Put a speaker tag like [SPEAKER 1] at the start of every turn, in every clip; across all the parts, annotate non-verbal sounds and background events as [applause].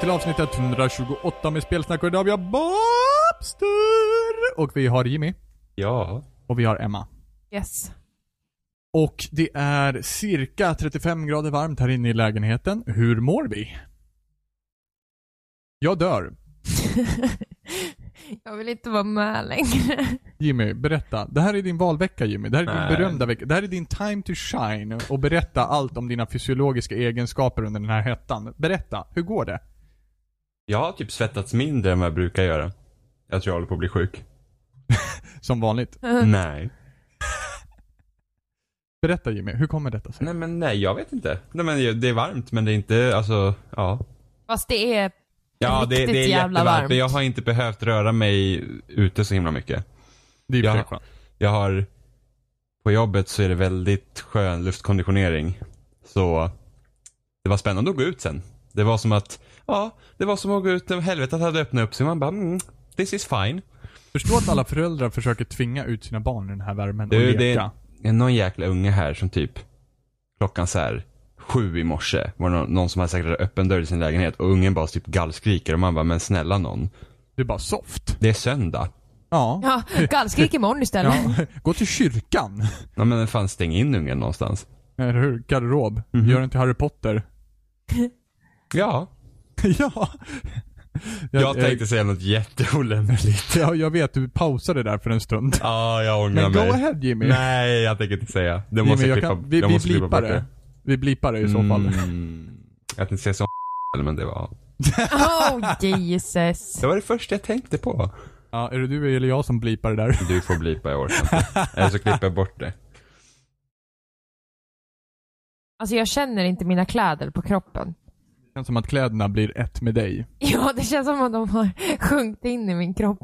[SPEAKER 1] till avsnitt 128 med Spelsnack och idag har vi har Bobster! Och vi har Jimmy.
[SPEAKER 2] Ja.
[SPEAKER 1] Och vi har Emma.
[SPEAKER 3] Yes.
[SPEAKER 1] Och det är cirka 35 grader varmt här inne i lägenheten. Hur mår vi? Jag dör.
[SPEAKER 3] [laughs] Jag vill inte vara med längre.
[SPEAKER 1] Jimmy, berätta. Det här är din valvecka Jimmy. Det här är
[SPEAKER 2] Nej.
[SPEAKER 1] din berömda vecka. Det här är din time to shine och berätta allt om dina fysiologiska egenskaper under den här hettan. Berätta, hur går det?
[SPEAKER 2] Jag har typ svettats mindre än vad jag brukar göra. Jag tror jag håller på att bli sjuk.
[SPEAKER 1] Som vanligt.
[SPEAKER 3] Mm.
[SPEAKER 2] Nej.
[SPEAKER 1] Berätta Jimmy, hur kommer detta sig?
[SPEAKER 2] Nej men nej, jag vet inte. Nej men det är varmt men det är inte, alltså, ja.
[SPEAKER 3] Fast det är...
[SPEAKER 2] Ja det, det är
[SPEAKER 3] Riktigt jävla
[SPEAKER 2] jättevarmt
[SPEAKER 3] varmt.
[SPEAKER 2] men jag har inte behövt röra mig ute så himla mycket.
[SPEAKER 1] Det är ju
[SPEAKER 2] Ja.
[SPEAKER 1] ja. skönt.
[SPEAKER 2] Jag har, på jobbet så är det väldigt skön luftkonditionering. Så det var spännande att gå ut sen. Det var som att, ja, det var som att gå ut när helvetet hade öppnat upp sig. Man bara, mm, this is fine.
[SPEAKER 1] Förstå att alla föräldrar försöker tvinga ut sina barn i den här värmen och
[SPEAKER 2] Du,
[SPEAKER 1] leka.
[SPEAKER 2] det är är någon jäkla unge här som typ klockan så här sju i morse var det någon, någon som hade säkert öppen dörr i sin lägenhet och ungen bara typ gallskriker och man bara, men snälla någon.
[SPEAKER 1] Det är bara soft.
[SPEAKER 2] Det är söndag.
[SPEAKER 1] Ja.
[SPEAKER 3] Ja, gallskrik imorgon istället.
[SPEAKER 1] ja. [laughs] Gå till kyrkan.
[SPEAKER 2] Ja men fan stäng in ungen någonstans.
[SPEAKER 1] Eller hur? Garderob.
[SPEAKER 2] Mhm.
[SPEAKER 1] Gör inte Harry Potter. [laughs]
[SPEAKER 2] Ja.
[SPEAKER 1] ja.
[SPEAKER 2] Jag, tänkte säga något jätteolämpligt.
[SPEAKER 1] eh, Ja, jag vet. Du pausade där för en stund.
[SPEAKER 2] [laughs] Ja, jag ångrar
[SPEAKER 1] Men go
[SPEAKER 2] mig.
[SPEAKER 1] ahead Jimmy.
[SPEAKER 2] [laughs] Nej, jag tänker inte säga. Det
[SPEAKER 1] Jimmy,
[SPEAKER 2] måste jag
[SPEAKER 1] jag
[SPEAKER 2] klippa,
[SPEAKER 1] kan, vi,
[SPEAKER 2] jag
[SPEAKER 1] vi
[SPEAKER 2] måste klippa
[SPEAKER 1] blipar
[SPEAKER 2] bort
[SPEAKER 1] det. Vi blipar det i så fall.
[SPEAKER 2] Mm. Jag tänkte säga så men det var...
[SPEAKER 3] [laughs] Oh Jesus.
[SPEAKER 2] Det var det första jag tänkte på.
[SPEAKER 1] Ja, är det du eller jag som blipar det där?
[SPEAKER 2] Du får blipa, jag orkar inte.
[SPEAKER 1] [laughs]
[SPEAKER 2] Eller så klipper jag bort det.
[SPEAKER 3] Alltså jag känner inte mina kläder på kroppen.
[SPEAKER 1] Det känns som att kläderna blir ett med dig.
[SPEAKER 3] Ja, det känns som att de har sjunkit in i min kropp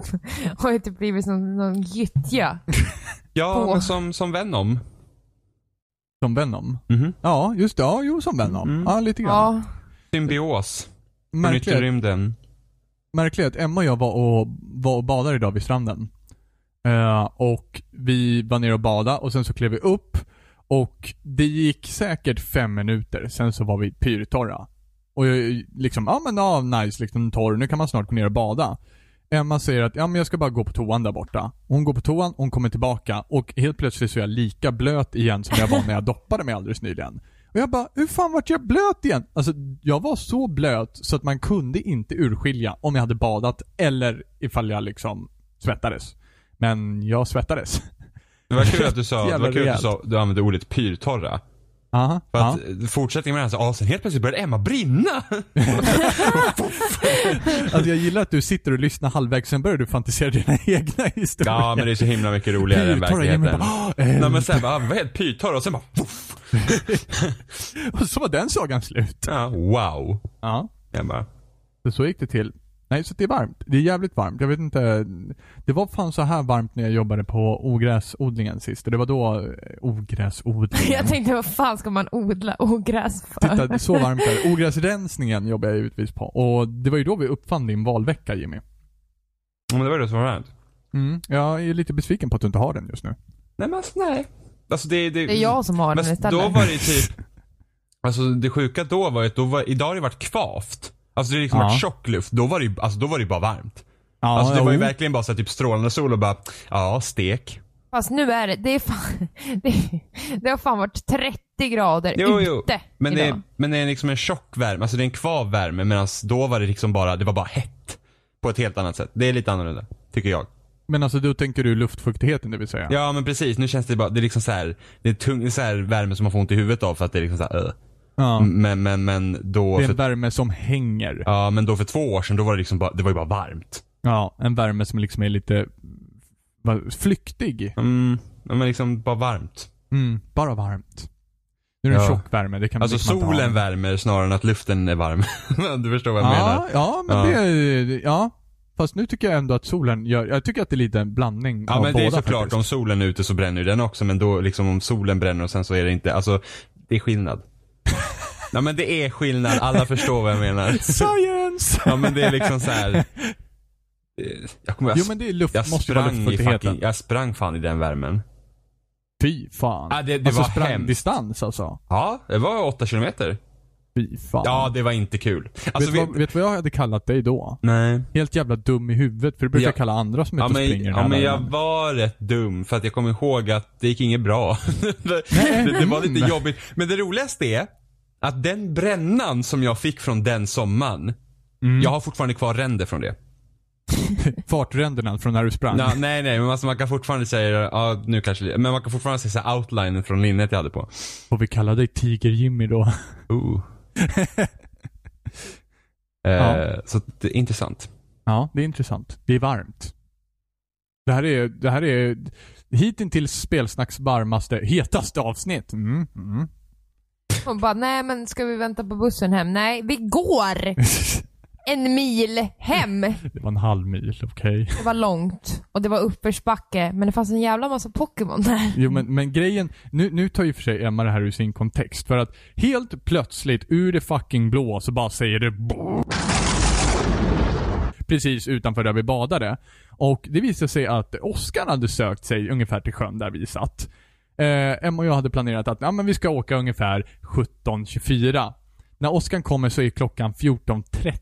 [SPEAKER 3] och har typ blivit som någon gyttja.
[SPEAKER 2] Ja,
[SPEAKER 3] På.
[SPEAKER 2] men som, som Venom.
[SPEAKER 1] Som Venom.
[SPEAKER 2] Mhm.
[SPEAKER 1] Ja, just det. Ja, jo, som Venom.
[SPEAKER 2] Mm.
[SPEAKER 1] Ja, lite grann.
[SPEAKER 3] Ja.
[SPEAKER 2] Symbios. Från
[SPEAKER 1] Märkligt.
[SPEAKER 2] yttre rymden.
[SPEAKER 1] märkligt. Emma och jag var och, var och badade idag vid stranden. Eh, och vi var nere och badade och sen så klev vi upp och det gick säkert fem minuter, sen så var vi pyrtorra. Och jag liksom, ja men ja, nice, liksom torr, nu kan man snart gå ner och bada. Emma säger att, ja men jag ska bara gå på toan där borta. Hon går på toan, hon kommer tillbaka och helt plötsligt så är jag lika blöt igen som jag var när jag [laughs] doppade mig alldeles nyligen. Och jag bara, hur fan vart jag blöt igen? Alltså jag var så blöt så att man kunde inte urskilja om jag hade badat eller ifall jag liksom svettades. Men jag svettades. [laughs]
[SPEAKER 2] Det var kul att du sa, det
[SPEAKER 1] Jävla
[SPEAKER 2] var kul att
[SPEAKER 1] rejält.
[SPEAKER 2] du, sa du använde ordet pyrtorra.
[SPEAKER 1] Aha,
[SPEAKER 2] För
[SPEAKER 1] ja.
[SPEAKER 2] att eh, fortsättningen med det här så, ah, sen helt plötsligt började
[SPEAKER 1] [laughs]
[SPEAKER 2] Emma brinna.
[SPEAKER 1] Alltså jag gillar att du sitter och lyssnar halvvägs, sen börjar du fantisera dina [laughs] egna historier.
[SPEAKER 2] ja, men det är så himla mycket roligare än
[SPEAKER 1] Pyrtorra, Jimmy,
[SPEAKER 2] verkligheten.
[SPEAKER 1] bara, "Åh, eh."
[SPEAKER 2] Nej men sen bara, ah, vad är det? pyrtorra? Och sen bara, Puff.
[SPEAKER 1] eh." [laughs] Och så var den sagan slut.
[SPEAKER 2] Ja, wow.
[SPEAKER 1] Ja.
[SPEAKER 2] Jag bara,
[SPEAKER 1] Så, så gick det till. Nej, så det är varmt. Det är jävligt varmt. Jag vet inte. Det var fan så här varmt när jag jobbade på ogräsodlingen sist. Och det var då eh, ogräsodlingen.
[SPEAKER 3] [laughs] Jag tänkte vad fan ska man odla ogräs för?
[SPEAKER 1] Titta, det är så varmt där. Ogräsrensningen jobbar jag givetvis på. Och det var ju då vi uppfann din valvecka Jimmy.
[SPEAKER 2] ja, men det var det som var varmt.
[SPEAKER 1] Mm. Jag är lite besviken på att du inte har den just nu.
[SPEAKER 2] Nej men alltså, nej. Alltså det, det,
[SPEAKER 3] Det är jag som har
[SPEAKER 2] men
[SPEAKER 3] den istället.
[SPEAKER 2] då var det ju typ, alltså det sjuka då var ju att då var, idag har det varit kvavt. Alltså det har liksom
[SPEAKER 1] Ja.
[SPEAKER 2] varit tjock luft. Då var det ju, alltså då var det ju bara varmt.
[SPEAKER 1] Ja,
[SPEAKER 2] Alltså det var ju
[SPEAKER 1] jo.
[SPEAKER 2] verkligen bara så här, typ strålande sol och bara, ja stek.
[SPEAKER 3] Fast nu är det, det är fan, [laughs] det, det har fan varit 30 grader
[SPEAKER 2] Jo, jo.
[SPEAKER 3] ute
[SPEAKER 2] Men det,
[SPEAKER 3] idag.
[SPEAKER 2] är, men det är liksom en tjock värme, alltså det är en kvav värme medan då var det liksom bara, det var bara hett. På ett helt annat sätt. Det är lite annorlunda, tycker jag.
[SPEAKER 1] Men alltså då tänker du luftfuktigheten det vill säga?
[SPEAKER 2] Ja men precis, nu känns det bara, det är liksom så här, det är tung, så här värme som man får ont i huvudet av för att det är liksom så här, öh.
[SPEAKER 1] Ja.
[SPEAKER 2] Men, men, men då,
[SPEAKER 1] Det är
[SPEAKER 2] för,
[SPEAKER 1] en värme som hänger. Ja.
[SPEAKER 2] ja men då för två år sedan, då var det liksom bara, det var ju bara varmt.
[SPEAKER 1] en värme som liksom är lite vad, flyktig.
[SPEAKER 2] Mm, ja, men liksom bara varmt.
[SPEAKER 1] Mm, bara varmt. Nu är det en
[SPEAKER 2] Ja.
[SPEAKER 1] tjock värme. Det kan man
[SPEAKER 2] Alltså
[SPEAKER 1] liksom inte ha.
[SPEAKER 2] solen värmer snarare än att luften är varm. [laughs] du förstår vad jag
[SPEAKER 1] Ja,
[SPEAKER 2] menar.
[SPEAKER 1] ja, men
[SPEAKER 2] Ja.
[SPEAKER 1] det är, ja. Fast nu tycker jag ändå att solen gör, jag tycker att det är lite en blandning
[SPEAKER 2] Ja
[SPEAKER 1] av
[SPEAKER 2] men
[SPEAKER 1] båda
[SPEAKER 2] det är såklart,
[SPEAKER 1] faktiskt.
[SPEAKER 2] om solen är ute så bränner ju den också men då liksom om solen bränner och sen så är det inte, alltså det
[SPEAKER 1] [laughs]
[SPEAKER 2] är skillnad. ja men det är skillnad, alla förstår vad jag menar.
[SPEAKER 1] [laughs] Science!
[SPEAKER 2] Ja men det är liksom så här. eh, Jag kommer, jag,
[SPEAKER 1] Jo men det är luft,
[SPEAKER 2] jag
[SPEAKER 1] måste vara
[SPEAKER 2] sprang i
[SPEAKER 1] luftfuktigheten.
[SPEAKER 2] fucking, jag sprang fan i den värmen.
[SPEAKER 1] Fy fan.
[SPEAKER 2] Ja, det- det
[SPEAKER 1] alltså
[SPEAKER 2] var
[SPEAKER 1] sprang
[SPEAKER 2] hemskt.
[SPEAKER 1] distans alltså.
[SPEAKER 2] Ja, det var 8 kilometer.
[SPEAKER 1] Fy fan.
[SPEAKER 2] Ja, det var inte kul. Alltså,
[SPEAKER 1] vet, du
[SPEAKER 2] vi,
[SPEAKER 1] vad, vet du vad jag hade kallat dig då?
[SPEAKER 2] nej.
[SPEAKER 1] Helt jävla dum i huvudet, för du brukar
[SPEAKER 2] Ja.
[SPEAKER 1] kalla andra som
[SPEAKER 2] Ja
[SPEAKER 1] inte
[SPEAKER 2] men,
[SPEAKER 1] springer
[SPEAKER 2] ja, men jag
[SPEAKER 1] men-
[SPEAKER 2] var rätt dum för att jag kommer ihåg att det gick
[SPEAKER 1] [laughs]
[SPEAKER 2] inget bra. det, [laughs] det var lite
[SPEAKER 1] Mm.
[SPEAKER 2] jobbigt. Men det roligaste är att den brännan som jag fick från den sommaren,
[SPEAKER 1] Mm.
[SPEAKER 2] jag har fortfarande kvar ränder från det.
[SPEAKER 1] Fartränderna från när du sprang.
[SPEAKER 2] Ja, nej, nej, men alltså man kan fortfarande säga, ja nu kanske, men man kan fortfarande se så här outlinen från linnet jag hade på.
[SPEAKER 1] Får vi kalla dig Tiger-Jimmy då? [laughs]
[SPEAKER 2] [laughs] Ooh. eh,
[SPEAKER 1] Ja.
[SPEAKER 2] Så det är intressant.
[SPEAKER 1] Ja, det är intressant. Det är varmt. Det här är, det här är hittills spelsnacks varmaste, hetaste avsnitt. Mm. Mm. [laughs]
[SPEAKER 3] Och bara, nej men ska vi vänta på bussen hem? Nej, vi går en mil hem.
[SPEAKER 1] det var en halv mil, okej.
[SPEAKER 3] Det var långt och det var uppförsbacke, men det fanns en jävla massa Pokémon där.
[SPEAKER 1] Jo men, men grejen, nu, nu tar ju för sig Emma det här ur sin kontext. För att helt plötsligt, ur det fucking blå, så bara säger det Precis utanför där vi badade. Och det visade sig att Oskar hade sökt sig ungefär till sjön där vi satt. Eh, Emma och jag hade planerat att ja, men vi ska åka ungefär 17.24. När Oskar kommer så är klockan 14.30.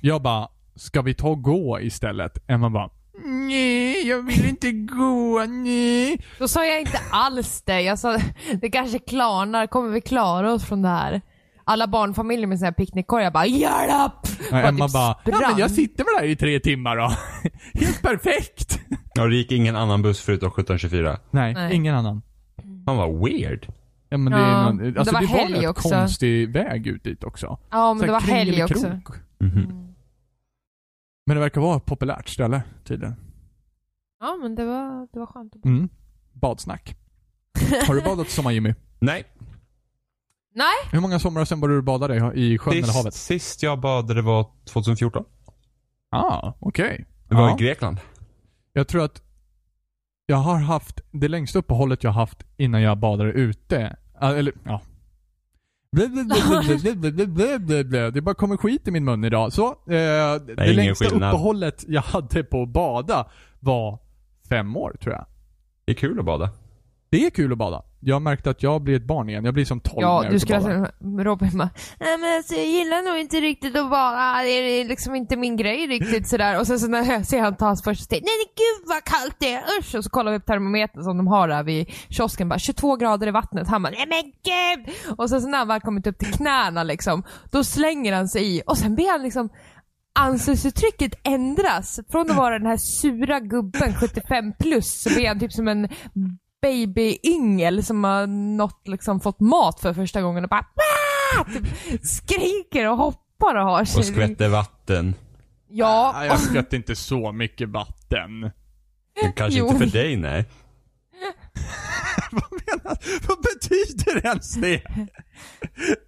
[SPEAKER 1] Jag bara, ska vi ta och gå istället? Emma bara, nej jag vill inte gå, nej.
[SPEAKER 3] Då sa jag inte alls det. Jag sa, det kanske klarnar. Kommer vi klara oss från det här? Alla barnfamiljer med sina picknickkorgar bara hjälp!
[SPEAKER 1] Ja,
[SPEAKER 3] Bara
[SPEAKER 1] Emma
[SPEAKER 3] typ
[SPEAKER 1] bara, ja men
[SPEAKER 3] sprang.
[SPEAKER 1] jag sitter väl här i tre timmar då. [laughs] Helt perfekt!
[SPEAKER 2] Och det gick ingen annan buss förutom 1724.
[SPEAKER 1] Nej,
[SPEAKER 3] Nej.
[SPEAKER 1] ingen annan.
[SPEAKER 2] Han var weird.
[SPEAKER 1] Ja, men det, är
[SPEAKER 3] Ja,
[SPEAKER 1] någon,
[SPEAKER 3] det
[SPEAKER 1] alltså,
[SPEAKER 3] var
[SPEAKER 1] det var,
[SPEAKER 3] helg
[SPEAKER 1] en
[SPEAKER 3] också.
[SPEAKER 1] konstig väg ut dit också.
[SPEAKER 3] Ja, men
[SPEAKER 1] Så
[SPEAKER 3] det var
[SPEAKER 1] här Mm.
[SPEAKER 3] helg också.
[SPEAKER 1] kringelikrok.
[SPEAKER 2] Mhm.
[SPEAKER 1] Men det verkar vara ett populärt ställe tydligen.
[SPEAKER 3] Ja, men det var, det var skönt.
[SPEAKER 1] Mm.
[SPEAKER 3] [laughs]
[SPEAKER 1] Badsnack. Har du badat i sommar Jimmy?
[SPEAKER 2] Nej,
[SPEAKER 3] Nej,
[SPEAKER 1] Hur många somrar sen var du och badade i i sjön eller
[SPEAKER 2] sist,
[SPEAKER 1] havet?
[SPEAKER 2] sist jag badade var 2014.
[SPEAKER 1] Ah, okej.
[SPEAKER 2] Det var
[SPEAKER 1] Ja.
[SPEAKER 2] i Grekland.
[SPEAKER 1] Jag tror att jag har haft det längsta uppehållet jag har haft innan jag badade ute. Ah, Eller, ja. Det bara kommer skit i min mun idag. Så, eh, det,
[SPEAKER 2] är ingen
[SPEAKER 1] längsta
[SPEAKER 2] skillnad.
[SPEAKER 1] uppehållet jag hade på att bada var fem år tror jag.
[SPEAKER 2] Det är kul att bada.
[SPEAKER 1] Det är kul att bada. Jag märkte att jag blir ett barn igen. Jag blir som 12 när
[SPEAKER 3] ja,
[SPEAKER 1] jag är ute
[SPEAKER 3] du
[SPEAKER 1] och
[SPEAKER 3] skulle
[SPEAKER 1] badar.
[SPEAKER 3] säga Robin bara, nej men alltså, jag gillar nog inte riktigt att vara Det är liksom inte min grej riktigt sådär. Och sen så när jag ser han ta hans första steg, nej men gud vad kallt det är, usch! Och så kollar vi på termometern som de har där vid kiosken, bara 22 grader i vattnet. Han bara, nej men gud! Och sen så när han väl kommit upp till knäna liksom, då slänger han sig i och sen blir han liksom ansiktsuttrycket ändras. Från att vara den här sura gubben 75 plus så blir han typ som en babyyngel som har nått, liksom, fått mat för första gången och bara "Ah!" typ, skriker och hoppar och har sig.
[SPEAKER 2] Och skvätter vatten.
[SPEAKER 1] Ah,
[SPEAKER 3] Ja,
[SPEAKER 1] Jag skvätte inte så mycket vatten. [laughs]
[SPEAKER 2] Men kanske
[SPEAKER 3] Jo.
[SPEAKER 2] inte för dig nej.
[SPEAKER 1] vad menar Vad betyder ens det?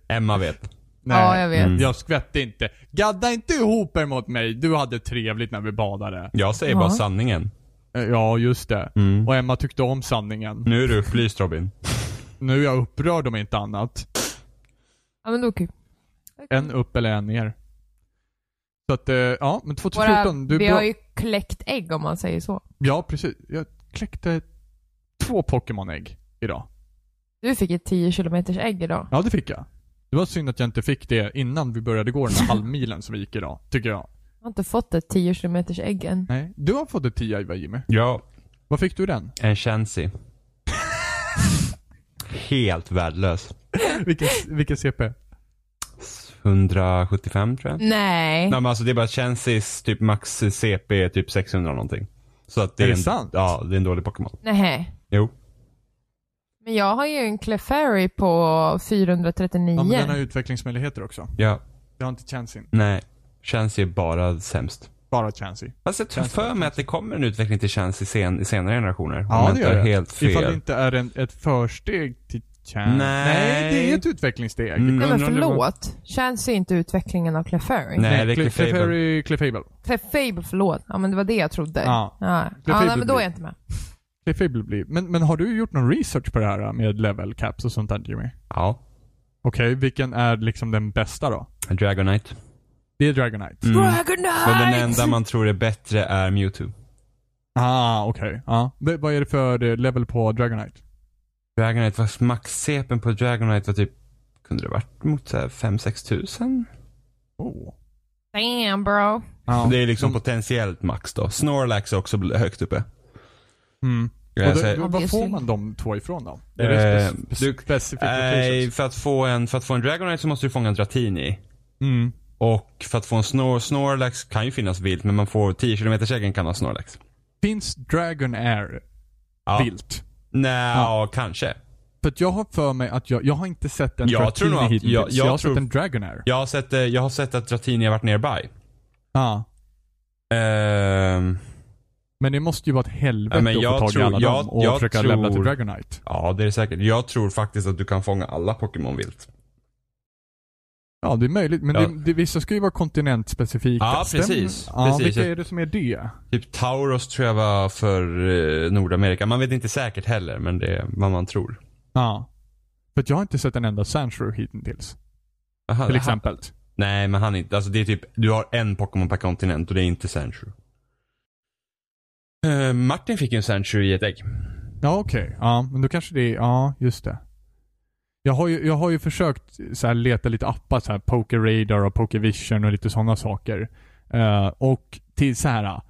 [SPEAKER 2] Emma vet.
[SPEAKER 3] ja jag vet.
[SPEAKER 2] Mm.
[SPEAKER 1] Jag skvätte inte. Gadda inte ihop er mot mig. Du hade trevligt när vi badade.
[SPEAKER 2] Jag säger
[SPEAKER 3] Ja.
[SPEAKER 2] bara sanningen.
[SPEAKER 1] Eh, Ja, just det.
[SPEAKER 2] Mm.
[SPEAKER 1] Och Emma tyckte om sanningen.
[SPEAKER 2] Nu är du upplyst Robin.
[SPEAKER 1] Nu är jag upprörd om inte annat.
[SPEAKER 3] Ja men då kul.
[SPEAKER 1] En upp eller en ner. Så att, eh, ja, men 2014.
[SPEAKER 3] Våra,
[SPEAKER 1] du
[SPEAKER 3] vi
[SPEAKER 1] bra-
[SPEAKER 3] har ju kläckt ägg om man säger så.
[SPEAKER 1] Ja, precis. Jag kläckte två Pokémon-ägg idag.
[SPEAKER 3] Du fick ett 10 km ägg idag.
[SPEAKER 1] Ja, det fick jag. Det var synd att jag inte fick det innan vi började gå
[SPEAKER 3] [laughs]
[SPEAKER 1] den här halvmilen som vi gick idag, tycker jag.
[SPEAKER 3] Jag har inte fått ett 10 km ägg än.
[SPEAKER 1] Nej. Du har fått ett 10 va, Jimmy?
[SPEAKER 2] Ja,
[SPEAKER 1] Vad fick du den?
[SPEAKER 2] en chancy. Helt värdelös.
[SPEAKER 1] Vilken, vilken CP?
[SPEAKER 2] 175 tror jag.
[SPEAKER 3] Nej.
[SPEAKER 2] Nej men alltså det är bara chansys typ max CP är typ 600 någonting. Så att det
[SPEAKER 1] Är
[SPEAKER 2] är,
[SPEAKER 1] det
[SPEAKER 2] en,
[SPEAKER 1] sant?
[SPEAKER 2] Ja, det är en dålig Pokémon.
[SPEAKER 3] Nej.
[SPEAKER 2] Jo.
[SPEAKER 3] Men jag har ju en Clefairy på 439.
[SPEAKER 1] Ja, men den har ju utvecklingsmöjligheter också.
[SPEAKER 2] Ja.
[SPEAKER 1] Jag har inte chansin.
[SPEAKER 2] Nej. Chansey är bara sämst.
[SPEAKER 1] Bara chansin.
[SPEAKER 2] Fast jag tror för mig att det kommer en utveckling till Chansey sen, i senare generationer. Om
[SPEAKER 1] Ja,
[SPEAKER 2] jag
[SPEAKER 1] det
[SPEAKER 2] inte
[SPEAKER 1] gör
[SPEAKER 2] har
[SPEAKER 1] det.
[SPEAKER 2] helt fel.
[SPEAKER 1] Ifall det inte är en, ett försteg till Chan.
[SPEAKER 2] Nej.
[SPEAKER 1] Nej, det är ett utvecklingssteg.
[SPEAKER 2] Mm,
[SPEAKER 3] Nej men
[SPEAKER 2] undrar om det var-
[SPEAKER 3] förlåt. Känns ju inte utvecklingen av Clefairy.
[SPEAKER 2] Nej, det
[SPEAKER 1] Clef-
[SPEAKER 2] är Clefable.
[SPEAKER 1] Clefairy, Clefable.
[SPEAKER 3] Clefable, förlåt. Ja men det var det jag trodde.
[SPEAKER 1] Ja.
[SPEAKER 3] Ja, ja
[SPEAKER 1] Clefable
[SPEAKER 3] nej, men då är
[SPEAKER 1] blir-
[SPEAKER 3] jag inte med.
[SPEAKER 1] Clefable blir. Men, men har du gjort någon research på det här med level caps och sånt där Jimmy?
[SPEAKER 2] Ja.
[SPEAKER 1] Okej, vilken är liksom den bästa då?
[SPEAKER 2] Dragonite.
[SPEAKER 1] Det är Dragonite.
[SPEAKER 2] Mm.
[SPEAKER 3] Dragonite!
[SPEAKER 2] Och den enda man tror är bättre är Mewtwo.
[SPEAKER 1] Ah, okej. Ja. V- Vad är det för eh, level på Dragonite?
[SPEAKER 2] Dragonite, var max-CPn på Dragonite var typ kunde det varit mot 5-6 tusen?
[SPEAKER 1] Oh.
[SPEAKER 3] Damn bro.
[SPEAKER 1] Ja.
[SPEAKER 2] Det är liksom potentiellt max då. Snorlax är också högt uppe.
[SPEAKER 1] Mm.
[SPEAKER 2] Jag
[SPEAKER 1] Och då,
[SPEAKER 2] säger-
[SPEAKER 1] då, var får man de två ifrån då? Är det
[SPEAKER 2] Eh,
[SPEAKER 1] spe- spe-
[SPEAKER 2] du-
[SPEAKER 1] specifikt
[SPEAKER 2] Nej,
[SPEAKER 1] locations?
[SPEAKER 2] för att få en, för att få en Dragonite så måste du fånga en Dratini.
[SPEAKER 1] Mm.
[SPEAKER 2] Och för att få en snor, Snorlax kan ju finnas vilt, men man får 10 km säcken kan ha Snorlax.
[SPEAKER 1] Finns Dragon Air
[SPEAKER 2] Ja.
[SPEAKER 1] vilt?
[SPEAKER 2] Nej,
[SPEAKER 1] Ja.
[SPEAKER 2] ja. kanske.
[SPEAKER 1] För att jag har för mig att jag, jag har inte sett en
[SPEAKER 2] Jag
[SPEAKER 1] Dratini
[SPEAKER 2] tror nog att-
[SPEAKER 1] hittills.
[SPEAKER 2] jag-
[SPEAKER 1] Jag,
[SPEAKER 2] jag
[SPEAKER 1] har
[SPEAKER 2] tror-
[SPEAKER 1] sett en Dragon Air.
[SPEAKER 2] Jag har sett, eh, jag har sett att Dratini har varit nearby.
[SPEAKER 1] Ja.
[SPEAKER 2] Ehm,
[SPEAKER 1] Men det måste ju vara ett helvete
[SPEAKER 2] Ja, men jag
[SPEAKER 1] att få tag i
[SPEAKER 2] tror-
[SPEAKER 1] alla
[SPEAKER 2] jag-
[SPEAKER 1] dem och
[SPEAKER 2] jag
[SPEAKER 1] försöka
[SPEAKER 2] tror-
[SPEAKER 1] lämna till Dragonite.
[SPEAKER 2] ja, det är det säkert. Jag tror faktiskt att du kan fånga alla Pokémon vilt.
[SPEAKER 1] Ja, det är möjligt. Men
[SPEAKER 2] Ja.
[SPEAKER 1] det, det, vissa ska ju vara kontinentspecifika.
[SPEAKER 2] Ja,
[SPEAKER 1] Stämmer-
[SPEAKER 2] precis.
[SPEAKER 1] Ja,
[SPEAKER 2] Precis.
[SPEAKER 1] Vilka är det som är det?
[SPEAKER 2] Typ Tauros tror jag var för eh, Nordamerika. Man vet inte säkert heller, men det är vad man tror.
[SPEAKER 1] Ja. För att jag har inte sett en enda Sandshrew hittills.
[SPEAKER 2] Aha,
[SPEAKER 1] Till
[SPEAKER 2] aha.
[SPEAKER 1] exempel.
[SPEAKER 2] Nej, men han är inte. Alltså det är typ, du har en Pokémon per kontinent och det är inte Sandshrew. Eh, Martin fick ju en Sandshrew i ett ägg.
[SPEAKER 1] Ja, okej. Ja, men då kanske det är... Ja, just det. Jag har ju, jag har ju försökt så här, leta lite appar, så här Poker Radar och Poker Vision och lite sådana saker. Eh, och till så här ah,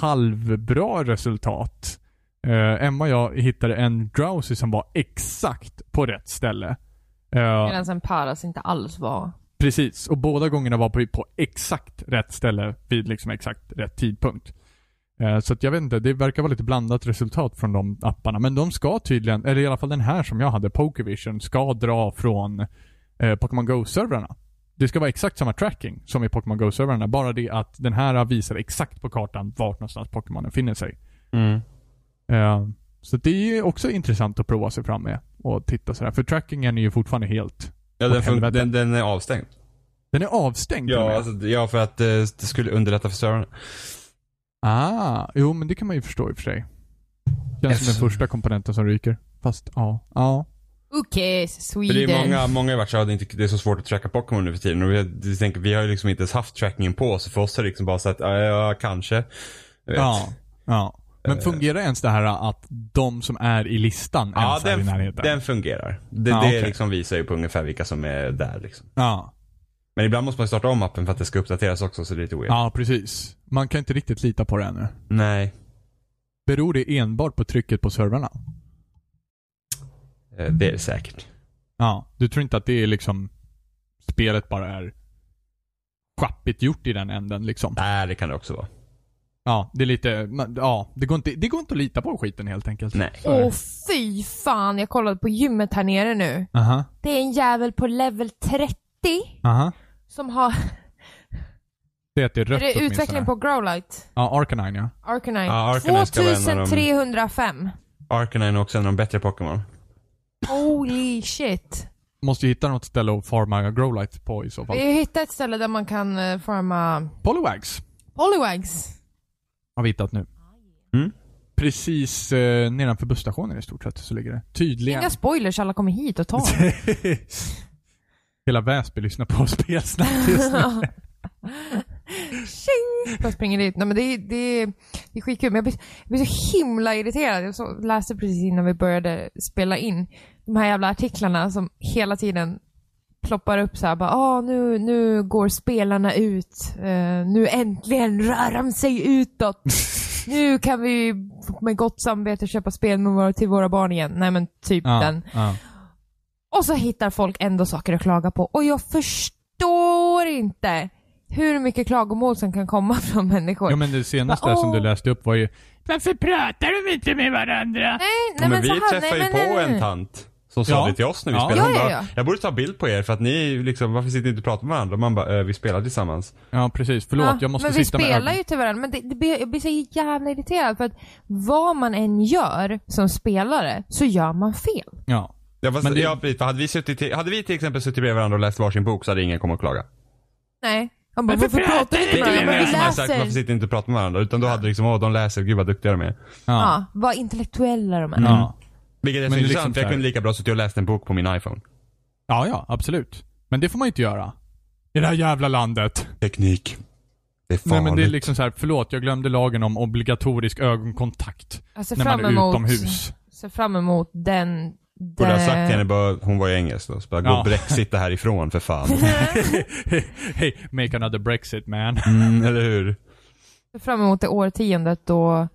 [SPEAKER 1] halvbra resultat. Eh, Emma och jag hittade en Drowsy som var exakt på rätt ställe. Eh,
[SPEAKER 3] Medan en Paras inte alls var.
[SPEAKER 1] Precis, och båda gångerna var på, på exakt rätt ställe vid liksom exakt rätt tidpunkt. Eh, så att jag vet inte, det verkar vara lite blandat resultat från de apparna. Men de ska tydligen, eller i alla fall den här som jag hade, Pokervision, ska dra från eh, Pokémon Go-servrarna. Det ska vara exakt samma tracking som i Pokémon Go-servrarna, bara det att den här visar exakt på kartan vart någonstans Pokémonen finner sig. Eh, så det är ju också intressant att prova sig fram med och titta sådär. För trackingen är ju fortfarande helt...
[SPEAKER 2] Ja,
[SPEAKER 1] Åt
[SPEAKER 2] den, fun-
[SPEAKER 1] helvete.
[SPEAKER 2] den, den är avstängd.
[SPEAKER 1] Den är avstängd till och
[SPEAKER 2] Ja,
[SPEAKER 1] med.
[SPEAKER 2] alltså, ja, för att eh, det skulle underlätta för servrarna.
[SPEAKER 1] Ah, jo men det kan man ju förstå i och för sig. Känns som
[SPEAKER 2] Eftersom-
[SPEAKER 1] den första komponenten som ryker. Fast ja. Ja.
[SPEAKER 3] Okej,
[SPEAKER 2] För
[SPEAKER 3] Sweden.
[SPEAKER 2] det är många, många har varit så här, det är inte- det är så svårt att tracka Pokémon nu för tiden. Och vi, vi, tänker, vi har ju liksom inte ens haft trackingen på, så för oss är det liksom bara så att, ja, ja kanske. Jag vet.
[SPEAKER 1] Ja. ja. Men
[SPEAKER 2] Eh.
[SPEAKER 1] fungerar ens det här att de som är i listan
[SPEAKER 2] Ja,
[SPEAKER 1] ens är i
[SPEAKER 2] den,
[SPEAKER 1] närheten?
[SPEAKER 2] den fungerar. Det,
[SPEAKER 1] Ja,
[SPEAKER 2] det
[SPEAKER 1] okej.
[SPEAKER 2] liksom visar ju på ungefär vilka som är där. Liksom.
[SPEAKER 1] Ja.
[SPEAKER 2] Men ibland måste man ju starta om appen för att det ska uppdateras också, så det är lite weird.
[SPEAKER 1] ja, precis. Man kan inte riktigt lita på det ännu.
[SPEAKER 2] Nej.
[SPEAKER 1] Beror det enbart på trycket på servrarna?
[SPEAKER 2] Eh, Det är det säkert.
[SPEAKER 1] Ja. Du tror inte att det är liksom spelet bara är schappigt gjort i den änden liksom?
[SPEAKER 2] Nej, det kan det också vara.
[SPEAKER 1] Ja, det är lite, man- ja, det går inte, det går inte att lita på skiten helt enkelt.
[SPEAKER 2] Nej.
[SPEAKER 1] Så är det.
[SPEAKER 3] Åh fy fan, jag kollade på gymmet här nere nu.
[SPEAKER 1] Aha,
[SPEAKER 3] Det är en jävel på level 30
[SPEAKER 1] aha.
[SPEAKER 3] som har...
[SPEAKER 1] Det är att det är rött
[SPEAKER 3] Är det
[SPEAKER 1] åtminstone.
[SPEAKER 3] utvecklingen på Growlite?
[SPEAKER 1] Ja, Arcanine ja.
[SPEAKER 3] Arcanine.
[SPEAKER 2] Ja, Arcanine ska vara en av dem.
[SPEAKER 3] 2305.
[SPEAKER 2] Arcanine är också en av de bättre Pokémon.
[SPEAKER 3] Holy shit.
[SPEAKER 1] Måste ju hitta något ställe att farma growlight på i så fall.
[SPEAKER 3] Vi hittade ett ställe där man kan eh, forma
[SPEAKER 1] Polywags
[SPEAKER 3] Poliwags.
[SPEAKER 1] har vi hittat nu.
[SPEAKER 2] Mm.
[SPEAKER 1] Precis eh, nedanför busstationen i stort sett så ligger det. Tydligen.
[SPEAKER 3] Inga spoilers, alla kommer hit och tar dem.
[SPEAKER 1] [laughs] Hela Väsby lyssnar på spelsnack just nu.
[SPEAKER 3] Tjing! Bara springer dit. Nej, men det, det, det är skitkul. Men jag blir, jag blir så himla irriterad. Jag så, läste precis innan vi började spela in de här jävla artiklarna som hela tiden ploppar upp så här bara, ah, nu, nu går spelarna ut. Eh, nu äntligen rör de sig utåt. nu kan vi med gott samvete köpa spel med våra, till våra barn igen. Nej men typ [laughs] den.
[SPEAKER 1] ja, ja.
[SPEAKER 3] Och så hittar folk ändå saker att klaga på. Och jag förstår inte hur mycket klagomål som kan komma [laughs] från människor.
[SPEAKER 1] Jo men det senaste
[SPEAKER 3] Bara,
[SPEAKER 1] som du
[SPEAKER 3] åh.
[SPEAKER 1] läste upp var ju Varför pratar de inte med varandra?
[SPEAKER 3] nej,
[SPEAKER 2] men,
[SPEAKER 3] nej, men
[SPEAKER 2] vi
[SPEAKER 3] så här,
[SPEAKER 2] träffade
[SPEAKER 3] nej,
[SPEAKER 2] ju
[SPEAKER 3] men,
[SPEAKER 2] på
[SPEAKER 3] nej, nej.
[SPEAKER 2] en tant som sa
[SPEAKER 1] Ja.
[SPEAKER 2] det till oss när vi
[SPEAKER 1] Ja.
[SPEAKER 2] spelade. Hon
[SPEAKER 3] Ja, ja,
[SPEAKER 2] bara,
[SPEAKER 3] ja.
[SPEAKER 2] jag borde ta bild på er för att ni är ju liksom, varför sitter ni inte och pratar med varandra? Och Man bara, "Eh, vi spelar tillsammans.
[SPEAKER 1] Ja precis, förlåt
[SPEAKER 3] Ja,
[SPEAKER 1] jag måste
[SPEAKER 3] men vi
[SPEAKER 1] sitta med
[SPEAKER 3] spelar
[SPEAKER 1] ögonen.
[SPEAKER 3] ju till varandra. Men det, det blir, jag blir så jävla irriterad för att vad man än gör som spelare så gör man fel.
[SPEAKER 1] Ja.
[SPEAKER 2] Ja, fast,
[SPEAKER 1] Men det-
[SPEAKER 2] ja, precis, för hade, vi suttit till, hade vi till exempel suttit bredvid varandra och läst varsin bok så hade ingen kommit och klagat.
[SPEAKER 3] Nej. Jag bara, varför pratar du
[SPEAKER 2] Det
[SPEAKER 3] inte
[SPEAKER 2] är
[SPEAKER 3] med
[SPEAKER 2] ingen
[SPEAKER 3] varandra? Vi
[SPEAKER 2] som har sagt varför
[SPEAKER 3] läser.
[SPEAKER 2] sitter ni inte och pratar med varandra. Utan då hade det liksom, åh de läser, gud vad duktiga de är.
[SPEAKER 1] Ja.
[SPEAKER 3] Ja, vad intellektuella de är.
[SPEAKER 1] Ja.
[SPEAKER 2] Vilket är så
[SPEAKER 1] Men
[SPEAKER 2] intressant
[SPEAKER 1] liksom så
[SPEAKER 2] för jag
[SPEAKER 1] här-
[SPEAKER 2] kunde lika bra suttit och läst en bok på min iPhone.
[SPEAKER 1] ja, ja absolut. Men det får man ju inte göra. I det här jävla landet.
[SPEAKER 2] Teknik. Det är farligt.
[SPEAKER 1] Nej men det är liksom så här, förlåt jag glömde lagen om obligatorisk ögonkontakt
[SPEAKER 3] Jag ser
[SPEAKER 1] när man
[SPEAKER 3] fram
[SPEAKER 1] är
[SPEAKER 3] [laughs] emot,
[SPEAKER 1] utomhus.
[SPEAKER 3] ser fram emot den
[SPEAKER 2] Borde ha sagt till henne bara, hon var ju engelsk då, så bara, gå
[SPEAKER 1] Ja.
[SPEAKER 2] brexit det härifrån för
[SPEAKER 3] [laughs]
[SPEAKER 2] fan.
[SPEAKER 1] hey, make another Brexit man.
[SPEAKER 2] Mm, eller hur?
[SPEAKER 3] Jag ser fram emot det årtiondet då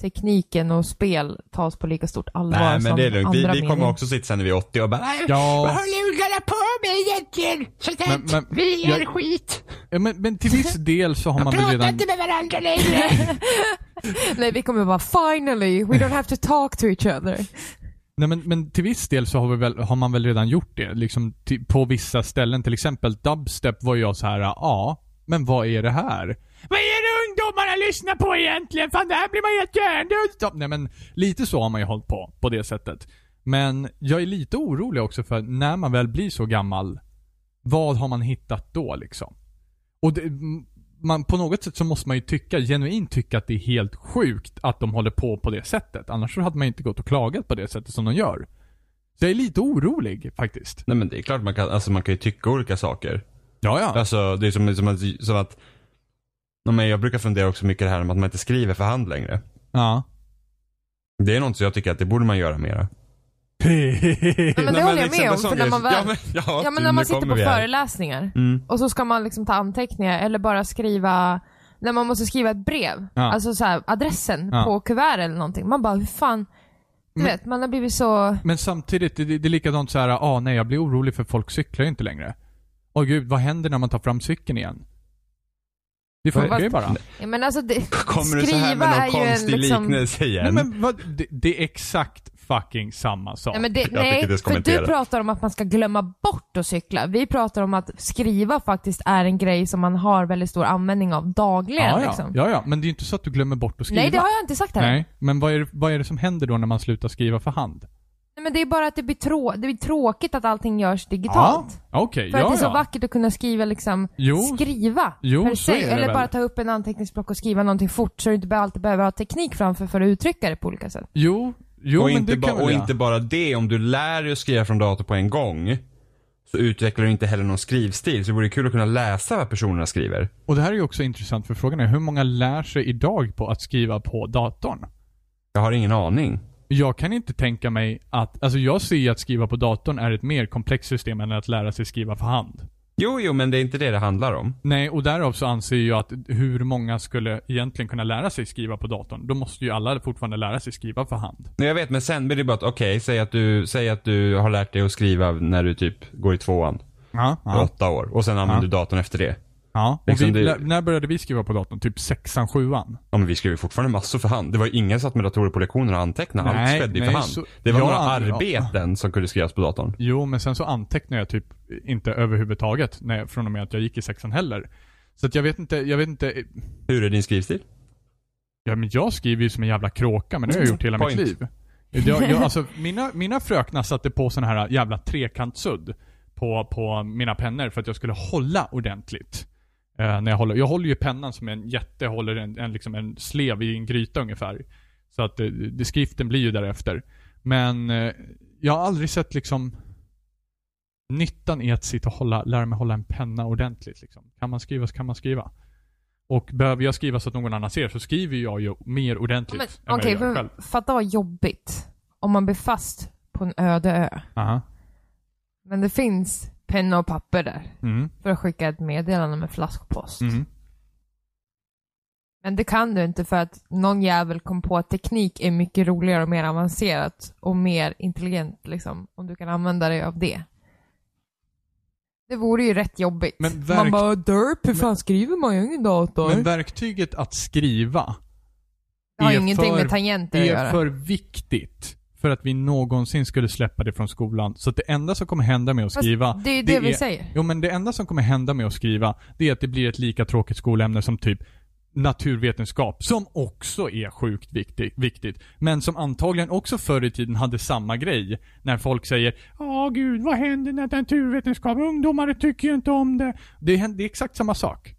[SPEAKER 3] tekniken och spel tas på lika stort allvar
[SPEAKER 2] Nej men
[SPEAKER 3] som
[SPEAKER 2] det är lugnt. Vi,
[SPEAKER 3] andra
[SPEAKER 2] vi kommer
[SPEAKER 3] medier.
[SPEAKER 2] också sitta sen när vi är 80 och bara, "Äh, "Nej, vad
[SPEAKER 1] Ja,
[SPEAKER 2] håller ungarna på med egentligen?
[SPEAKER 1] men,
[SPEAKER 2] Sådant.
[SPEAKER 1] men,
[SPEAKER 4] Vi är
[SPEAKER 1] jag-
[SPEAKER 4] skit.
[SPEAKER 1] ja, men, men till viss del så har man väl
[SPEAKER 4] Prata
[SPEAKER 1] redan...
[SPEAKER 4] inte med varandra längre.
[SPEAKER 3] Nej, vi kommer bara finally, we don't have to talk to
[SPEAKER 2] [laughs]
[SPEAKER 3] each other.
[SPEAKER 1] Nej, men, men till viss del så har, vi väl, har man väl redan gjort det. Liksom, ti- på vissa ställen, till exempel dubstep var jag så här, ja, men vad är det här? Vad är det ungdomarna lyssnar på egentligen? Fan, det här blir man ju helt hjärndöd av." Nej men, lite så har man ju hållit på, på det sättet. Men jag är lite orolig också för när man väl blir så gammal, vad har man hittat då liksom? Och det, m- man, på något sätt så måste man ju tycka, genuint tycka att det är helt sjukt att de håller på på det sättet. Annars så hade man ju inte gått och klagat på det sättet som de gör. Så jag är lite orolig faktiskt.
[SPEAKER 2] Nej men det är klart man kan, alltså man kan ju tycka olika saker.
[SPEAKER 1] Ja, ja.
[SPEAKER 2] Alltså det är som, som, att- som att, Ja, men jag brukar fundera också mycket det här om att man inte skriver för hand längre.
[SPEAKER 1] Ja. [laughs]
[SPEAKER 2] Det är något som jag tycker att det borde man göra mera.
[SPEAKER 3] Ja, men det
[SPEAKER 2] Nej,
[SPEAKER 3] håller jag
[SPEAKER 2] liksom
[SPEAKER 3] med om.
[SPEAKER 2] en sån
[SPEAKER 3] För när
[SPEAKER 2] grej-
[SPEAKER 3] man väl,
[SPEAKER 2] ja, men, ja,
[SPEAKER 3] ja, men
[SPEAKER 2] du,
[SPEAKER 3] när
[SPEAKER 2] nu
[SPEAKER 3] man sitter
[SPEAKER 2] kommer
[SPEAKER 3] på
[SPEAKER 2] vi här.
[SPEAKER 3] föreläsningar
[SPEAKER 2] Mm.
[SPEAKER 3] och så ska man liksom ta anteckningar eller bara skriva, när man måste skriva ett brev,
[SPEAKER 1] Ja.
[SPEAKER 3] alltså så här, adressen
[SPEAKER 1] Ja.
[SPEAKER 3] på kuvert eller någonting. Man bara, hur fan, du
[SPEAKER 1] Men-
[SPEAKER 3] vet, man har blivit så...
[SPEAKER 1] Men samtidigt, det, det är likadant så här, ah nej jag blir orolig för folk cyklar ju inte längre. Åh gud, vad händer när man tar fram cykeln igen? Det funkar ju
[SPEAKER 3] Fast-
[SPEAKER 1] bara.
[SPEAKER 3] Ja, men alltså det,
[SPEAKER 2] Kommer du
[SPEAKER 3] skriva
[SPEAKER 2] så här med
[SPEAKER 3] är
[SPEAKER 2] någon
[SPEAKER 3] ju
[SPEAKER 2] konstig
[SPEAKER 3] en, liksom,
[SPEAKER 2] liknelse igen?
[SPEAKER 1] Nej men vad, det, det är exakt fucking samma sak.
[SPEAKER 3] Nej, men det,
[SPEAKER 2] Jag
[SPEAKER 3] nej
[SPEAKER 2] tycker det ska
[SPEAKER 3] för
[SPEAKER 2] kommentera.
[SPEAKER 3] du pratar om att man ska glömma bort att cykla. Vi pratar om att skriva faktiskt är en grej som man har väldigt stor användning av dagligen.
[SPEAKER 1] ja, ja.
[SPEAKER 3] liksom.
[SPEAKER 1] ja, ja. Men det är ju inte så att du glömmer bort att skriva.
[SPEAKER 3] nej, det har jag inte sagt här. Nej.
[SPEAKER 1] Nej, men vad är, det- vad är det som händer då när man slutar skriva för hand?
[SPEAKER 3] men det är bara att det blir, trå- det blir tråkigt att allting görs digitalt.
[SPEAKER 1] Ja, Okej,
[SPEAKER 3] För att
[SPEAKER 1] ja,
[SPEAKER 3] det är så
[SPEAKER 1] ja.
[SPEAKER 3] vackert att kunna skriva liksom,
[SPEAKER 1] Jo.
[SPEAKER 3] skriva
[SPEAKER 1] Jo,
[SPEAKER 3] per
[SPEAKER 1] så
[SPEAKER 3] se.
[SPEAKER 1] är det
[SPEAKER 3] Eller
[SPEAKER 1] väl.
[SPEAKER 3] bara ta upp en anteckningsblock och skriva någonting fort så du inte be- alltid behöver ha teknik framför för att uttrycka det på olika sätt.
[SPEAKER 1] Jo, jo
[SPEAKER 2] och
[SPEAKER 1] men
[SPEAKER 2] inte,
[SPEAKER 1] det
[SPEAKER 2] ba-
[SPEAKER 1] kan
[SPEAKER 2] och
[SPEAKER 1] väl
[SPEAKER 2] inte
[SPEAKER 1] jag.
[SPEAKER 2] bara det, om du lär dig att skriva från dator på en gång så utvecklar du inte heller någon skrivstil. Så det vore kul att kunna läsa vad personerna skriver.
[SPEAKER 1] Och det här är ju också intressant för frågan är hur många lär sig idag på att skriva på datorn?
[SPEAKER 2] Jag har ingen aning.
[SPEAKER 1] Jag kan inte tänka mig att, alltså jag ser ju att skriva på datorn är ett mer komplext system än att lära sig skriva för hand.
[SPEAKER 2] Jo, jo, men det är inte det det handlar om.
[SPEAKER 1] Nej, och därav så anser jag att hur många skulle egentligen kunna lära sig skriva på datorn? Då måste ju alla fortfarande lära sig skriva för hand.
[SPEAKER 2] Nej, jag vet, men sen blir det bara att okej, säg, att du, säg att du har lärt dig att skriva när du typ går i tvåan.
[SPEAKER 1] Ja,
[SPEAKER 2] Ja.
[SPEAKER 1] ja.
[SPEAKER 2] Åtta år. Och sen använder du datorn efter det.
[SPEAKER 1] ja. Och vi,
[SPEAKER 2] Liksom det-
[SPEAKER 1] När började vi skriva på datorn? Typ sexan, sjuan?
[SPEAKER 2] Ja men vi skrev ju fortfarande massor för hand. Det var ju ingen som satt med datorer på lektionerna och antecknade. Allt
[SPEAKER 1] Nej,
[SPEAKER 2] skedde ju
[SPEAKER 1] nej,
[SPEAKER 2] för hand.
[SPEAKER 1] så-
[SPEAKER 2] Det var
[SPEAKER 1] jag
[SPEAKER 2] några
[SPEAKER 1] aldrig-
[SPEAKER 2] arbeten som kunde skrivas på datorn.
[SPEAKER 1] Jo, men sen så antecknar jag typ inte överhuvudtaget när jag, från och med att jag gick i sexan heller. Så att jag vet inte, jag vet inte.
[SPEAKER 2] Hur är din skrivstil?
[SPEAKER 1] Ja, men jag skriver ju som en jävla kråka, men det har jag gjort hela
[SPEAKER 2] Point.
[SPEAKER 1] mitt liv. Jag, jag, alltså, mina, mina fröknar satte på sån här jävla trekantsudd på, på mina pennor för att jag skulle hålla ordentligt. Eh, när jag, håller, jag håller ju pennan som en jätte håller en, en, liksom en slev i en gryta ungefär. Så att eh, det, skriften blir ju därefter. Men eh, jag har aldrig sett liksom nyttan i att sitta och hålla, lära mig hålla en penna ordentligt. Liksom. Kan man skriva så kan man skriva. Och behöver jag skriva så att någon annan ser så skriver jag ju mer
[SPEAKER 3] Men,
[SPEAKER 1] ordentligt än
[SPEAKER 3] Okej,
[SPEAKER 1] vad Typ. jag gör
[SPEAKER 3] för
[SPEAKER 1] själv.
[SPEAKER 3] fatta vad jobbigt om man blir fast på en öde ö.
[SPEAKER 1] Aha.
[SPEAKER 3] Men det finns penna och papper där
[SPEAKER 1] Mm.
[SPEAKER 3] för att skicka ett meddelande med flaskpost.
[SPEAKER 1] Mm.
[SPEAKER 3] Men det kan du inte för att någon jävel kom på att teknik är mycket roligare och mer avancerat och mer intelligent liksom, om du kan använda dig av det. Det vore ju rätt jobbigt.
[SPEAKER 1] Men verk-
[SPEAKER 3] Man bara derp, hur fan skriver man? Jag har ingen dator.
[SPEAKER 1] Men verktyget att skriva
[SPEAKER 3] det har
[SPEAKER 1] är
[SPEAKER 3] ingenting
[SPEAKER 1] för-
[SPEAKER 3] med tangenter att
[SPEAKER 1] är
[SPEAKER 3] göra.
[SPEAKER 1] för viktigt för att vi någonsin skulle släppa det från skolan. Så att det enda som kommer hända med att
[SPEAKER 3] Fast
[SPEAKER 1] skriva...
[SPEAKER 3] det är ju det, vi
[SPEAKER 1] är,
[SPEAKER 3] säger.
[SPEAKER 1] Jo, men det enda som kommer hända med att skriva, det är att det blir ett lika tråkigt skolämne som typ naturvetenskap, som också är sjukt viktig, viktigt. Men som antagligen också förr i tiden hade samma grej. När folk säger ”Ja, gud, vad händer när naturvetenskap, ungdomar tycker ju inte om det”. Det är, det är exakt samma sak.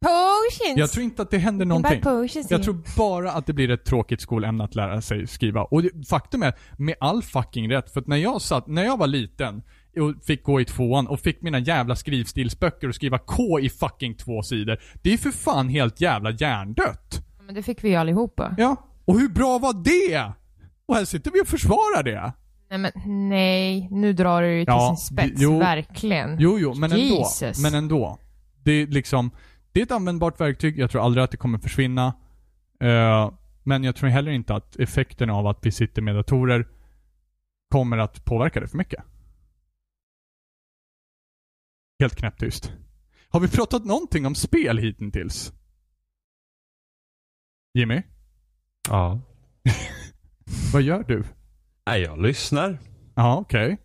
[SPEAKER 3] Potions!
[SPEAKER 1] Jag tror inte att det händer någonting.
[SPEAKER 3] Potions
[SPEAKER 1] Jag tror bara att det blir ett tråkigt skolämne att lära sig skriva. Och det, faktum är, med all fucking rätt, för att när jag satt, när jag var liten och fick gå i tvåan och fick mina jävla skrivstilsböcker och skriva K i fucking två sidor. Det är för fan helt jävla hjärndött.
[SPEAKER 3] Men det fick vi ju allihopa.
[SPEAKER 1] Ja. Och hur bra var det? Och här sitter vi och försvarar det.
[SPEAKER 3] Nej, men nej. Nu drar du det till
[SPEAKER 1] Ja,
[SPEAKER 3] sin spets.
[SPEAKER 1] jo.
[SPEAKER 3] Verkligen.
[SPEAKER 1] Jo, jo, men ändå.
[SPEAKER 3] Jesus.
[SPEAKER 1] Men ändå. Det är liksom, det är ett användbart verktyg. Jag tror aldrig att det kommer försvinna. Eh, men jag tror heller inte att effekten av att vi sitter med datorer kommer att påverka det för mycket. Helt knäpptyst. Har vi pratat någonting om spel hittills? Jimmy,
[SPEAKER 2] Ja.
[SPEAKER 1] vad gör du?
[SPEAKER 2] Nej, jag lyssnar.
[SPEAKER 1] Ja, okej.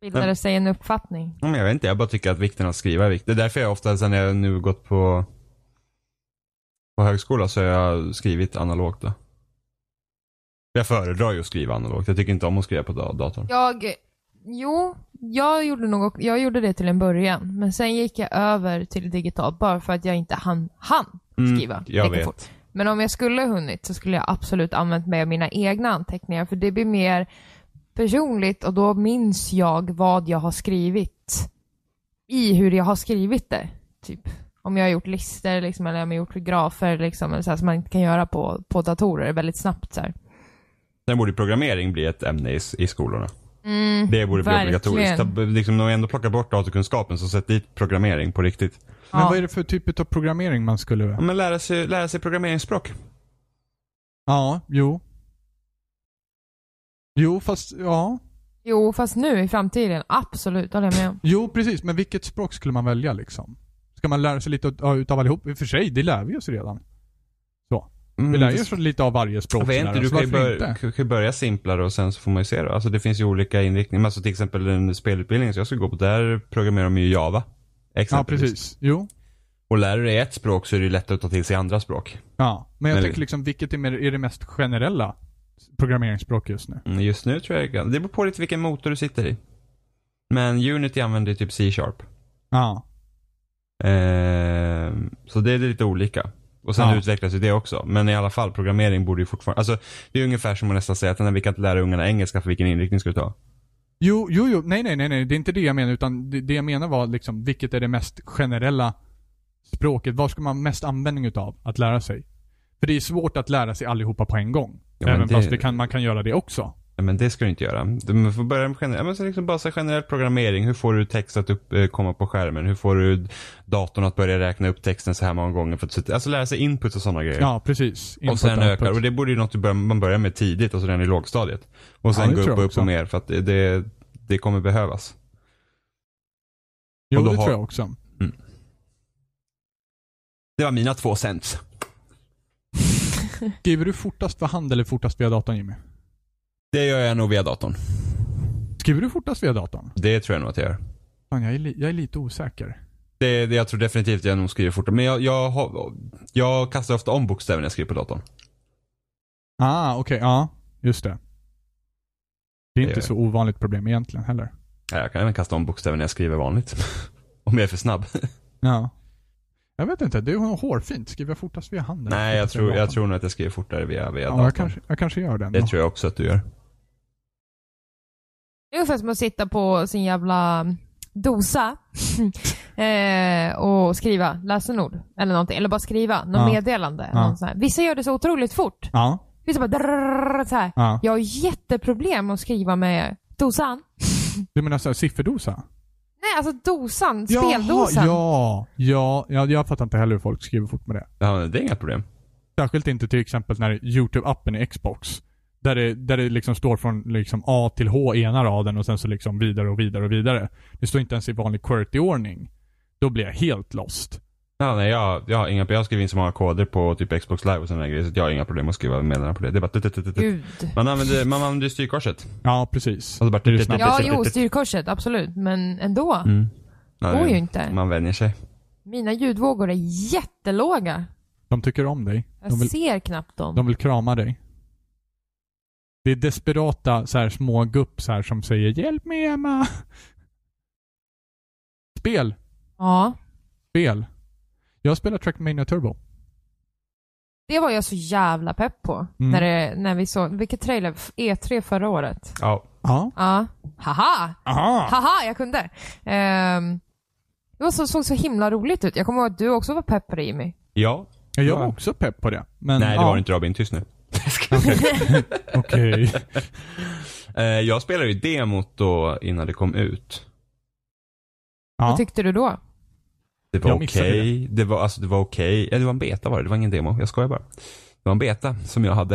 [SPEAKER 3] Bildar det sig en uppfattning?
[SPEAKER 2] Men jag vet inte, jag bara tycker att vikten av att skriva är viktig. Det är därför jag ofta, sen jag nu gått på, på högskola, så har jag skrivit analogt. Då. Jag föredrar ju att skriva analogt. Jag tycker inte om att skriva på da- datorn.
[SPEAKER 3] Jag, jo, jag gjorde, nog, jag gjorde det till en början, men sen gick jag över till digitalt bara för att jag inte hann, hann
[SPEAKER 2] Mm,
[SPEAKER 3] skriva
[SPEAKER 2] jag
[SPEAKER 3] lika
[SPEAKER 2] vet.
[SPEAKER 3] fort. Men om jag skulle ha hunnit så skulle jag absolut använt mig av mina egna anteckningar, för det blir mer personligt och då minns jag vad jag har skrivit i hur jag har skrivit det. Typ. Om jag har gjort listor liksom, eller om jag har gjort grafer liksom, eller så här, som man inte kan göra på, på datorer väldigt snabbt. Så här.
[SPEAKER 2] Sen borde ju programmering bli ett ämne i, s- i skolorna.
[SPEAKER 3] Mm,
[SPEAKER 2] Det borde bli
[SPEAKER 3] verkligen.
[SPEAKER 2] obligatoriskt. Ta- Liksom, när vi ändå plockar bort datorkunskapen så sätt dit programmering på riktigt.
[SPEAKER 1] Men
[SPEAKER 3] Ja.
[SPEAKER 1] vad är det för typ av programmering man skulle...
[SPEAKER 2] Ja, men lära sig, lära sig programmeringsspråk.
[SPEAKER 1] Ja, jo. Jo, fast ja.
[SPEAKER 3] Jo, fast nu i framtiden, absolut, håller jag med om.
[SPEAKER 1] Jo, precis. Men vilket språk skulle man välja liksom? Ska man lära sig lite ut- ja, utav allihop? I och för sig, det lär vi oss redan. Vi lär ju oss lite av varje språk.
[SPEAKER 2] Jag Mm. vet
[SPEAKER 1] sådär,
[SPEAKER 2] inte, du
[SPEAKER 1] så
[SPEAKER 2] kan ju,
[SPEAKER 1] varför
[SPEAKER 2] börja,
[SPEAKER 1] inte?
[SPEAKER 2] kan ju börja simplare och sen så får man ju se då. Alltså det finns ju olika inriktningar. Men Alltså till exempel den spelutbildningen som jag skulle gå på, där programmerar de ju Java.
[SPEAKER 1] Ja,
[SPEAKER 2] Exempelvis.
[SPEAKER 1] precis. Jo.
[SPEAKER 2] Och lär du dig ett språk så är det ju lättare att ta till sig andra språk.
[SPEAKER 1] Ja. Men jag
[SPEAKER 2] Eller-
[SPEAKER 1] tänker liksom, vilket är, mer, är det mest generella programmeringsspråk just nu?
[SPEAKER 2] Mm, Just nu tror jag Det beror på lite vilken motor du sitter i. Men Unity använder ju typ C-sharp.
[SPEAKER 1] Ja.
[SPEAKER 2] Ehm, så det är lite olika. Och sen
[SPEAKER 1] Ja.
[SPEAKER 2] utvecklas ju det också. Men i alla fall, programmering borde ju fortfarande... Alltså, det är ungefär som att nästan säga att nej, vi kan inte lära ungarna engelska för vilken inriktning ska du ta?
[SPEAKER 1] Jo, jo, jo. Nej, nej, nej, nej. Det är inte det jag menar. Utan det, det jag menar var liksom, vilket är det mest generella språket? Vad ska man ha mest användning utav att lära sig? För det är svårt att lära sig allihopa på en gång.
[SPEAKER 2] Ja, men
[SPEAKER 1] Även
[SPEAKER 2] det-
[SPEAKER 1] fast det kan, man kan göra det också.
[SPEAKER 2] Nej, men det ska du inte göra. Du man får börja med generell, ja, men så liksom bara så här generell programmering. Hur får du text att upp, eh, komma på skärmen? Hur får du datorn att börja räkna upp texten så här många gånger? För att, sätta- alltså lära sig input och sådana grejer.
[SPEAKER 1] Ja, precis.
[SPEAKER 2] och
[SPEAKER 1] Input,
[SPEAKER 2] sen
[SPEAKER 1] output.
[SPEAKER 2] ökar. Och det borde ju något du bör, man börjar med tidigt, alltså redan i lågstadiet. Och
[SPEAKER 1] Ja,
[SPEAKER 2] sen
[SPEAKER 1] det
[SPEAKER 2] gå
[SPEAKER 1] tror
[SPEAKER 2] upp och
[SPEAKER 1] jag
[SPEAKER 2] upp
[SPEAKER 1] också.
[SPEAKER 2] och mer för att det, det, det kommer behövas.
[SPEAKER 1] Jo,
[SPEAKER 2] Och då
[SPEAKER 1] det
[SPEAKER 2] har-
[SPEAKER 1] tror jag också.
[SPEAKER 2] Det var mina två cents.
[SPEAKER 1] Skriver du fortast för hand eller fortast via datorn, Jimmy?
[SPEAKER 2] Det gör jag nog via datorn.
[SPEAKER 1] Skriver du fortast via datorn?
[SPEAKER 2] Det tror jag nog att jag gör.
[SPEAKER 1] Fan, jag är, li- jag är lite osäker.
[SPEAKER 2] Det, det, jag tror definitivt jag nog skriver fortare. Men jag, jag, har- jag kastar ofta om bokstäver när jag skriver på datorn.
[SPEAKER 1] Ah, okej. ja, just det. Det är
[SPEAKER 2] Det gör
[SPEAKER 1] inte
[SPEAKER 2] jag.
[SPEAKER 1] så ovanligt problem egentligen heller.
[SPEAKER 2] Nej, Jag kan även kasta om bokstäver när jag skriver vanligt. [laughs] Om jag är för snabb.
[SPEAKER 1] Ja. Jag vet inte, det är nog hårfint. Skriver jag fortast via handen?
[SPEAKER 2] [laughs] Nej, jag
[SPEAKER 1] Fortast via
[SPEAKER 2] tror, jag
[SPEAKER 1] datorn?
[SPEAKER 2] tror nog att jag skriver fortare via, via
[SPEAKER 1] Ja,
[SPEAKER 2] datorn.
[SPEAKER 1] jag kanske, jag kanske gör den.
[SPEAKER 2] Det
[SPEAKER 1] då.
[SPEAKER 2] tror jag också att du gör.
[SPEAKER 3] Det är ungefär som att sitta på sin jävla dosa eh, och skriva lösenord eller någonting. Eller bara skriva något
[SPEAKER 1] Ja.
[SPEAKER 3] meddelande.
[SPEAKER 1] Ja.
[SPEAKER 3] Någon sån här. Vissa gör det så otroligt fort.
[SPEAKER 1] Ja,
[SPEAKER 3] Vissa bara drrrr, så här.
[SPEAKER 1] ja.
[SPEAKER 3] Jag har jätteproblem att skriva med dosan.
[SPEAKER 1] Du menar såhär sifferdosa?
[SPEAKER 3] Nej, alltså dosan.
[SPEAKER 1] Jaha,
[SPEAKER 3] Speldosan.
[SPEAKER 1] Ja, ja, ja. Jag fattar inte heller hur folk skriver fort med det.
[SPEAKER 2] Ja, men det är inga problem.
[SPEAKER 1] Särskilt inte till exempel när YouTube-appen i Xbox. Där det, där det liksom står från liksom A till H i ena raden och sen så liksom vidare och vidare och vidare. Det står inte ens i vanlig QWERTY-ordning. Då blir jag helt lost.
[SPEAKER 2] Ja, nej, jag, jag, har inga, jag skriver in så många koder på typ Xbox live och sådana grejer så att jag har inga problem att skriva meddelanden på det. Det är bara tut, tut, tut, tut.
[SPEAKER 3] Gud.
[SPEAKER 2] Man använder, man använder ju styrkorset.
[SPEAKER 1] Ja, precis.
[SPEAKER 2] Alltså bara
[SPEAKER 1] Det är
[SPEAKER 2] tut, tut,
[SPEAKER 1] snabbt.
[SPEAKER 3] Ja,
[SPEAKER 2] tut, tut,
[SPEAKER 3] jo,
[SPEAKER 2] tut.
[SPEAKER 3] styrkorset. Absolut. Men ändå.
[SPEAKER 2] Mm. Ja,
[SPEAKER 3] Det går
[SPEAKER 2] det-
[SPEAKER 3] ju inte.
[SPEAKER 2] Man vänjer sig.
[SPEAKER 3] Mina ljudvågor är jättelåga.
[SPEAKER 1] De tycker om dig.
[SPEAKER 3] Jag
[SPEAKER 1] De vill,
[SPEAKER 3] ser knappt dem.
[SPEAKER 1] de vill krama dig. Det är desperata så här, små gupp så här, som säger 'Hjälp mig Emma!' Spel.
[SPEAKER 3] Ja.
[SPEAKER 1] Spel. Jag spelar Trackmania Turbo.
[SPEAKER 3] Det var jag så jävla pepp på.
[SPEAKER 1] Mm.
[SPEAKER 3] När, det, när vi såg, vilket trailer? F- E3 förra året.
[SPEAKER 2] Ja.
[SPEAKER 1] Ja.
[SPEAKER 3] Ja. Haha!
[SPEAKER 1] Aha.
[SPEAKER 3] Haha, jag kunde. Ehm, det var så, såg så himla roligt ut. Jag kommer ihåg att du också var pepp på det Jimmy.
[SPEAKER 2] Ja.
[SPEAKER 1] Jag var också pepp på det. Men,
[SPEAKER 2] Nej, det
[SPEAKER 1] ja.
[SPEAKER 2] [laughs] var inte Robin. Tyst nu.
[SPEAKER 1] Okej.
[SPEAKER 2] [laughs] Eh, jag spelade ju demot då innan det kom ut.
[SPEAKER 1] Ja.
[SPEAKER 3] Vad tyckte du då?
[SPEAKER 2] Det var
[SPEAKER 1] Jag
[SPEAKER 2] okej.
[SPEAKER 1] missade
[SPEAKER 2] Det var, alltså, det var okej. Ja, det var en beta var det. Det var ingen demo. Jag skojar bara. Det var en beta som jag hade.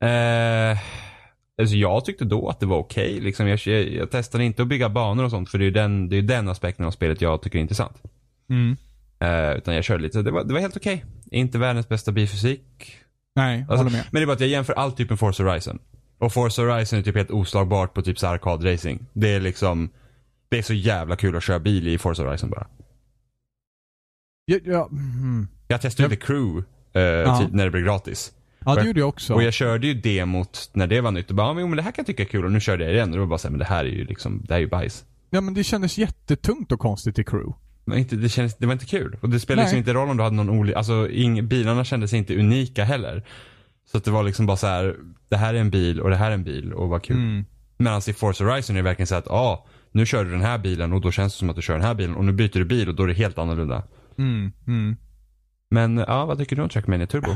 [SPEAKER 2] Eh, alltså jag tyckte då att det var okej. Liksom jag, jag, jag testade inte att bygga banor och sånt. För det är ju den, det är den aspekten av spelet jag tycker är intressant.
[SPEAKER 1] Mm.
[SPEAKER 2] Eh, utan jag körde lite. Det var, det var helt okej. Inte världens bästa bilfysik.
[SPEAKER 1] Nej,
[SPEAKER 2] Alltså,
[SPEAKER 1] håller med.
[SPEAKER 2] Men det är bara att jag jämför allt typ med Forza Horizon. Och Forza Horizon är typ helt oslagbart på typ så här arkadracing. Det är liksom, det är så jävla kul att köra bil i Forza Horizon bara.
[SPEAKER 1] Ja, ja, mm.
[SPEAKER 2] Jag testade ju The Crew eh, tid, när det blev gratis.
[SPEAKER 1] ja det gjorde jag också.
[SPEAKER 2] Och jag körde ju demot när det var nytt och bara, "Ja, men, jo, men det här kan jag tycka är kul och nu körde jag det igen och då var bara såhär, men det här är ju liksom, det här är ju bajs.
[SPEAKER 1] Ja men det kändes jättetungt och konstigt i crew.
[SPEAKER 2] Men inte, det, kändes, det var inte kul. Och det spelade
[SPEAKER 1] Nej.
[SPEAKER 2] liksom inte roll om du hade någon olika, alltså ing, bilarna kändes inte unika heller. Så att det var liksom bara så här: det här är en bil och det här är en bil och vad kul. Medan i Forza Horizon är det verkligen så här att, ja, ah, nu kör du den här bilen och då känns det som att du kör den här bilen och nu byter du bil och då är det helt annorlunda.
[SPEAKER 1] Mm, mm.
[SPEAKER 2] Men ja, vad tycker du om Trackmania Turbo?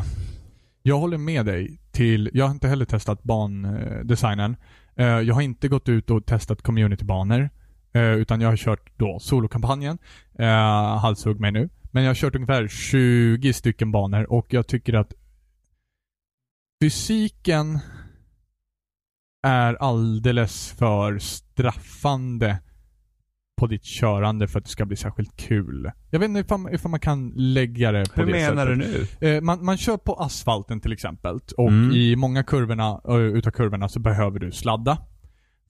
[SPEAKER 1] Jag håller med dig till, jag har inte heller testat bandesignen. Eh, Jag har inte gått ut och testat communitybanor. eh, Utan jag har kört då solokampanjen. Eh, Halshugg mig nu. Men jag har kört ungefär 20 stycken banor och jag tycker att fysiken är alldeles för straffande på ditt körande för att det ska bli särskilt kul. Jag vet inte ifall, ifall man kan lägga det på
[SPEAKER 2] Hur
[SPEAKER 1] det
[SPEAKER 2] menar
[SPEAKER 1] sättet.
[SPEAKER 2] du nu?
[SPEAKER 1] Eh, man, man kör på asfalten till exempel och
[SPEAKER 2] Mm.
[SPEAKER 1] i många kurvorna, eh, utav kurvorna så behöver du sladda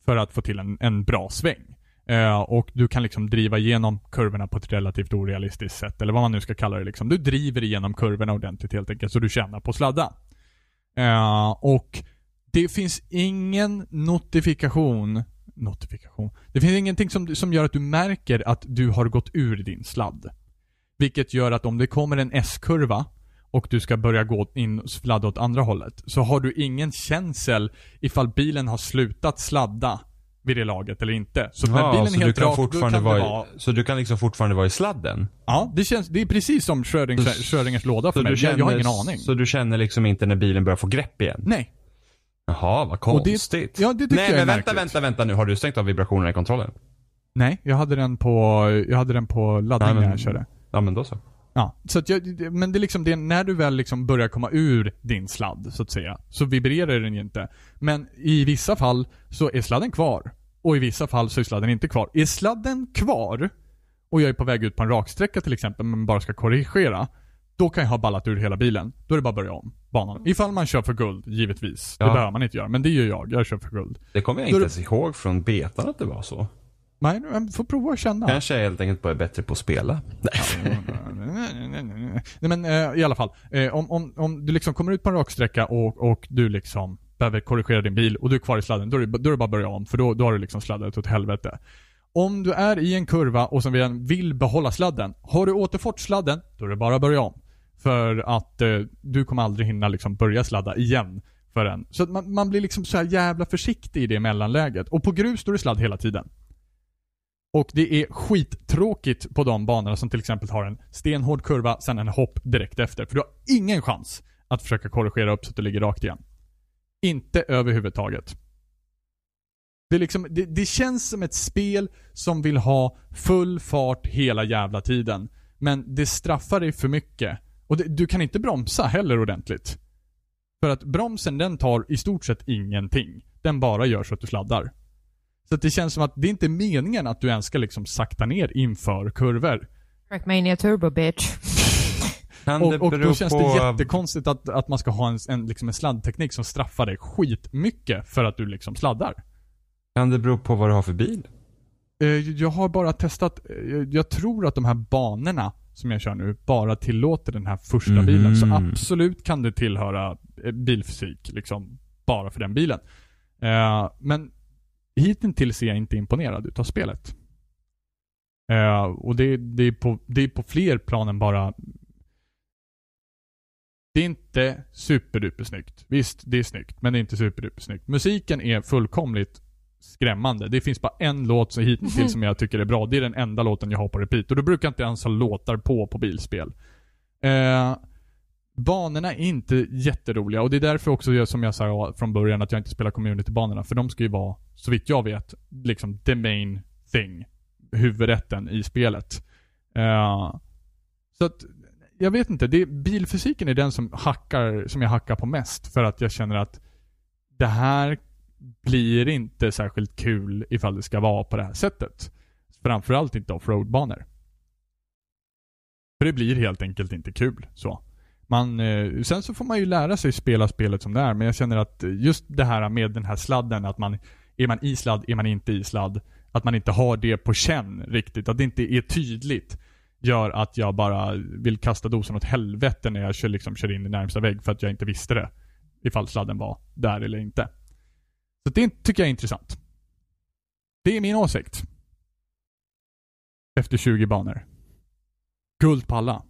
[SPEAKER 1] för att få till en, en bra sväng. Eh, och du kan liksom driva igenom kurvorna på ett relativt orealistiskt sätt, eller vad man nu ska kalla det. Liksom. Du driver igenom kurvorna ordentligt helt enkelt, så du tjänar på att sladda. Eh, och det finns ingen notifikation, notifikation, det finns ingenting som, som gör att du märker att du har gått ur din sladd. Vilket gör att om det kommer en S-kurva och du ska börja gå in och sladda åt andra hållet, så har du ingen känsel ifall bilen har slutat sladda vid det laget eller inte. Så när
[SPEAKER 2] Ja,
[SPEAKER 1] bilen
[SPEAKER 2] så
[SPEAKER 1] är
[SPEAKER 2] du
[SPEAKER 1] helt
[SPEAKER 2] kan
[SPEAKER 1] rak, då
[SPEAKER 2] fortfarande
[SPEAKER 1] kan det
[SPEAKER 2] vara, i-
[SPEAKER 1] vara...
[SPEAKER 2] Så du kan liksom fortfarande vara i sladden?
[SPEAKER 1] Ja, det, känns, det är precis som Schrödings, Schrödingers låda för
[SPEAKER 2] Så
[SPEAKER 1] mig.
[SPEAKER 2] du känner,
[SPEAKER 1] jag, jag har ingen aning.
[SPEAKER 2] Så du känner liksom inte när bilen börjar få grepp igen?
[SPEAKER 1] Nej.
[SPEAKER 2] Jaha, vad
[SPEAKER 1] Och det-
[SPEAKER 2] konstigt.
[SPEAKER 1] ja, det tycker
[SPEAKER 2] Nej,
[SPEAKER 1] jag är
[SPEAKER 2] men vänta,
[SPEAKER 1] märkligt.
[SPEAKER 2] vänta, vänta nu. Har du stängt av vibrationerna i kontrollen?
[SPEAKER 1] Nej, jag hade den på, jag hade den på laddning
[SPEAKER 2] Nej, men-
[SPEAKER 1] när jag körde.
[SPEAKER 2] Ja, men då så.
[SPEAKER 1] Ja, så att jag, men det är liksom det, när du väl liksom börjar komma ur din sladd, så att säga, så vibrerar den ju inte. Men i vissa fall så är sladden kvar. Och i vissa fall så är sladden inte kvar. Är sladden kvar och jag är på väg ut på en raksträcka till exempel, men bara ska korrigera. Då kan jag ha ballat ur hela bilen. Då är det bara att börja om banan. Ifall man kör för guld, givetvis. Det
[SPEAKER 2] Ja.
[SPEAKER 1] behöver man inte göra, men det gör jag. Jag kör för guld.
[SPEAKER 2] Det kommer jag
[SPEAKER 1] Då
[SPEAKER 2] inte
[SPEAKER 1] är
[SPEAKER 2] ens ihåg från betan att det var så.
[SPEAKER 1] Nej, men får prova att känna.
[SPEAKER 2] Kanske jag helt enkelt bara är bättre på att spela.
[SPEAKER 1] Nej men eh, i alla fall. Eh, om, om, om du liksom kommer ut på en raksträcka och, och du liksom behöver korrigera din bil och du är kvar i sladden, då är det, då är det bara att börja om. För då, då har du liksom sladdat åt helvete. Om du är i en kurva och som redan vill behålla sladden. Har du återfått sladden, då är det bara att börja om. För att eh, du kommer aldrig hinna liksom börja sladda igen förrän. Så att man, man blir liksom så här jävla försiktig i det mellanläget. Och på grus står det sladd hela tiden. Och det är skittråkigt på de banorna som till exempel har en stenhård kurva, sen en hopp direkt efter. För du har ingen chans att försöka korrigera upp så att du ligger rakt igen. Inte överhuvudtaget. Det, är liksom, det, det känns som ett spel som vill ha full fart hela jävla tiden. Men det straffar dig för mycket. Och det, du kan inte bromsa heller ordentligt. För att bromsen den tar i stort sett ingenting. Den bara gör så att du sladdar. Så att det känns som att det är inte meningen att du ens ska liksom sakta ner inför kurvor.
[SPEAKER 3] Trackmania Turbo bitch.
[SPEAKER 2] [laughs] Kan
[SPEAKER 1] Och,
[SPEAKER 2] det
[SPEAKER 1] och
[SPEAKER 2] bero
[SPEAKER 1] då känns
[SPEAKER 2] på...
[SPEAKER 1] det jättekonstigt att, att man ska ha en, en, liksom en sladdteknik som straffar dig skitmycket för att du liksom sladdar.
[SPEAKER 2] Kan det bero på vad du har för bil?
[SPEAKER 1] Eh, Jag har bara testat, eh, jag tror att de här banorna som jag kör nu bara tillåter den här första
[SPEAKER 2] Mhm.
[SPEAKER 1] bilen. Så absolut kan det tillhöra eh, bilfysik, liksom bara för den bilen. Eh, Men hittills är jag inte imponerad utav spelet. Eh, Och det, det, är på, det är på fler plan än bara det är inte superduper snyggt. Visst, det är snyggt, men det är inte superduper snyggt. Musiken är fullkomligt skrämmande. Det finns bara en låt som hittills som jag tycker är bra. Det är den enda låten jag har på repeat. Och då brukar jag inte ens ha låtar på på bilspel. Eh, banorna är inte jätteroliga och det är därför också jag, som jag sa från början att jag inte spelar community-banorna. För de ska ju vara, så vitt jag vet, liksom the main thing. Huvudrätten i spelet. Eh, så att, jag vet inte. Det, bilfysiken är den som, hackar, som jag hackar på mest. För att jag känner att det här blir inte särskilt kul ifall det ska vara på det här sättet. Framförallt inte offroad-banor. För det blir helt enkelt inte kul. så. Man, eh, sen så får man ju lära sig spela spelet som det är, men jag känner att just det här med den här sladden, att man är man i sladd, är man inte i sladd, att man inte har det på känn riktigt, att det inte är tydligt, gör att jag bara vill kasta dosen åt helvete när jag kör, liksom, kör in i närmsta vägg för att jag inte visste det. Ifall sladden var där eller inte. Så det tycker jag är intressant. Det är min åsikt. Efter 20 banor. Guld på alla.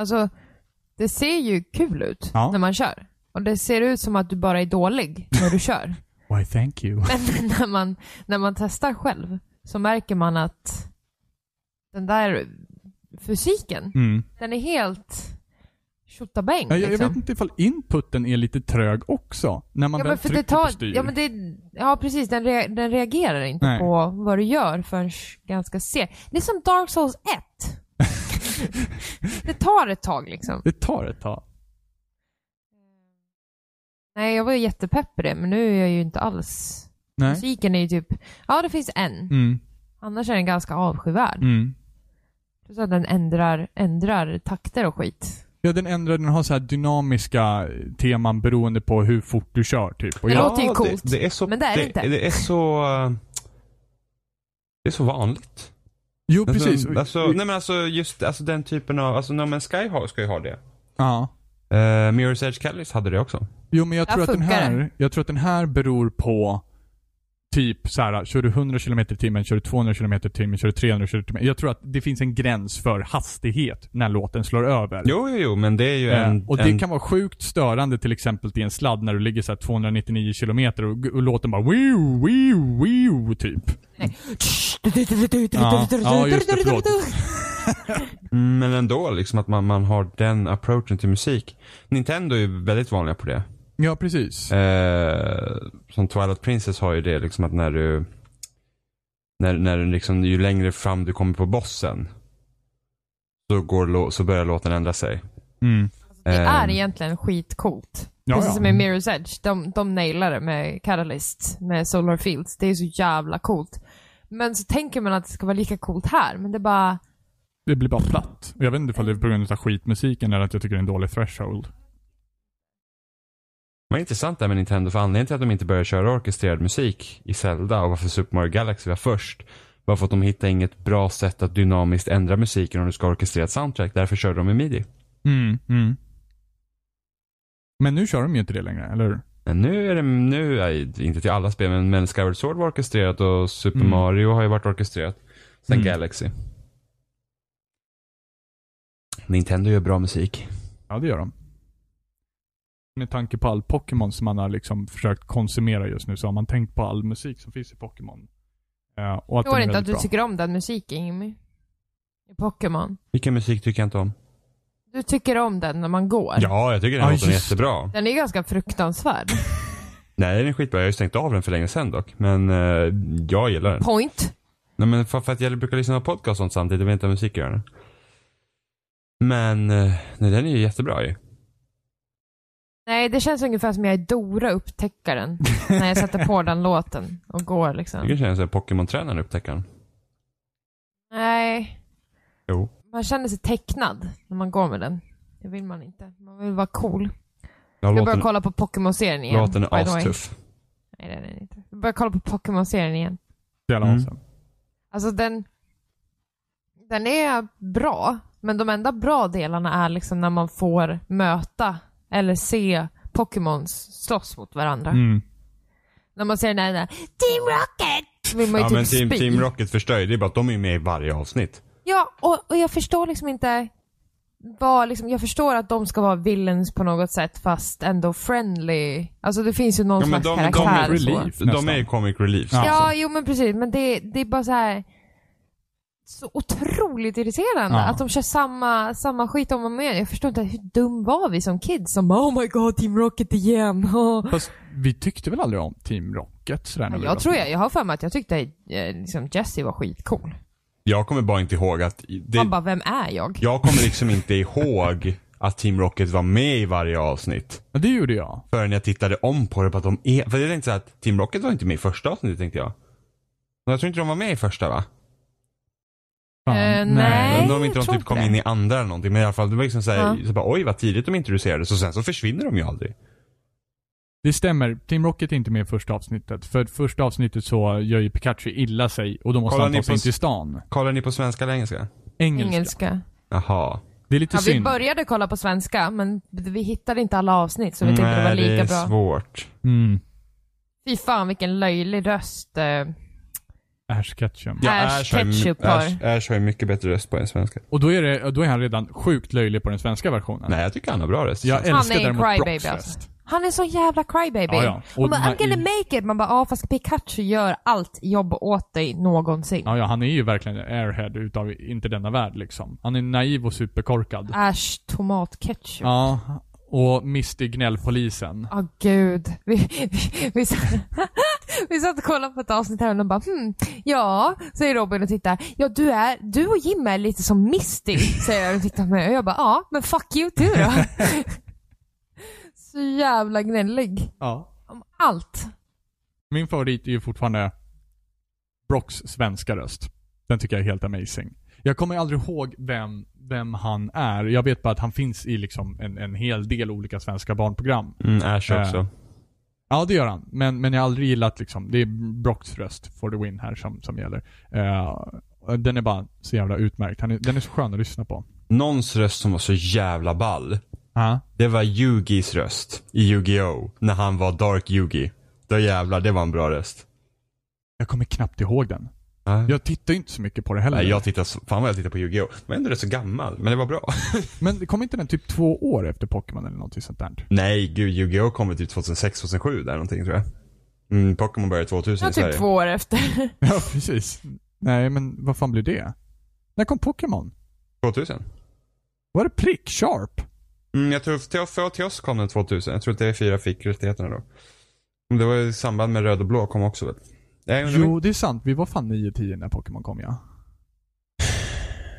[SPEAKER 3] Alltså, det ser ju kul ut
[SPEAKER 1] Ja.
[SPEAKER 3] när man kör. Och det ser ut som att du bara är dålig när
[SPEAKER 1] [laughs]
[SPEAKER 3] du kör.
[SPEAKER 1] Why thank you.
[SPEAKER 3] Men [laughs] när man, när man testar själv så märker man att den där fysiken,
[SPEAKER 1] Mm.
[SPEAKER 3] den är helt tjottabäng.
[SPEAKER 1] Ja, jag, jag
[SPEAKER 3] liksom.
[SPEAKER 1] vet inte ifall inputen är lite trög också. När man
[SPEAKER 3] ja,
[SPEAKER 1] väl
[SPEAKER 3] men för
[SPEAKER 1] trycker
[SPEAKER 3] det tar,
[SPEAKER 1] på styr.
[SPEAKER 3] ja, men det, ja, precis. Den, rea- den reagerar inte
[SPEAKER 1] Nej.
[SPEAKER 3] på vad du gör förrän ganska sent. Det är som Dark Souls 1. det tar ett tag liksom.
[SPEAKER 1] [laughs] det tar ett tag.
[SPEAKER 3] Nej, jag var ju jättepepp på det, men nu är jag ju inte alls...
[SPEAKER 1] Nej.
[SPEAKER 3] Musiken är ju typ... Ja, det finns en.
[SPEAKER 1] Mm,
[SPEAKER 3] Annars är den ganska avskyvärd.
[SPEAKER 1] mm.
[SPEAKER 3] Plus att den ändrar, ändrar takter och skit.
[SPEAKER 1] Ja, den ändrar, den har så här dynamiska teman beroende på hur fort du kör typ. Och
[SPEAKER 3] Det
[SPEAKER 1] jag,
[SPEAKER 3] låter ju coolt,
[SPEAKER 2] Det, det är så,
[SPEAKER 3] men det är det inte.
[SPEAKER 2] Det är så... eh, Det är så vanligt.
[SPEAKER 1] jo, precis.
[SPEAKER 2] Alltså, alltså, nej men alltså just alltså den typen av, alltså no, men Sky har, ska ju ha det.
[SPEAKER 1] ja. Eh,
[SPEAKER 2] Uh, Mirror's Edge Callis hade det också.
[SPEAKER 1] Jo, men jag
[SPEAKER 3] Där
[SPEAKER 1] tror, att den
[SPEAKER 3] funkar
[SPEAKER 1] här,
[SPEAKER 3] den.
[SPEAKER 1] jag tror att den här beror på typ så här, kör du 100 km i timmen, kör du 200 km i timmen, kör du 300 km i timmen. Jag tror att det finns en gräns för hastighet när låten slår över.
[SPEAKER 2] Jo, jo, jo, men det är ju
[SPEAKER 1] Eh,
[SPEAKER 2] en...
[SPEAKER 1] och det
[SPEAKER 2] en,
[SPEAKER 1] kan vara sjukt störande till exempel till en sladd när du ligger så här 299 kilometer och, och låten bara wiu, wiu, wiu typ. Ja, ja, just det, förlåt.
[SPEAKER 2] Mm, Men ändå liksom att man, man har den approachen till musik. Nintendo är ju väldigt vanliga på det.
[SPEAKER 1] Ja, precis.
[SPEAKER 2] Eh, som Twilight Princess har ju det liksom att när du... När, när du liksom, ju längre fram du kommer på bossen. Så, går, lå- så börjar låten ändra sig.
[SPEAKER 1] Mm.
[SPEAKER 3] Det är
[SPEAKER 2] Ehm.
[SPEAKER 3] egentligen skitcoolt.
[SPEAKER 1] Ja,
[SPEAKER 3] Precis
[SPEAKER 1] ja. Mm.
[SPEAKER 3] som i Mirror's Edge. De, de nailar det med Catalyst, med Solar Fields. Det är så jävla coolt. Men så tänker man att det ska vara lika coolt här, men det är bara...
[SPEAKER 1] Det blir bara platt. Jag vet inte om det är på grund av skitmusiken eller att jag tycker det är en dålig threshold.
[SPEAKER 2] Vad intressant det här med Nintendo, för anledningen till att de inte började köra orkestrerad musik i Zelda och varför Super Mario Galaxy var först var för att de hittade inget bra sätt att dynamiskt ändra musiken om du ska ha orkestrerat soundtrack. Därför körde de i midi.
[SPEAKER 1] Mm, mm. Men nu kör de ju inte det längre, eller hur?
[SPEAKER 2] Men nu är det, nu är inte till alla spel, men, men Skyward Sword var orkestrerat och Super
[SPEAKER 1] Mm.
[SPEAKER 2] Mario har ju varit orkestrerat sen
[SPEAKER 1] Mm.
[SPEAKER 2] Galaxy. Nintendo gör bra musik.
[SPEAKER 1] Ja, det gör de. Med tanke på all Pokémon som man har liksom försökt konsumera just nu så har man tänkt på all musik som finns i Pokémon. Eh, och att
[SPEAKER 3] Jag tror
[SPEAKER 1] den är
[SPEAKER 3] inte att
[SPEAKER 1] väldigt
[SPEAKER 3] du
[SPEAKER 1] bra.
[SPEAKER 3] tycker om den musiken, Jimmy. I Pokémon.
[SPEAKER 2] Vilken musik tycker jag inte om?
[SPEAKER 3] Du tycker om den när man går.
[SPEAKER 2] Ja, jag tycker den
[SPEAKER 1] Ja,
[SPEAKER 2] låten är
[SPEAKER 1] just.
[SPEAKER 2] jättebra.
[SPEAKER 3] Den är ju
[SPEAKER 1] [laughs]
[SPEAKER 3] ganska fruktansvärd.
[SPEAKER 2] Nej, den är skitbra. Jag har ju stängt av den för länge sedan dock. Men eh, jag gillar den.
[SPEAKER 3] Point.
[SPEAKER 2] Nej men för, för att jag brukar lyssna på podcast och sånt samtidigt, jag vill inte ha musik i öronen. Men, eh, nej den är ju jättebra ju.
[SPEAKER 3] Nej, det känns ungefär som jag är Dora upptäckaren när jag sätter på den låten och går
[SPEAKER 2] Du
[SPEAKER 3] liksom.
[SPEAKER 2] kan känna sig Pokémon-tränaren upptäcker den.
[SPEAKER 3] Nej,
[SPEAKER 2] Jo.
[SPEAKER 3] man känner sig tecknad när man går med den. Det vill man inte. Man vill vara cool.
[SPEAKER 2] Ja,
[SPEAKER 3] Jag börjar
[SPEAKER 2] låten,
[SPEAKER 3] kolla på Pokémon-serien igen.
[SPEAKER 2] låten
[SPEAKER 3] by the
[SPEAKER 2] är
[SPEAKER 3] way.
[SPEAKER 2] astuff.
[SPEAKER 3] Nej, det är den inte. Jag börjar kolla på Pokémon-serien igen.
[SPEAKER 1] Spela
[SPEAKER 2] Mm.
[SPEAKER 1] sen.
[SPEAKER 3] Alltså den... Den är bra, men de enda bra delarna är liksom när man får möta eller se Pokémons slåss mot varandra.
[SPEAKER 1] Mm.
[SPEAKER 3] När man ser den där, den där Team Rocket! Vill man ju
[SPEAKER 2] Ja
[SPEAKER 3] typ
[SPEAKER 2] men Team,
[SPEAKER 3] spy.
[SPEAKER 2] Team Rocket förstör ju, det är bara att de är ju med i varje avsnitt.
[SPEAKER 3] Ja, och, och jag förstår liksom inte vad, liksom, jag förstår att de ska vara villains på något sätt fast ändå friendly. Alltså det finns ju någon
[SPEAKER 2] Ja, men
[SPEAKER 3] slags
[SPEAKER 2] de, de, de,
[SPEAKER 3] karaktär.
[SPEAKER 2] är,
[SPEAKER 1] relief
[SPEAKER 2] de är
[SPEAKER 1] nästan.
[SPEAKER 2] ju comic relief.
[SPEAKER 1] Ja.
[SPEAKER 2] alltså.
[SPEAKER 3] ja, jo men precis. Men det, det är bara så här. så otroligt irriterande
[SPEAKER 1] Ja.
[SPEAKER 3] att de kör samma, samma skit om och om igen. Jag förstår inte hur dum var vi som kids som bara, oh my god Team Rocket igen. [laughs]
[SPEAKER 1] Fast vi tyckte väl aldrig om Team Rocket sådär när vi var
[SPEAKER 3] jag tror
[SPEAKER 1] små.
[SPEAKER 3] jag, jag har för mig att jag tyckte eh, liksom Jesse var skitcool.
[SPEAKER 2] Jag kommer bara inte ihåg att... Det,
[SPEAKER 3] Man bara, vem är jag?
[SPEAKER 2] jag kommer liksom inte ihåg att Team Rocket var med i varje avsnitt.
[SPEAKER 1] Men det gjorde jag.
[SPEAKER 2] Förrän jag tittade om på det på att de är... För det är inte så att Team Rocket var inte med i första avsnittet tänkte jag. Men jag tror inte de var med i första va?
[SPEAKER 1] Fan,
[SPEAKER 3] Eh,
[SPEAKER 2] Jag
[SPEAKER 3] nej.
[SPEAKER 2] Undrar om inte
[SPEAKER 3] jag
[SPEAKER 2] de
[SPEAKER 3] tror
[SPEAKER 2] typ kom
[SPEAKER 3] inte
[SPEAKER 2] in
[SPEAKER 3] det.
[SPEAKER 2] i andra eller någonting. Men i alla fall, det var liksom såhär,
[SPEAKER 3] Ja.
[SPEAKER 2] så bara, oj vad tidigt de introducerades och sen så försvinner de ju aldrig.
[SPEAKER 1] Det stämmer. Team Rocket är inte med i första avsnittet. För första avsnittet så gör ju Pikachu illa sig och då måste
[SPEAKER 2] Kollar
[SPEAKER 1] han
[SPEAKER 2] ni
[SPEAKER 1] ta
[SPEAKER 2] på
[SPEAKER 1] sig in till stan.
[SPEAKER 2] Kollar ni på svenska eller engelska?
[SPEAKER 1] Engelska.
[SPEAKER 3] Engelska.
[SPEAKER 2] Jaha.
[SPEAKER 1] Det är lite
[SPEAKER 3] Ja, vi
[SPEAKER 1] synd.
[SPEAKER 3] började kolla på svenska, men vi hittade inte alla avsnitt så vi tänkte det var
[SPEAKER 2] Nej, det
[SPEAKER 3] lika
[SPEAKER 2] är
[SPEAKER 3] bra.
[SPEAKER 2] svårt.
[SPEAKER 1] Mm.
[SPEAKER 3] Fy fan vilken löjlig röst. eh.
[SPEAKER 1] Ash Ketchum.
[SPEAKER 2] Ja,
[SPEAKER 3] Ash
[SPEAKER 2] har ju-
[SPEAKER 3] Ketchup har-
[SPEAKER 2] Ash, Ash har ju mycket bättre röst på än svenska.
[SPEAKER 1] Och då är, det, då är han redan sjukt löjlig på den svenska versionen.
[SPEAKER 2] Nej, jag tycker han har bra röst.
[SPEAKER 1] Jag
[SPEAKER 3] Han
[SPEAKER 1] älskar
[SPEAKER 3] är en
[SPEAKER 1] däremot Brocks
[SPEAKER 3] crybaby alltså.
[SPEAKER 1] röst.
[SPEAKER 3] Han är så jävla crybaby.
[SPEAKER 1] Ja, ja. Och
[SPEAKER 3] Hon bara,
[SPEAKER 1] man-
[SPEAKER 3] I'm gonna make it. Man bara, ja fast Pikachu gör allt jobb åt dig någonsin.
[SPEAKER 1] Ja, ja, han är ju verkligen en airhead utav inte denna värld liksom. Han är naiv och superkorkad.
[SPEAKER 3] Ash tomatketchup. Ja.
[SPEAKER 1] Ja, och Misty gnällpolisen.
[SPEAKER 3] gud. Vi, vi, vi, satt, [laughs] vi satt och kollade på ett avsnitt här och de bara hmm, ja, säger Robin och tittar. Ja, du, är, du och Jim är lite som Misty, säger jag och tittar på mig. Och jag bara, ja, men fuck you du då. så jävla gnällig.
[SPEAKER 1] Ja.
[SPEAKER 3] Om allt.
[SPEAKER 1] Min favorit är ju fortfarande Brocks svenska röst. Den tycker jag är helt amazing. Jag kommer aldrig ihåg vem, vem han är. Jag vet bara att han finns i liksom en, en hel del olika svenska barnprogram.
[SPEAKER 2] Mm, Ash
[SPEAKER 1] Eh,
[SPEAKER 2] också.
[SPEAKER 1] Ja, det gör han. Men, men jag har aldrig gillat liksom, det är Brocks röst for the win här som, som gäller. Eh, den är bara så jävla utmärkt. Han är, den är så skön att lyssna på.
[SPEAKER 2] Någons röst som var så jävla ball.
[SPEAKER 1] Ja.
[SPEAKER 2] Det var Yugis röst i Yu-Gi-Oh! När han var Dark Yugi. Då jävlar, det var en bra röst.
[SPEAKER 1] Jag kommer knappt ihåg den.
[SPEAKER 2] Ja.
[SPEAKER 1] Jag tittar ju inte så mycket på det heller.
[SPEAKER 2] Nej, jag tittar så, fan vad jag tittar på Yu-Gi-Oh! Jag var ändå rätt så gammal, men det var bra.
[SPEAKER 1] Men det kom inte den typ två år efter Pokémon eller någonting sånt där?
[SPEAKER 2] Nej, gud, Yu-Gi-Oh! kom väl typ 2006, 2007 där någonting tror jag. Mm, Pokémon började 2000
[SPEAKER 3] Ja,
[SPEAKER 2] i Sverige.
[SPEAKER 3] typ två år efter.
[SPEAKER 1] [laughs] Ja, precis. Nej, men vad fan blir det? När kom Pokémon?
[SPEAKER 2] 2000?
[SPEAKER 1] Var det prick sharp?
[SPEAKER 2] Mm, jag tror till, för, till oss kom den 2000. Jag tror att TV4 fick rättigheterna då. Men Det var i samband med röd och blå kom också väl? Nej, men-
[SPEAKER 1] Jo, det är sant. Vi var fan 9-10 när Pokémon kom, ja.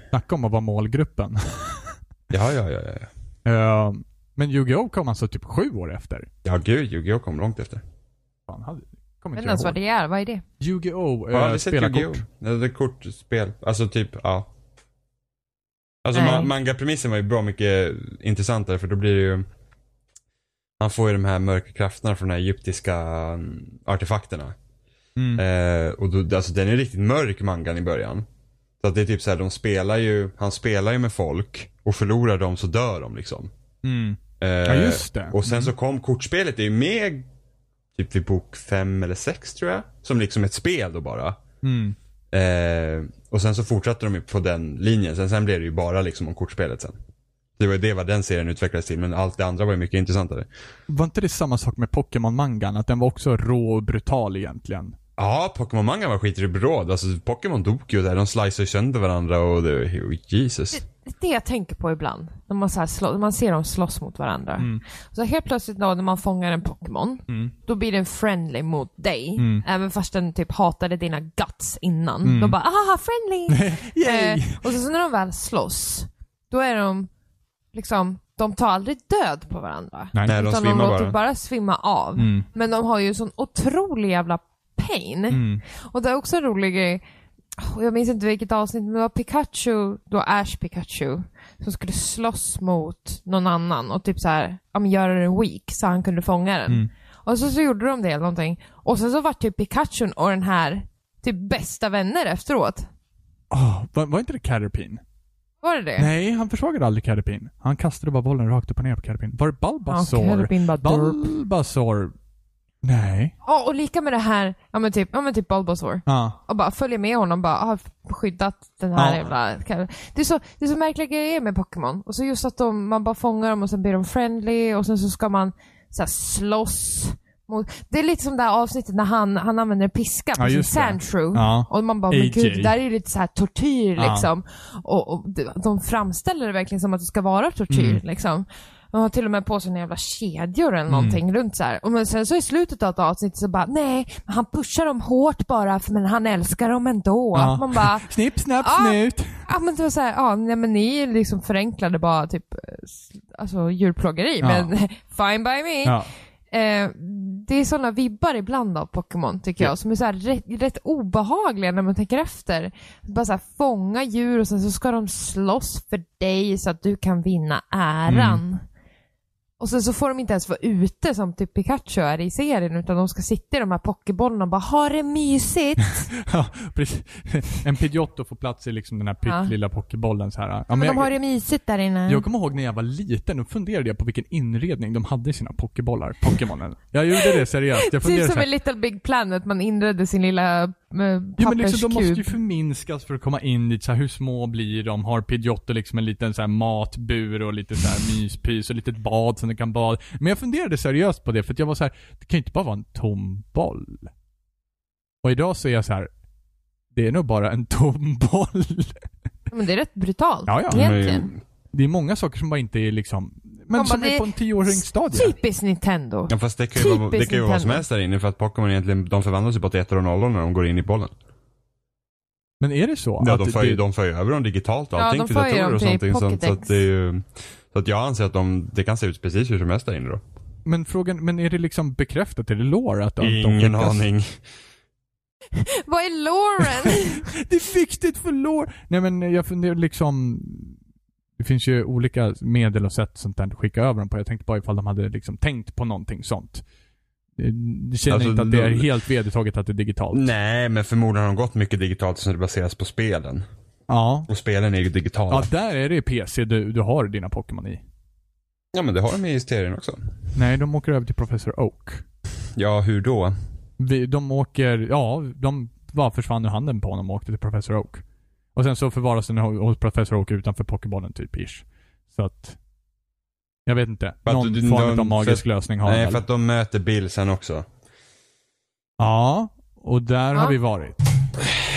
[SPEAKER 1] Snacka om att vara målgruppen. [laughs]
[SPEAKER 2] Ja, ja, ja, ja. ja.
[SPEAKER 1] Eh, men Yu-Gi-Oh kom alltså typ sju år efter.
[SPEAKER 2] Ja, gud, Yu-Gi-Oh! kom långt efter.
[SPEAKER 1] Fan, hade,
[SPEAKER 3] Jag
[SPEAKER 1] kom
[SPEAKER 3] vet
[SPEAKER 1] inte
[SPEAKER 3] inte ens vad
[SPEAKER 1] jag ihåg.
[SPEAKER 3] det är. Vad är det?
[SPEAKER 1] Yu-Gi-Oh!
[SPEAKER 2] Har du
[SPEAKER 1] Uh,
[SPEAKER 2] aldrig sett Yu-Gi-Oh?
[SPEAKER 1] spelarkort.
[SPEAKER 2] Ja, Det är kortspel. Alltså typ, ja. Alltså
[SPEAKER 3] Nej.
[SPEAKER 2] ma- manga-premissen var ju bra mycket intressantare för då blir det ju han får ju de här mörka krafterna från de här egyptiska mm, artefakterna.
[SPEAKER 1] Mm.
[SPEAKER 2] Eh, och då, alltså den är riktigt mörk mangan i början. Så att det är typ så här, de spelar ju, han spelar ju med folk och förlorar dem så dör de liksom.
[SPEAKER 1] Mm.
[SPEAKER 2] Eh,
[SPEAKER 1] Ja, just det.
[SPEAKER 2] Och sen så kom kortspelet, det är ju med typ vid bok fem eller sex tror jag. Som liksom ett spel då bara.
[SPEAKER 1] Mm.
[SPEAKER 2] Eh, och sen så fortsatte de ju på den linjen. Sen, sen blev det ju bara liksom om kortspelet sen. Det var ju det vad den serien utvecklades till, men allt det andra var ju mycket intressantare.
[SPEAKER 1] Var inte det samma sak med Pokémon-mangan? Att den var också rå och brutal egentligen?
[SPEAKER 2] Ja, Pokémon Manga var skitrig råd. Alltså Pokémon dog ju där. De sliceade ju sönder varandra och det, oh, Jesus.
[SPEAKER 3] Det är det jag tänker på ibland. När man, så här slå, när man ser dem slåss mot varandra. Så helt plötsligt då, när man fångar en Pokémon, då blir den friendly mot dig. Även fast den typ hatade dina guts innan. Då bara aha friendly! Eh,
[SPEAKER 1] Yay!
[SPEAKER 3] och så, så när de väl slåss, då är de liksom, de tar aldrig död på varandra.
[SPEAKER 1] Nej.
[SPEAKER 2] Nej, de
[SPEAKER 3] utan
[SPEAKER 2] svimmar
[SPEAKER 3] de låter
[SPEAKER 2] bara. Mm.
[SPEAKER 3] bara svimma av. Men de har ju sån otrolig jävla pain.
[SPEAKER 2] Mm.
[SPEAKER 3] Och det är också en rolig grej. Åh, Jag minns inte vilket avsnitt, men det var Pikachu, då Ash Pikachu, som skulle slåss mot någon annan och typ så här, ja men göra den weak så han kunde fånga den.
[SPEAKER 2] Mm.
[SPEAKER 3] Och så, så gjorde de det eller någonting. Och sen så var typ Pikachu och den här typ bästa vänner efteråt.
[SPEAKER 1] Ah, var, var inte det Caterpin?
[SPEAKER 3] Var det det?
[SPEAKER 1] Nej, han försvagade aldrig Caterpin. Han kastade bara bollen rakt upp och ner på Caterpin. Var det Bulbasaur?
[SPEAKER 3] Ja, Caterpin bara, "Derp."
[SPEAKER 1] Bulbasaur? Nej.
[SPEAKER 3] Ja, och lika med det här, ja men typ, ja men typ Bulbasaur.
[SPEAKER 1] Ja.
[SPEAKER 3] och bara följer med honom bara har skyddat den här
[SPEAKER 1] Ja.
[SPEAKER 3] jävla... Det är, så, det är så märkliga grejer med Pokémon. Och så just att de, man bara fångar dem och sen blir de friendly och sen så ska man så här, slåss Mot, det är lite som det här avsnittet när han, han använder en piska på
[SPEAKER 1] Ja,
[SPEAKER 3] sin
[SPEAKER 1] just det.
[SPEAKER 3] Sandshrew.
[SPEAKER 1] Ja.
[SPEAKER 3] Och man bara, men
[SPEAKER 1] AJ.
[SPEAKER 3] gud, där är ju lite så här tortyr
[SPEAKER 1] Ja.
[SPEAKER 3] liksom. Och, och de- de framställer det verkligen som att det ska vara tortyr
[SPEAKER 1] Mm.
[SPEAKER 3] liksom. De har till och med på sig några jävla kedjor eller någonting runt så här. Och men sen så i slutet av ett avsnitt så bara, nej, men han pushar dem hårt bara, för- men han älskar dem ändå.
[SPEAKER 1] Ja.
[SPEAKER 3] Man bara,
[SPEAKER 1] Snipp, snapp,
[SPEAKER 3] Ah!
[SPEAKER 1] snut.
[SPEAKER 3] Ja men det var såhär, ja nej, men ni liksom förenklade bara typ eh, alltså djurplågeri
[SPEAKER 1] Ja.
[SPEAKER 3] men [laughs] fine by me.
[SPEAKER 1] Ja.
[SPEAKER 3] Eh, det är sådana vibbar ibland av Pokémon tycker jag som är såhär rätt, rätt obehagliga när man tänker efter. Bara såhär fånga djur och sen så ska de slåss för dig så att du kan vinna äran.
[SPEAKER 1] Mm.
[SPEAKER 3] Och sen så får de inte ens vara ute som typ Pikachu är i serien utan de ska sitta i de här pokébollarna och bara ha
[SPEAKER 1] [laughs]
[SPEAKER 3] det mysigt.
[SPEAKER 1] Ja, precis. En Pidgeotto får plats i liksom den här
[SPEAKER 3] Ja.
[SPEAKER 1] pyttelilla pokébollen så här. Ja,
[SPEAKER 3] men de
[SPEAKER 1] jag,
[SPEAKER 3] har det mysigt där inne.
[SPEAKER 1] jag kommer ihåg när jag var liten, och funderade jag på vilken inredning de hade i sina pokébollar, Pokémonen. Jag gjorde det seriöst. Jag funderade
[SPEAKER 3] [laughs] Typ
[SPEAKER 1] så
[SPEAKER 3] som
[SPEAKER 1] här,
[SPEAKER 3] en Little Big Planet, man inredde sin lilla eh, papperskub.
[SPEAKER 1] Ja men liksom, de måste ju förminskas för att komma in dit. Så här, hur små blir de? Har Pidgeotto liksom en liten så här, matbur och lite så här, myspys och litet bad som de kan bada Men jag funderade seriöst på det för att jag var så här: det kan ju inte bara vara en tom boll. Och idag så är jag så här. det är nog bara en tom [laughs] boll.
[SPEAKER 3] Men det är rätt brutalt
[SPEAKER 1] Ja, ja.
[SPEAKER 3] egentligen.
[SPEAKER 1] Det är många saker som bara inte är liksom, men
[SPEAKER 3] Man
[SPEAKER 1] som
[SPEAKER 3] bara,
[SPEAKER 1] är
[SPEAKER 3] det
[SPEAKER 1] på en tioåringsstadie.
[SPEAKER 3] Typiskt Nintendo.
[SPEAKER 2] Ja fast det kan ju, vara,
[SPEAKER 3] Typiskt
[SPEAKER 2] det kan ju vara vad som
[SPEAKER 3] Nintendo.
[SPEAKER 2] helst där inne för att Pokémon egentligen, de förvandlas ju bara till ettor och nollor när de går in i bollen.
[SPEAKER 1] Men är det så?
[SPEAKER 2] Ja,
[SPEAKER 1] att
[SPEAKER 2] de för, ju,
[SPEAKER 1] det,
[SPEAKER 2] de för ju över dem digitalt och
[SPEAKER 3] Ja,
[SPEAKER 2] allting
[SPEAKER 3] de
[SPEAKER 2] till
[SPEAKER 3] för ju
[SPEAKER 2] datorer
[SPEAKER 3] dem
[SPEAKER 2] och
[SPEAKER 3] till
[SPEAKER 2] sånt. Sånt, så
[SPEAKER 3] Pocket
[SPEAKER 2] att det är ju, så att jag anser att de, det kan se ut precis hur som helst där inne då.
[SPEAKER 1] men frågan, men är det liksom bekräftat? Är det lore att att de
[SPEAKER 2] Ingen
[SPEAKER 1] skickas?
[SPEAKER 2] aning.
[SPEAKER 3] Vad är Lauren?
[SPEAKER 1] [laughs] Det är viktigt för lår. Nej men jag funderar liksom... Det finns ju olika medel och sätt sånt där att skicka över dem på. Jag tänkte bara ifall de hade liksom tänkt på någonting sånt. Eh, Det känner
[SPEAKER 2] Alltså,
[SPEAKER 1] inte att det är
[SPEAKER 2] de-
[SPEAKER 1] helt vedertaget att det är digitalt.
[SPEAKER 2] Nej, men förmodligen har de gått mycket digitalt som det baseras på spelen.
[SPEAKER 1] Ja.
[SPEAKER 2] Och spelen är ju digitala.
[SPEAKER 1] Ja,
[SPEAKER 2] Ja,
[SPEAKER 1] där är det ju PC du, du har dina Pokémon i.
[SPEAKER 2] men det har de i serien också.
[SPEAKER 1] Nej, de åker över till Professor Oak.
[SPEAKER 2] Ja, hur då?
[SPEAKER 1] Vi, de åker, ja, de bara försvann ur handen på honom och åkte till Professor Oak. Och sen så förvaras den ho- hos Professor Oak utanför Pokébollen typ ish. Så att... Jag vet inte.
[SPEAKER 2] För att
[SPEAKER 1] Någon
[SPEAKER 2] du-
[SPEAKER 1] form av
[SPEAKER 2] någon-
[SPEAKER 1] magisk
[SPEAKER 2] för-
[SPEAKER 1] lösning har
[SPEAKER 2] Nej,
[SPEAKER 1] väl.
[SPEAKER 2] för att de möter Bill sen också.
[SPEAKER 1] Ja, och där
[SPEAKER 3] Ja.
[SPEAKER 1] har vi varit.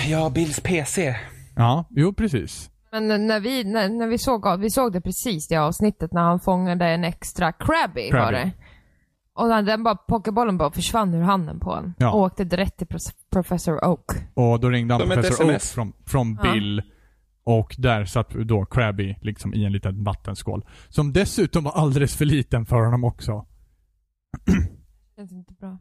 [SPEAKER 2] Ja, Bills PC.
[SPEAKER 1] Ja, jo precis.
[SPEAKER 3] Men när vi, när, när vi, såg, vi såg det precis det avsnittet när han fångade en extra Krabby, var
[SPEAKER 1] Krabby.
[SPEAKER 3] det. Och den, den bara, pokébollen bara försvann ur handen på en.
[SPEAKER 1] Ja.
[SPEAKER 3] Och åkte direkt till pros- Professor Oak.
[SPEAKER 1] Och då ringde han
[SPEAKER 2] Som ett
[SPEAKER 1] professor Oak
[SPEAKER 2] SMS.
[SPEAKER 1] från, från
[SPEAKER 3] Ja.
[SPEAKER 1] Bill. Och där satt då Krabby liksom i en liten vattenskål. Som dessutom var alldeles för liten för honom också.
[SPEAKER 3] Känns inte bra.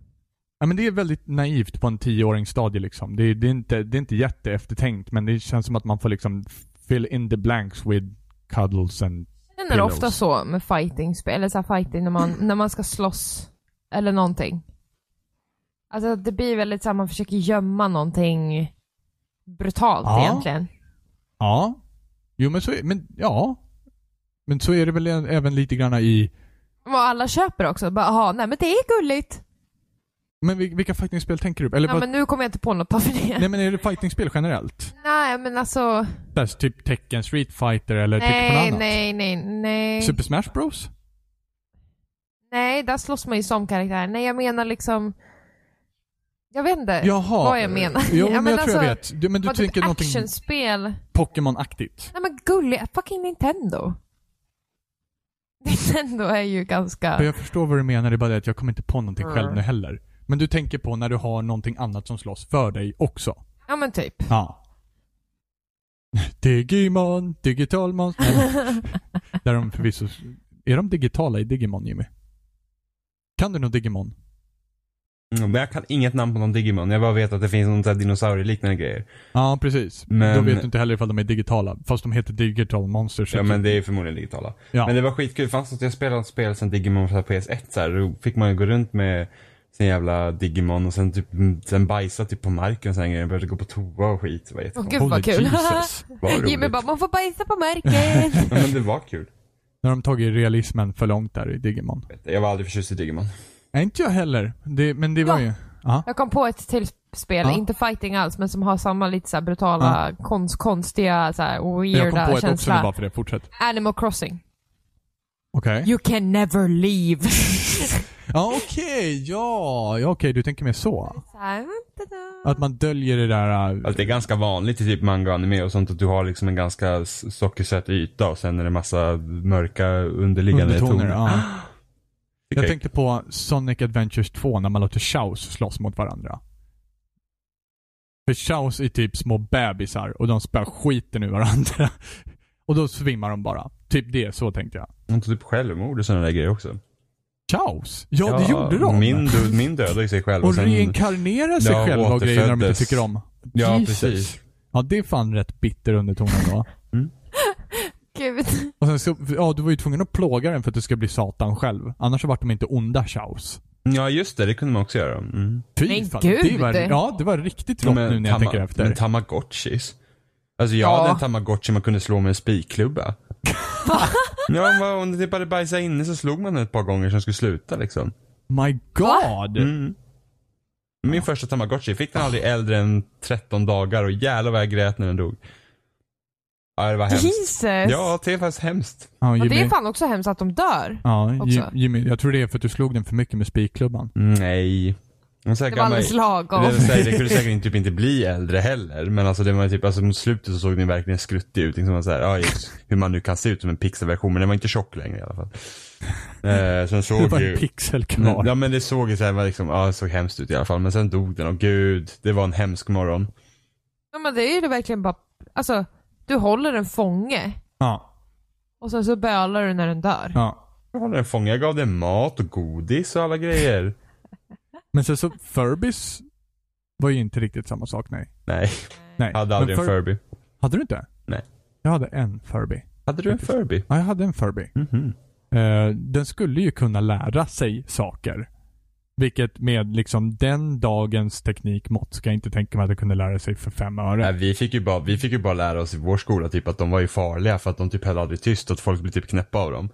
[SPEAKER 1] Ja, men det är väldigt naivt på en tioåringsstadie liksom. Det, är- det, är inte, det är inte jätteeftertänkt men det känns som att man får liksom fill in the blanks with cuddles and...
[SPEAKER 3] Sen är det ofta
[SPEAKER 1] Pillows.
[SPEAKER 3] så med fighting-spel, eller så här fighting när man, när man ska slåss eller någonting. Alltså det blir väldigt så här, man försöker gömma någonting brutalt
[SPEAKER 1] Ja.
[SPEAKER 3] egentligen.
[SPEAKER 1] Ja. Jo men så är, men ja. Men så är det väl ä- även lite grann i...
[SPEAKER 3] Och alla köper också, bara aha, nej men det är gulligt.
[SPEAKER 1] Men vil- vilka fightingspel tänker du på? Eller
[SPEAKER 3] Ja,
[SPEAKER 1] vad,
[SPEAKER 3] men nu kommer jag inte på något för det. Nej,
[SPEAKER 1] Nej men är det fightingspel generellt?
[SPEAKER 3] men alltså,
[SPEAKER 1] Där, typ Tekken Street Fighter eller tänker du på något
[SPEAKER 3] nej,
[SPEAKER 1] annat?
[SPEAKER 3] nej, nej, nej.
[SPEAKER 1] Super Smash Bros?
[SPEAKER 3] Nej, där slåss man ju som karaktär. Nej, jag menar liksom, jag vet inte
[SPEAKER 1] Jaha.
[SPEAKER 3] Eh, vad jag menar.
[SPEAKER 1] Jo men,
[SPEAKER 3] [laughs] Ja,
[SPEAKER 1] jag tror jag vet. Du, men du
[SPEAKER 3] vad
[SPEAKER 1] tänker
[SPEAKER 3] typ
[SPEAKER 1] någonting
[SPEAKER 3] actionspel.
[SPEAKER 1] Pokémon-aktigt?
[SPEAKER 3] Nej men gulliga, fucking Nintendo. [laughs] Nintendo är ju ganska...
[SPEAKER 1] Ja, Jag förstår vad du menar, det är bara det att jag kommer inte på någonting
[SPEAKER 3] Mm.
[SPEAKER 1] själv nu heller. Men du tänker på när du har någonting annat som slåss för dig också?
[SPEAKER 3] Ja men typ.
[SPEAKER 1] Ja. Digimon, digital monster.
[SPEAKER 3] [laughs]
[SPEAKER 1] Nej, Där de förvisso... Är de digitala i Digimon, Jimmy? Kan du någon Digimon?
[SPEAKER 2] Mm, men jag kan inget namn på någon Digimon. Jag bara vet att det finns någon sån här dinosaurie-liknande grejer.
[SPEAKER 1] Ja, precis.
[SPEAKER 2] Men-
[SPEAKER 1] Då vet du inte heller ifall de är digitala. Fast de heter digital monsters.
[SPEAKER 2] Ja, men det är ju förmodligen digitala.
[SPEAKER 1] Ja.
[SPEAKER 2] Men det var skitkul. Fanns att jag spelade ett spel sen Digimon för PS1 så här. Då fick man ju gå runt med sin jävla Digimon och sen typ, sen bajsa typ på marken och sen grejer. Började gå på toa och skit. Det var
[SPEAKER 3] Åh
[SPEAKER 2] jättekonstigt.
[SPEAKER 3] gud vad kul. [laughs]
[SPEAKER 1] Jesus. alltså,
[SPEAKER 2] Vad roligt.
[SPEAKER 3] Jimmy bara, man får bajsa på märken.
[SPEAKER 1] [laughs]
[SPEAKER 2] Ja, men det var kul.
[SPEAKER 1] När de tagit realismen för långt där i Digimon.
[SPEAKER 2] Vet du, Jag var aldrig förtjust i Digimon.
[SPEAKER 1] Nej, inte jag heller. Det, men det var
[SPEAKER 3] Ja.
[SPEAKER 1] ju... Ja.
[SPEAKER 3] Jag kom på ett till spel,
[SPEAKER 1] Ja.
[SPEAKER 3] inte fighting alls, men som har samma lite så här brutala, konst, konstiga, så här
[SPEAKER 1] Jag kom på
[SPEAKER 3] weirda
[SPEAKER 1] ett också nu
[SPEAKER 3] känsla.
[SPEAKER 1] bara för det. Fortsätt.
[SPEAKER 3] Animal Crossing.
[SPEAKER 1] Okej.
[SPEAKER 3] You can never leave. [laughs]
[SPEAKER 1] Ja, okej. ja, ja okej. Du tänker mer så.
[SPEAKER 3] Så här, ta-da.
[SPEAKER 1] Att man döljer det där... äh,
[SPEAKER 2] Alltså det är ganska vanligt i typ manga och anime och sånt att du har liksom en ganska s- sockersöt yta och sen är det massa mörka underliggande
[SPEAKER 1] Undertoner,
[SPEAKER 2] toner. [gasps]
[SPEAKER 1] ja.
[SPEAKER 2] Okej.
[SPEAKER 1] Jag tänkte på Sonic Adventures 2 när man låter Chaos slåss mot varandra. För Chaos är typ små bebisar och de spär skiten ur varandra. [laughs] Och då svimmar de bara. Typ det, så tänkte jag.
[SPEAKER 2] De tog typ självmord och sådana där grejer också.
[SPEAKER 1] Chaos? Ja, det gjorde de.
[SPEAKER 2] Min, dö- min dödade sig själv.
[SPEAKER 1] och
[SPEAKER 2] sen-
[SPEAKER 1] reinkarnerar sig
[SPEAKER 2] Ja,
[SPEAKER 1] själva och grejer de inte
[SPEAKER 2] återföddes.
[SPEAKER 1] tycker om.
[SPEAKER 2] Ja,
[SPEAKER 1] Jesus.
[SPEAKER 2] precis.
[SPEAKER 1] Ja, det är fan rätt bitter underton då.
[SPEAKER 3] Gud.
[SPEAKER 1] Och sen så, ja, du var ju tvungen att plåga den för att du ska bli Satan själv. Annars så vart de inte onda Chaos.
[SPEAKER 2] Ja, just det. Det kunde man också göra. Mm.
[SPEAKER 1] Fy
[SPEAKER 3] Men
[SPEAKER 1] fan,
[SPEAKER 3] gud!
[SPEAKER 1] Det var, ja, det var riktigt rått nu när jag tänker efter.
[SPEAKER 2] Men tamagotchis. Alltså jag
[SPEAKER 3] Ja.
[SPEAKER 2] hade en tamagotchi man kunde slå med
[SPEAKER 1] [laughs]
[SPEAKER 2] en spikklubba. ja, men om det typ hade bajsat inne så slog man den ett par gånger så den skulle sluta liksom.
[SPEAKER 1] My god!
[SPEAKER 2] Mm. Min första tamagotchi, fick den aldrig äldre än 13 dagar och jävlar vad jag grät när den dog. Ja, det var hemskt.
[SPEAKER 3] Jesus.
[SPEAKER 2] Ja, det är faktiskt hemskt.
[SPEAKER 1] Ja,
[SPEAKER 3] Och
[SPEAKER 1] Jimmy.
[SPEAKER 3] det är fan också hemskt att de dör.
[SPEAKER 1] ja,
[SPEAKER 3] också.
[SPEAKER 1] Ji- Jimmy, jag tror det är för att du slog den för mycket med spikklubban.
[SPEAKER 2] Nej. Det
[SPEAKER 3] Det var alldeles lagom.
[SPEAKER 2] Det, vill säga,
[SPEAKER 1] [laughs]
[SPEAKER 2] det kunde säkert typ inte bli äldre heller, men alltså det var ju typ, alltså mot slutet så såg den verkligen skruttig ut. Liksom man så här, ja, just hur man nu kan se ut som en pixelversion, men den var inte tjock längre i alla
[SPEAKER 1] [laughs]
[SPEAKER 2] fall. Eh, sen såg
[SPEAKER 1] Det var
[SPEAKER 2] ju...
[SPEAKER 1] en pixel
[SPEAKER 2] Men,
[SPEAKER 1] kvar.
[SPEAKER 2] ja men det såg ju så här, var liksom, ja, det såg hemskt ut i alla fall, men sen dog den och gud, det var en hemsk morgon.
[SPEAKER 3] Ja, men det är ju verkligen bara... Alltså, du håller en fånge
[SPEAKER 1] Ja,
[SPEAKER 3] och sen så bölar du när den dör.
[SPEAKER 1] ja.
[SPEAKER 2] Jag håller den fången, jag gav den mat och godis och alla grejer.
[SPEAKER 1] Men sen så, Furbys var ju inte riktigt samma sak, nej.
[SPEAKER 2] Nej,
[SPEAKER 1] nej.
[SPEAKER 2] hade
[SPEAKER 1] Men
[SPEAKER 2] aldrig en
[SPEAKER 1] Fur-
[SPEAKER 2] Furby.
[SPEAKER 1] Hade du inte?
[SPEAKER 2] Nej.
[SPEAKER 1] Jag hade en Furby.
[SPEAKER 2] Hade du en Furby?
[SPEAKER 1] Ja, jag hade en Furby.
[SPEAKER 2] Mhm.
[SPEAKER 1] Eh, den skulle ju kunna lära sig saker. Vilket med liksom den dagens teknikmått ska jag inte tänka mig att den kunde lära sig för fem öre.
[SPEAKER 2] Nej, vi, fick ju bara, vi fick ju bara lära oss i vår skola typ att de var ju farliga för att de typ höll aldrig tyst och att folk blev typ knäppa av dem.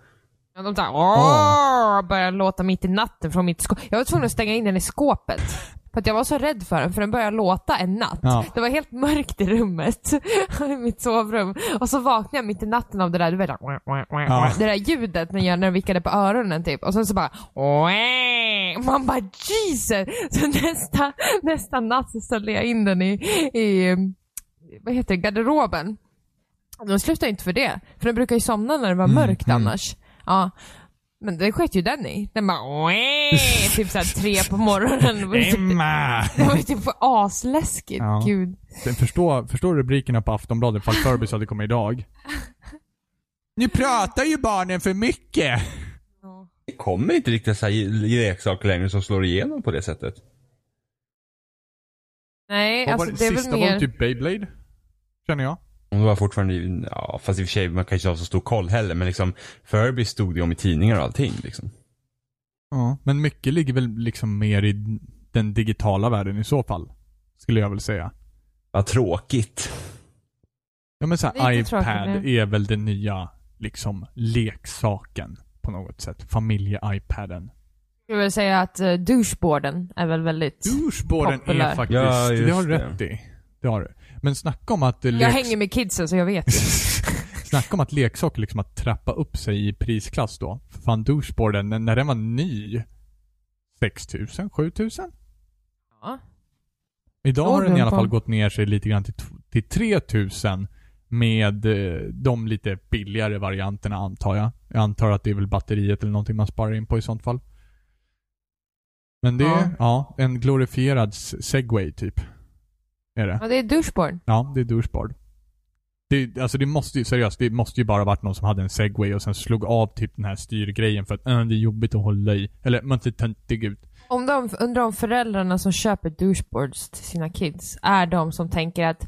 [SPEAKER 3] Ja, de såhär åh, börjar låta mitt i natten från mitt skåp. Jag var tvungen att stänga in den i skåpet. För att jag var så rädd för den, för den började låta en natt.
[SPEAKER 1] Ja.
[SPEAKER 3] Det var helt mörkt i rummet, [laughs] i mitt sovrum. Och så vaknade jag mitt i natten av det där, du vet,
[SPEAKER 1] Ja.
[SPEAKER 3] det där ljudet när jag, när den vickade på öronen typ. Och sen så bara, "Wah!" man bara Jesus! Så nästa, nästa natt så ställde jag in den i, i vad heter det, garderoben. De slutade inte för det. För den brukar ju somna när det
[SPEAKER 1] Mm,
[SPEAKER 3] var mörkt annars. Ja. Men det sket ju den i. Den bara "Wah!" Typ såhär tre på
[SPEAKER 1] [laughs]
[SPEAKER 3] morgonen. Det var ju typ-
[SPEAKER 1] Emma!
[SPEAKER 3] [laughs] det var ju typ asläskigt.
[SPEAKER 1] Ja.
[SPEAKER 3] Gud.
[SPEAKER 1] Den förstår, förstår rubrikerna på Aftonbladet ifall Furbys hade kommit idag. Nu pratar ju barnen för mycket!
[SPEAKER 3] Alltså,
[SPEAKER 2] Det kommer inte riktigt så här leksaker längre som slår igenom på det sättet.
[SPEAKER 3] Nej,
[SPEAKER 1] Vad var det,
[SPEAKER 3] alltså det är väl
[SPEAKER 1] sista var
[SPEAKER 3] mer...
[SPEAKER 1] väl typ Beyblade? Känner jag.
[SPEAKER 2] Om det var fortfarande, ja fast i och för sig man kanske inte har så stor koll heller men liksom Furby stod ju om i tidningar och allting liksom.
[SPEAKER 1] Ja. Men mycket ligger väl liksom mer i den digitala världen i så fall. Skulle jag väl säga.
[SPEAKER 2] Vad tråkigt.
[SPEAKER 1] Ja men så här,
[SPEAKER 3] Lite
[SPEAKER 1] iPad
[SPEAKER 3] tråkigt
[SPEAKER 1] är väl den nya liksom leksaken på något sätt. Familje-iPaden.
[SPEAKER 3] Jag vill säga att uh, doucheboarden är väl väldigt...
[SPEAKER 1] Doucheboarden är
[SPEAKER 3] Populär.
[SPEAKER 1] faktiskt,
[SPEAKER 2] Ja, just
[SPEAKER 1] det har du
[SPEAKER 2] det.
[SPEAKER 1] rätt i. Det har du. Men snacka om att eh,
[SPEAKER 3] Jag
[SPEAKER 1] leks-
[SPEAKER 3] hänger med kidsen så jag
[SPEAKER 1] [laughs]
[SPEAKER 3] vet ju.
[SPEAKER 1] Snacka om att leksaker liksom att trappa upp sig i prisklass då. För fan doucheboarden, när- när den var ny, 6000, 7000?
[SPEAKER 3] Ja.
[SPEAKER 1] Idag
[SPEAKER 3] Låg
[SPEAKER 1] har den i
[SPEAKER 3] den
[SPEAKER 1] alla
[SPEAKER 3] på?
[SPEAKER 1] fall gått ner sig lite grann till, t- till 3000 med eh, de lite billigare varianterna antar jag. Jag antar att det är väl batteriet eller någonting man sparar in på i sånt fall. Men det är, ja, en glorifierad s- segway typ. Är det.
[SPEAKER 3] Ja, det är doucheboard.
[SPEAKER 1] Ja, det är doucheboard. Det, alltså det måste ju, seriöst, det måste ju bara varit någon som hade en segway och sen slog av typ den här styrgrejen för att äh, det är jobbigt att hålla i. Eller man ser töntig ut.
[SPEAKER 3] Om de, undrar om föräldrarna som köper doucheboards till sina kids är de som tänker att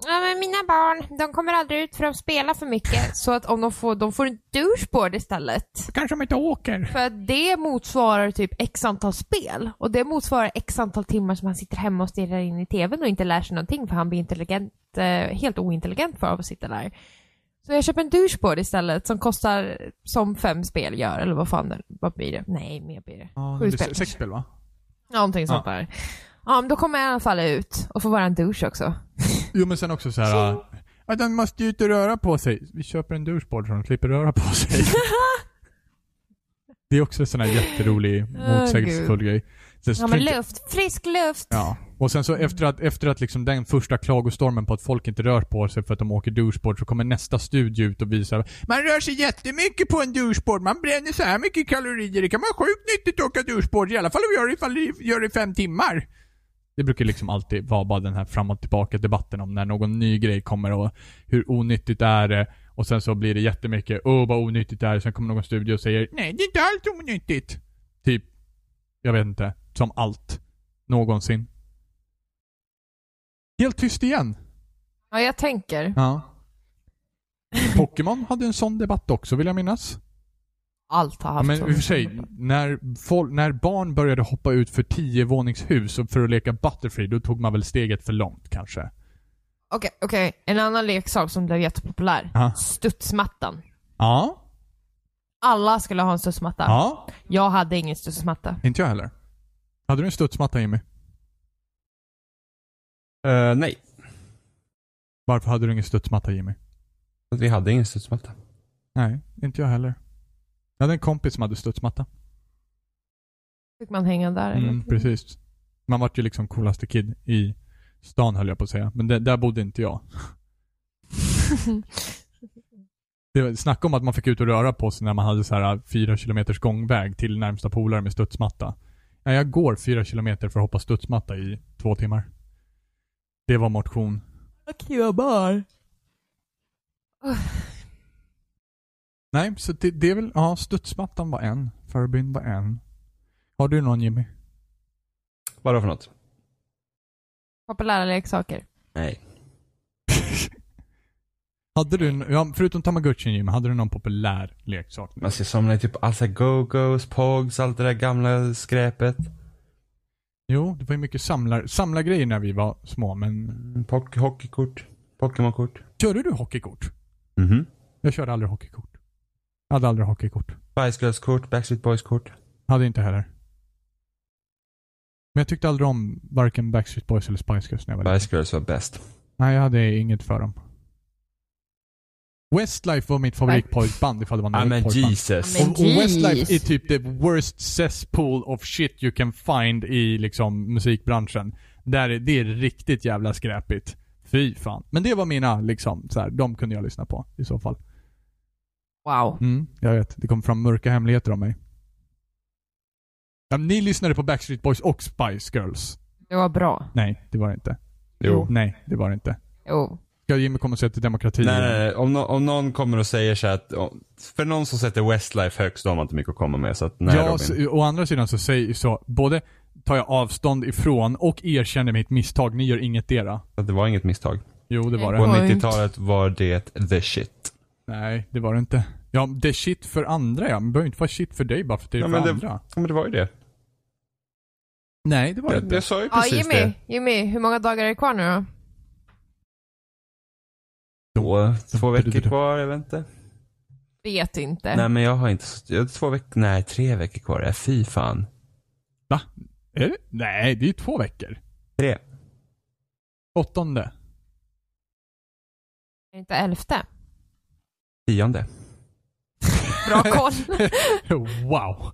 [SPEAKER 3] Ja, men mina barn, de kommer aldrig ut för de spelar för mycket. Så att om de får, de får en doucheboard istället.
[SPEAKER 1] Kanske de inte åker.
[SPEAKER 3] För att det motsvarar typ x antal spel. Och det motsvarar x antal timmar som han sitter hemma och stirrar in i tvn och inte lär sig någonting för han blir intelligent, eh, helt ointelligent för av att sitta där. Så jag köper en doucheboard istället som kostar som fem spel gör, eller vad fan det, vad blir det? Nej, mer blir det.
[SPEAKER 1] Ja,
[SPEAKER 3] Sju
[SPEAKER 1] det blir
[SPEAKER 3] spel
[SPEAKER 1] se- sex
[SPEAKER 3] kanske.
[SPEAKER 1] spel va?
[SPEAKER 3] Någonting sånt där. Ja, men då kommer jag i alla fall ut och får vara en douche också.
[SPEAKER 1] Jo men sen också så här. äh, Ja, den måste
[SPEAKER 3] [laughs]
[SPEAKER 1] ju inte röra på sig. Vi köper en doucheboard så de slipper röra på sig. Det är också en sån här jätterolig,
[SPEAKER 3] Åh,
[SPEAKER 1] motsägelsefull grej. Sen så
[SPEAKER 3] Ja men
[SPEAKER 1] tror jag-
[SPEAKER 3] luft, frisk luft.
[SPEAKER 1] Ja. Och sen så efter att, efter att liksom den första klagostormen på att folk inte rör på sig för att de åker doucheboard så kommer nästa studie ut och visar Man rör sig jättemycket på en doucheboard, man bränner så här mycket kalorier, det kan vara sjukt nyttigt att åka doucheboard, i alla fall om vi gör det, ifall vi gör det i fem timmar. Det brukar liksom alltid vara bara den här fram och tillbaka debatten om när någon ny grej kommer och hur onyttigt är det och sen så blir det jättemycket, åh vad onyttigt det är, sen kommer någon studie och säger nej det är inte alls onyttigt. Typ, jag vet inte, som allt. Någonsin. Helt tyst igen.
[SPEAKER 3] Ja, jag tänker.
[SPEAKER 1] Ja. [laughs] Pokémon hade en sån debatt också vill jag minnas.
[SPEAKER 3] Allt har
[SPEAKER 1] Ja,
[SPEAKER 3] haft
[SPEAKER 1] men i
[SPEAKER 3] sån.
[SPEAKER 1] och för sig, när, folk, när barn började hoppa ut för tiovåningshus och för att leka Butterfree, då tog man väl steget för långt kanske.
[SPEAKER 3] Okej, okej. En annan leksak som blev jättepopulär.
[SPEAKER 1] Ja.
[SPEAKER 3] Studsmattan.
[SPEAKER 1] Ja.
[SPEAKER 3] Alla skulle ha en studsmatta.
[SPEAKER 1] Ja.
[SPEAKER 3] Jag hade ingen studsmatta.
[SPEAKER 1] Inte jag heller. Hade du en studsmatta Jimmy?
[SPEAKER 2] Eh, nej,
[SPEAKER 1] Varför hade du ingen studsmatta Jimmy?
[SPEAKER 2] vi hade ingen studsmatta.
[SPEAKER 1] Nej, inte jag heller. Jag hade en kompis som hade studsmatta.
[SPEAKER 3] Fick man hänga där
[SPEAKER 1] Mm,
[SPEAKER 3] eller? [laughs]
[SPEAKER 1] precis. Man vart ju liksom coolaste kid i stan höll jag på att säga. Men det, där bodde inte jag. Det var, snacka om att man fick ut och röra på sig när man hade så här äh, fyra kilometers gångväg till närmsta polare med studsmatta. Ja, jag går fyra kilometer för att hoppa studsmatta i två timmar. Det var motion.
[SPEAKER 3] Grabbar.
[SPEAKER 1] Nej, så det, det är väl, ja, studsmattan var en. Förebild var en. Har du någon Jimmy? [laughs]
[SPEAKER 2] Vad då för något?
[SPEAKER 3] Populära leksaker.
[SPEAKER 2] Nej.
[SPEAKER 1] hade du, n- ja, förutom tamagotchin Jimmy, hade du någon populär leksak?
[SPEAKER 2] Man ska somna i typ alltså go-go's, pogs, allt det där gamla skräpet.
[SPEAKER 1] Jo, det var ju mycket samlar, samlargrejer när vi var små, men
[SPEAKER 2] Mm, Pock, hockeykort, Pokémonkort.
[SPEAKER 1] körde du hockeykort?
[SPEAKER 2] Mhm.
[SPEAKER 1] Jag körde aldrig hockeykort. Jag hade aldrig hockeykort.
[SPEAKER 2] Spice Girls-kort, Backstreet Boys-kort.
[SPEAKER 1] Hade inte heller. Men jag tyckte aldrig om varken Backstreet Boys eller Spice Girls när jag var liten.
[SPEAKER 2] Spice Girls var bäst.
[SPEAKER 1] Nej, jag hade inget för dem. Westlife var mitt favoritpojkband ifall det var
[SPEAKER 2] Ja
[SPEAKER 1] något
[SPEAKER 2] Ah, men
[SPEAKER 1] pojkband.
[SPEAKER 2] Jesus.
[SPEAKER 3] Men
[SPEAKER 1] Och, och Westlife
[SPEAKER 3] jeez.
[SPEAKER 1] är typ the worst cesspool of shit you can find i liksom musikbranschen. Där är, det är riktigt jävla skräpigt. Fy fan. Men det var mina liksom, så här, de kunde jag lyssna på i så fall.
[SPEAKER 3] Wow.
[SPEAKER 1] Mm, jag vet. Det kom fram mörka hemligheter om mig. Ja, men ni lyssnade på Backstreet Boys och Spice Girls.
[SPEAKER 3] Det var bra.
[SPEAKER 1] Nej, det var det inte.
[SPEAKER 2] Jo.
[SPEAKER 1] Nej, det var det inte.
[SPEAKER 3] Jo.
[SPEAKER 1] Ska Jimmy komma och säga till demokrati?
[SPEAKER 2] Nej, nej, nej. Om, nå- om någon kommer och säger så här att, om- för någon som sätter Westlife högst, de har inte mycket att komma med. Så att, nej
[SPEAKER 1] ja,
[SPEAKER 2] Robin.
[SPEAKER 1] så, å andra sidan så säger så, både tar jag avstånd ifrån och erkänner mitt misstag. Ni gör inget era.
[SPEAKER 2] Så att det var inget misstag.
[SPEAKER 1] Jo, det var
[SPEAKER 2] På
[SPEAKER 1] det.
[SPEAKER 3] Oj.
[SPEAKER 2] 90-talet var det the shit.
[SPEAKER 1] Nej, det var det inte. Ja, det är shit för andra ja. Men det behöver inte vara shit för dig bara för att det är
[SPEAKER 2] Ja,
[SPEAKER 1] för
[SPEAKER 2] men det-
[SPEAKER 1] andra.
[SPEAKER 2] Ja, men det var ju det.
[SPEAKER 1] Nej, det var det
[SPEAKER 2] Jag,
[SPEAKER 1] inte.
[SPEAKER 2] jag sa ju
[SPEAKER 3] Ja,
[SPEAKER 2] precis
[SPEAKER 3] Jimmy.
[SPEAKER 2] det.
[SPEAKER 3] Jimmy, hur många dagar är det kvar nu då?
[SPEAKER 2] Två, två veckor
[SPEAKER 1] Du-du-du-du.
[SPEAKER 2] kvar, jag vet inte.
[SPEAKER 3] Eh. Vet inte.
[SPEAKER 2] Nej men jag har inte, så- jag har två veckor, nej tre veckor kvar. Ja, fy fan.
[SPEAKER 1] Är det? Nej, det är ju två veckor.
[SPEAKER 2] Tre.
[SPEAKER 1] Åttonde.
[SPEAKER 3] Är det Inte elfte.
[SPEAKER 2] Tionde.
[SPEAKER 3] Bra koll.
[SPEAKER 1] [laughs] wow.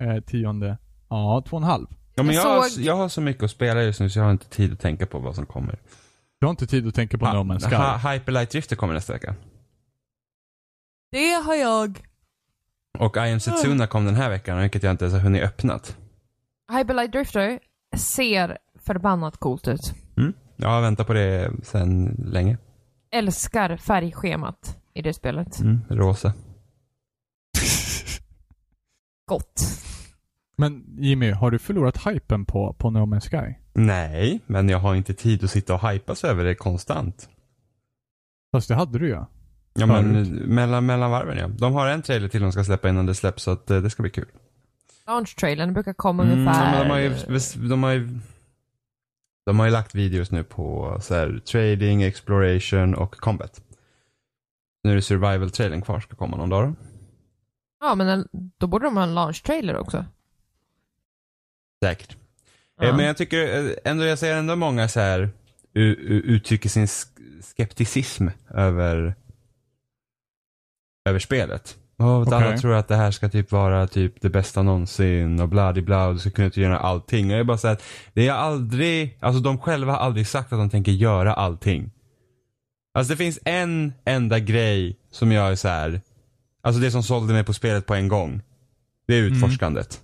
[SPEAKER 1] Eh, tionde. Ja, två och en halv.
[SPEAKER 2] Ja, men jag,
[SPEAKER 3] Jag
[SPEAKER 2] har,
[SPEAKER 3] såg-
[SPEAKER 2] jag har så mycket att spela just nu så jag har inte tid att tänka på vad som kommer.
[SPEAKER 1] Du har inte tid att tänka på
[SPEAKER 2] Ah,
[SPEAKER 1] No Man's Sky.
[SPEAKER 2] Ha- Hyperlight Drifter kommer nästa vecka.
[SPEAKER 3] Det har jag.
[SPEAKER 2] Och I am
[SPEAKER 3] Ah.
[SPEAKER 2] Setsuna kom den här veckan, vilket jag inte ens har hunnit öppnat.
[SPEAKER 3] Hyperlight Drifter ser förbannat coolt ut.
[SPEAKER 2] Mm. Jag har väntat på det sedan länge.
[SPEAKER 3] Älskar färgschemat i det spelet.
[SPEAKER 2] Mm. Rosa.
[SPEAKER 3] Gott.
[SPEAKER 1] [laughs] Men Jimmy, har du förlorat hypen på, på No Man's Sky?
[SPEAKER 2] Nej, men jag har inte tid att sitta och hypas över det konstant.
[SPEAKER 1] Fast det hade du ju.
[SPEAKER 2] Ja, men
[SPEAKER 1] Förut.
[SPEAKER 2] mellan, mellan varven ja. De har en trailer till de ska släppa innan det släpps så att eh, det ska bli kul.
[SPEAKER 3] Launch-trailern brukar komma
[SPEAKER 2] ja,
[SPEAKER 3] Mm, ungefär...
[SPEAKER 2] men de har ju, bes- de har ju de har ju lagt videos nu på så här, trading, exploration och combat. Nu är det survival-trailern kvar, ska komma någon dag då.
[SPEAKER 3] Ja, men en- då borde de ha en launch-trailer också.
[SPEAKER 2] Säkert.
[SPEAKER 3] Ja.
[SPEAKER 2] Eh, Men jag tycker eh, ändå, jag ser ändå många så här u- u- uttrycker sin sk- skepticism över över spelet. Ja, vet du, Alla
[SPEAKER 1] Okej.
[SPEAKER 2] tror att det här ska typ vara typ det bästa någonsin och bla di bla och du ska kunna göra allting. Och jag är bara såhär, det är aldrig, alltså de själva har aldrig sagt att de tänker göra allting. Alltså det finns en enda grej som jag är så här. alltså det som sålde mig på spelet på en gång. Det är utforskandet.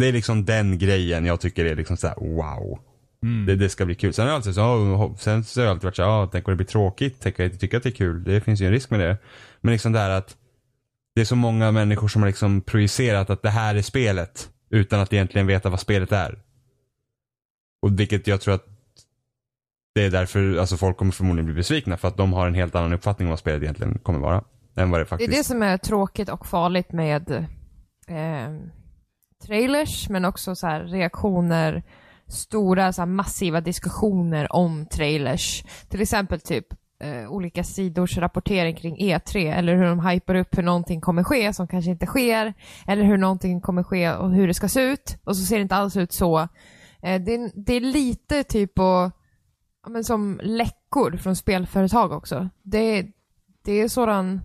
[SPEAKER 2] Det är liksom den grejen jag tycker är liksom så här: wow.
[SPEAKER 1] Mm.
[SPEAKER 2] Det, det ska bli kul. Sen har jag alltid, så, oh, sen så har jag alltid varit såhär, ah, tänk om det blir tråkigt, tänk om jag inte tycker att det är kul. Det finns ju en risk med det. Men liksom det här att det är så många människor som har liksom projicerat att det här är spelet. Utan att egentligen veta vad spelet är. Och vilket jag tror att det är därför, alltså folk kommer förmodligen bli besvikna för att de har en helt annan uppfattning om vad spelet egentligen kommer vara. Än vad det
[SPEAKER 3] Det är
[SPEAKER 2] faktiskt
[SPEAKER 3] det som är tråkigt och farligt med eh, trailers, men också så här reaktioner, stora så här massiva diskussioner om trailers. Till exempel typ eh, olika sidors rapportering kring E3 eller hur de hypar upp hur någonting kommer ske som kanske inte sker. Eller hur någonting kommer ske och hur det ska se ut. Och så ser det inte alls ut så. Eh, det, är- det är lite typ att ja, men som läckor från spelföretag också. Det, det är sådan...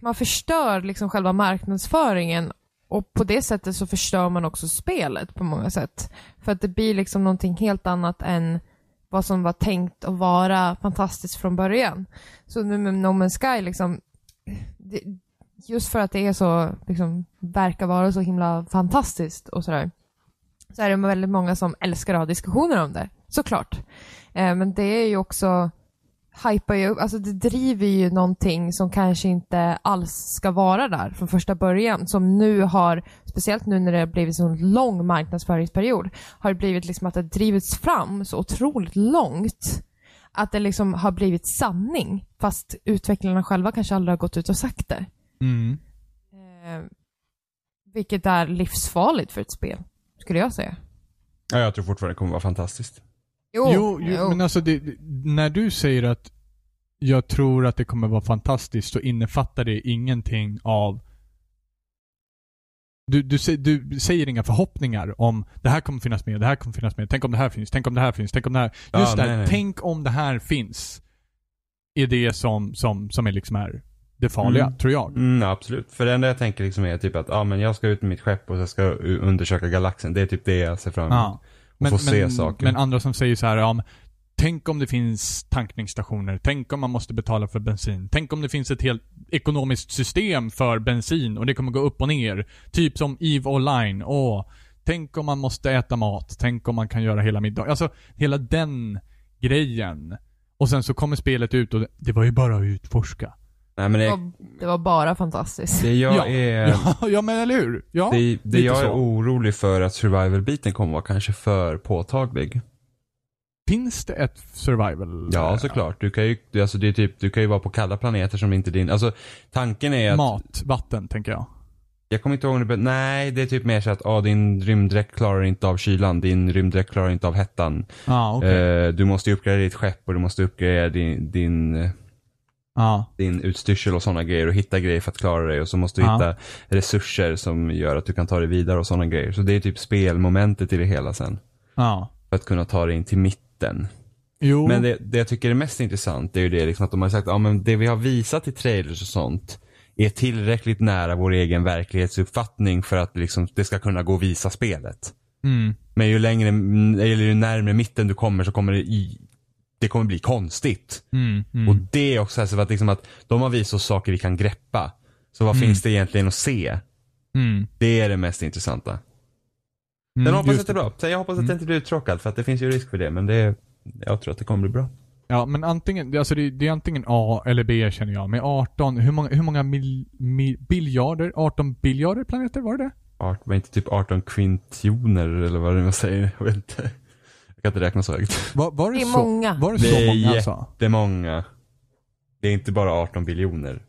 [SPEAKER 3] Man förstör liksom själva marknadsföringen och på det sättet så förstör man också spelet på många sätt. För att det blir liksom någonting helt annat än vad som var tänkt att vara fantastiskt från början. Så nu med No Man's Sky liksom, det, just för att det är så, liksom, verkar vara så himla fantastiskt och sådär så är det väldigt många som älskar att ha diskussioner om det, såklart. Eh, men det är ju också, hypar ju upp, alltså det driver ju någonting som kanske inte alls ska vara där från första början, som nu har, speciellt nu när det har blivit så lång marknadsföringsperiod, har det blivit liksom att det har drivits fram så otroligt långt att det liksom har blivit sanning, fast utvecklarna själva kanske aldrig har gått ut och sagt det.
[SPEAKER 1] Mm.
[SPEAKER 3] Eh, vilket är livsfarligt för ett spel, skulle jag säga.
[SPEAKER 2] Ja, jag tror fortfarande det kommer vara fantastiskt.
[SPEAKER 3] Jo,
[SPEAKER 1] jo, jo, men alltså det, det- när du säger att jag tror att det kommer vara fantastiskt så innefattar det ingenting av du, du, sä- du säger inga förhoppningar om det här kommer finnas med, det här kommer finnas med, tänk om det här finns, tänk om det här finns, tänk om det här.
[SPEAKER 2] Ja,
[SPEAKER 1] Just det,
[SPEAKER 2] nej,
[SPEAKER 1] här,
[SPEAKER 2] nej.
[SPEAKER 1] tänk om det här finns. Är det som, som, som är liksom här det farliga,
[SPEAKER 2] Mm.
[SPEAKER 1] tror jag.
[SPEAKER 2] Mm, ja, absolut. För det enda jag tänker liksom är typ att, ja men jag ska ut med mitt skepp och jag ska u- undersöka galaxen. Det är typ det jag ser fram emot.
[SPEAKER 1] Ja. Men,
[SPEAKER 2] få se
[SPEAKER 1] men,
[SPEAKER 2] saker.
[SPEAKER 1] men andra som säger så här, ja, men, tänk om det finns tankningsstationer, tänk om man måste betala för bensin, tänk om det finns ett helt ekonomiskt system för bensin och det kommer gå upp och ner. Typ som EVE Online, åh, tänk om man måste äta mat, tänk om man kan göra hela middagen. Alltså, hela den grejen. Och sen så kommer spelet ut och det- det var ju bara att utforska.
[SPEAKER 2] Nej, men
[SPEAKER 3] det,
[SPEAKER 2] det,
[SPEAKER 3] var, det var bara fantastiskt.
[SPEAKER 2] det jag
[SPEAKER 1] ja.
[SPEAKER 2] är,
[SPEAKER 1] Ja, [laughs] ja, men eller hur? Ja,
[SPEAKER 2] Eh. det, det
[SPEAKER 1] lite
[SPEAKER 2] jag är
[SPEAKER 1] så.
[SPEAKER 2] orolig för att survival-biten kommer vara kanske för påtaglig.
[SPEAKER 1] Finns det ett survival?
[SPEAKER 2] Ja, såklart. Du kan ju, du- alltså, det är typ, du kan ju vara på kalla planeter som inte din, alltså tanken är att,
[SPEAKER 1] Mat, vatten, eh, tänker jag.
[SPEAKER 2] jag kommer inte ihåg, om det be- nej det är typ mer så att, ah, din rymddräkt klarar inte av kylan, din rymddräkt klarar inte av hettan.
[SPEAKER 1] Ja, ah, okej.
[SPEAKER 2] Eh, du måste ju uppgradera ditt skepp och du måste uppgradera din, din eh,
[SPEAKER 1] Ja.
[SPEAKER 2] din utstyrsel och sådana grejer och hitta grejer för att klara dig och så måste du
[SPEAKER 1] Ja.
[SPEAKER 2] hitta resurser som gör att du kan ta dig vidare och sådana grejer. Så det är typ spelmomentet i det hela sen.
[SPEAKER 1] Ja.
[SPEAKER 2] För att kunna ta dig in till mitten.
[SPEAKER 1] Jo.
[SPEAKER 2] Men det, det jag tycker är mest intressant är ju det liksom att de har sagt att ah, men det vi har visat i trailers och sånt är tillräckligt nära vår egen verklighetsuppfattning för att liksom, det ska kunna gå att visa spelet.
[SPEAKER 1] Mm.
[SPEAKER 2] Men ju längre, eller ju närmare mitten du kommer så kommer det, i, det kommer bli konstigt.
[SPEAKER 1] Mm. Mm.
[SPEAKER 2] Och det är också alltså att, liksom att de har visat oss saker vi kan greppa. Så vad finns det egentligen att se?
[SPEAKER 1] mm.
[SPEAKER 2] Det är det mest intressanta.
[SPEAKER 1] Mm,
[SPEAKER 2] Sen hoppas jag
[SPEAKER 1] just Mm.
[SPEAKER 2] att det är bra. Sen jag hoppas att det inte blir uttråkad för att det finns ju risk för det. Men det är, jag tror att det kommer bli bra.
[SPEAKER 1] Ja, men antingen, det- alltså det, det är antingen A eller B känner jag. Med 18, hur många, hur många mil, mil, biljarder, 18 biljarder planeter var det
[SPEAKER 2] Art, var inte typ 18 kvintioner eller vad det är man säger? Jag vet inte. Jag kan inte räkna så högt.
[SPEAKER 1] Var, var det,
[SPEAKER 3] Det är
[SPEAKER 1] så,
[SPEAKER 3] många.
[SPEAKER 1] Var det så
[SPEAKER 2] Det är
[SPEAKER 1] många alltså?
[SPEAKER 2] jättemånga. Det är inte bara 18 biljoner.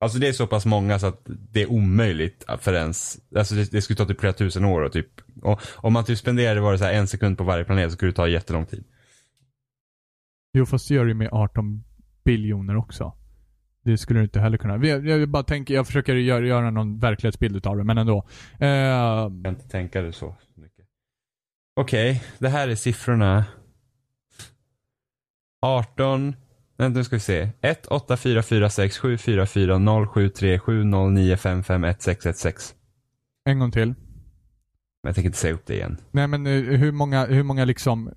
[SPEAKER 2] Alltså det är så pass många så att det är omöjligt att för ens, alltså det, det skulle ta typ flera tusen år och typ, och, om man typ spenderade var det så här en sekund på varje planet så skulle det ta jättelång tid.
[SPEAKER 1] Jo, fast det gör det ju med 18 biljoner också. Det skulle du inte heller kunna. Vi- Jag, jag bara tänker, jag försöker göra, göra någon verklighetsbild utav det, men ändå. Eh,
[SPEAKER 2] Jag kan inte tänka det så mycket. Okej, det här är siffrorna. 18, Vänta nu ska vi se. 1 8 4 4 6 7 4 4 0 7 3 7 0 9 5 5 1 6 1 6.
[SPEAKER 1] En gång till.
[SPEAKER 2] Men jag tänker inte säga upp det igen.
[SPEAKER 1] Nej men eh, hur många, hur många liksom,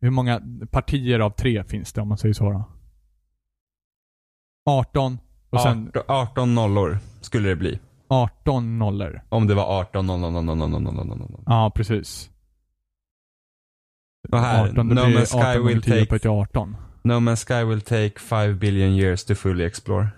[SPEAKER 1] hur många partier av tre finns det om man säger så då? 18 och sen
[SPEAKER 2] 18, 18 nollor skulle det bli.
[SPEAKER 1] 18 nollor.
[SPEAKER 2] Om det var 18 noll noll noll noll noll noll noll noll noll.
[SPEAKER 1] Ja, precis.
[SPEAKER 2] Och här,
[SPEAKER 1] 18,
[SPEAKER 2] No
[SPEAKER 1] det blir
[SPEAKER 2] Man's Sky
[SPEAKER 1] 18
[SPEAKER 2] will
[SPEAKER 1] will 10
[SPEAKER 2] take-
[SPEAKER 1] på ett 18.
[SPEAKER 2] No Man's Sky will take 5 billion years to fully explore.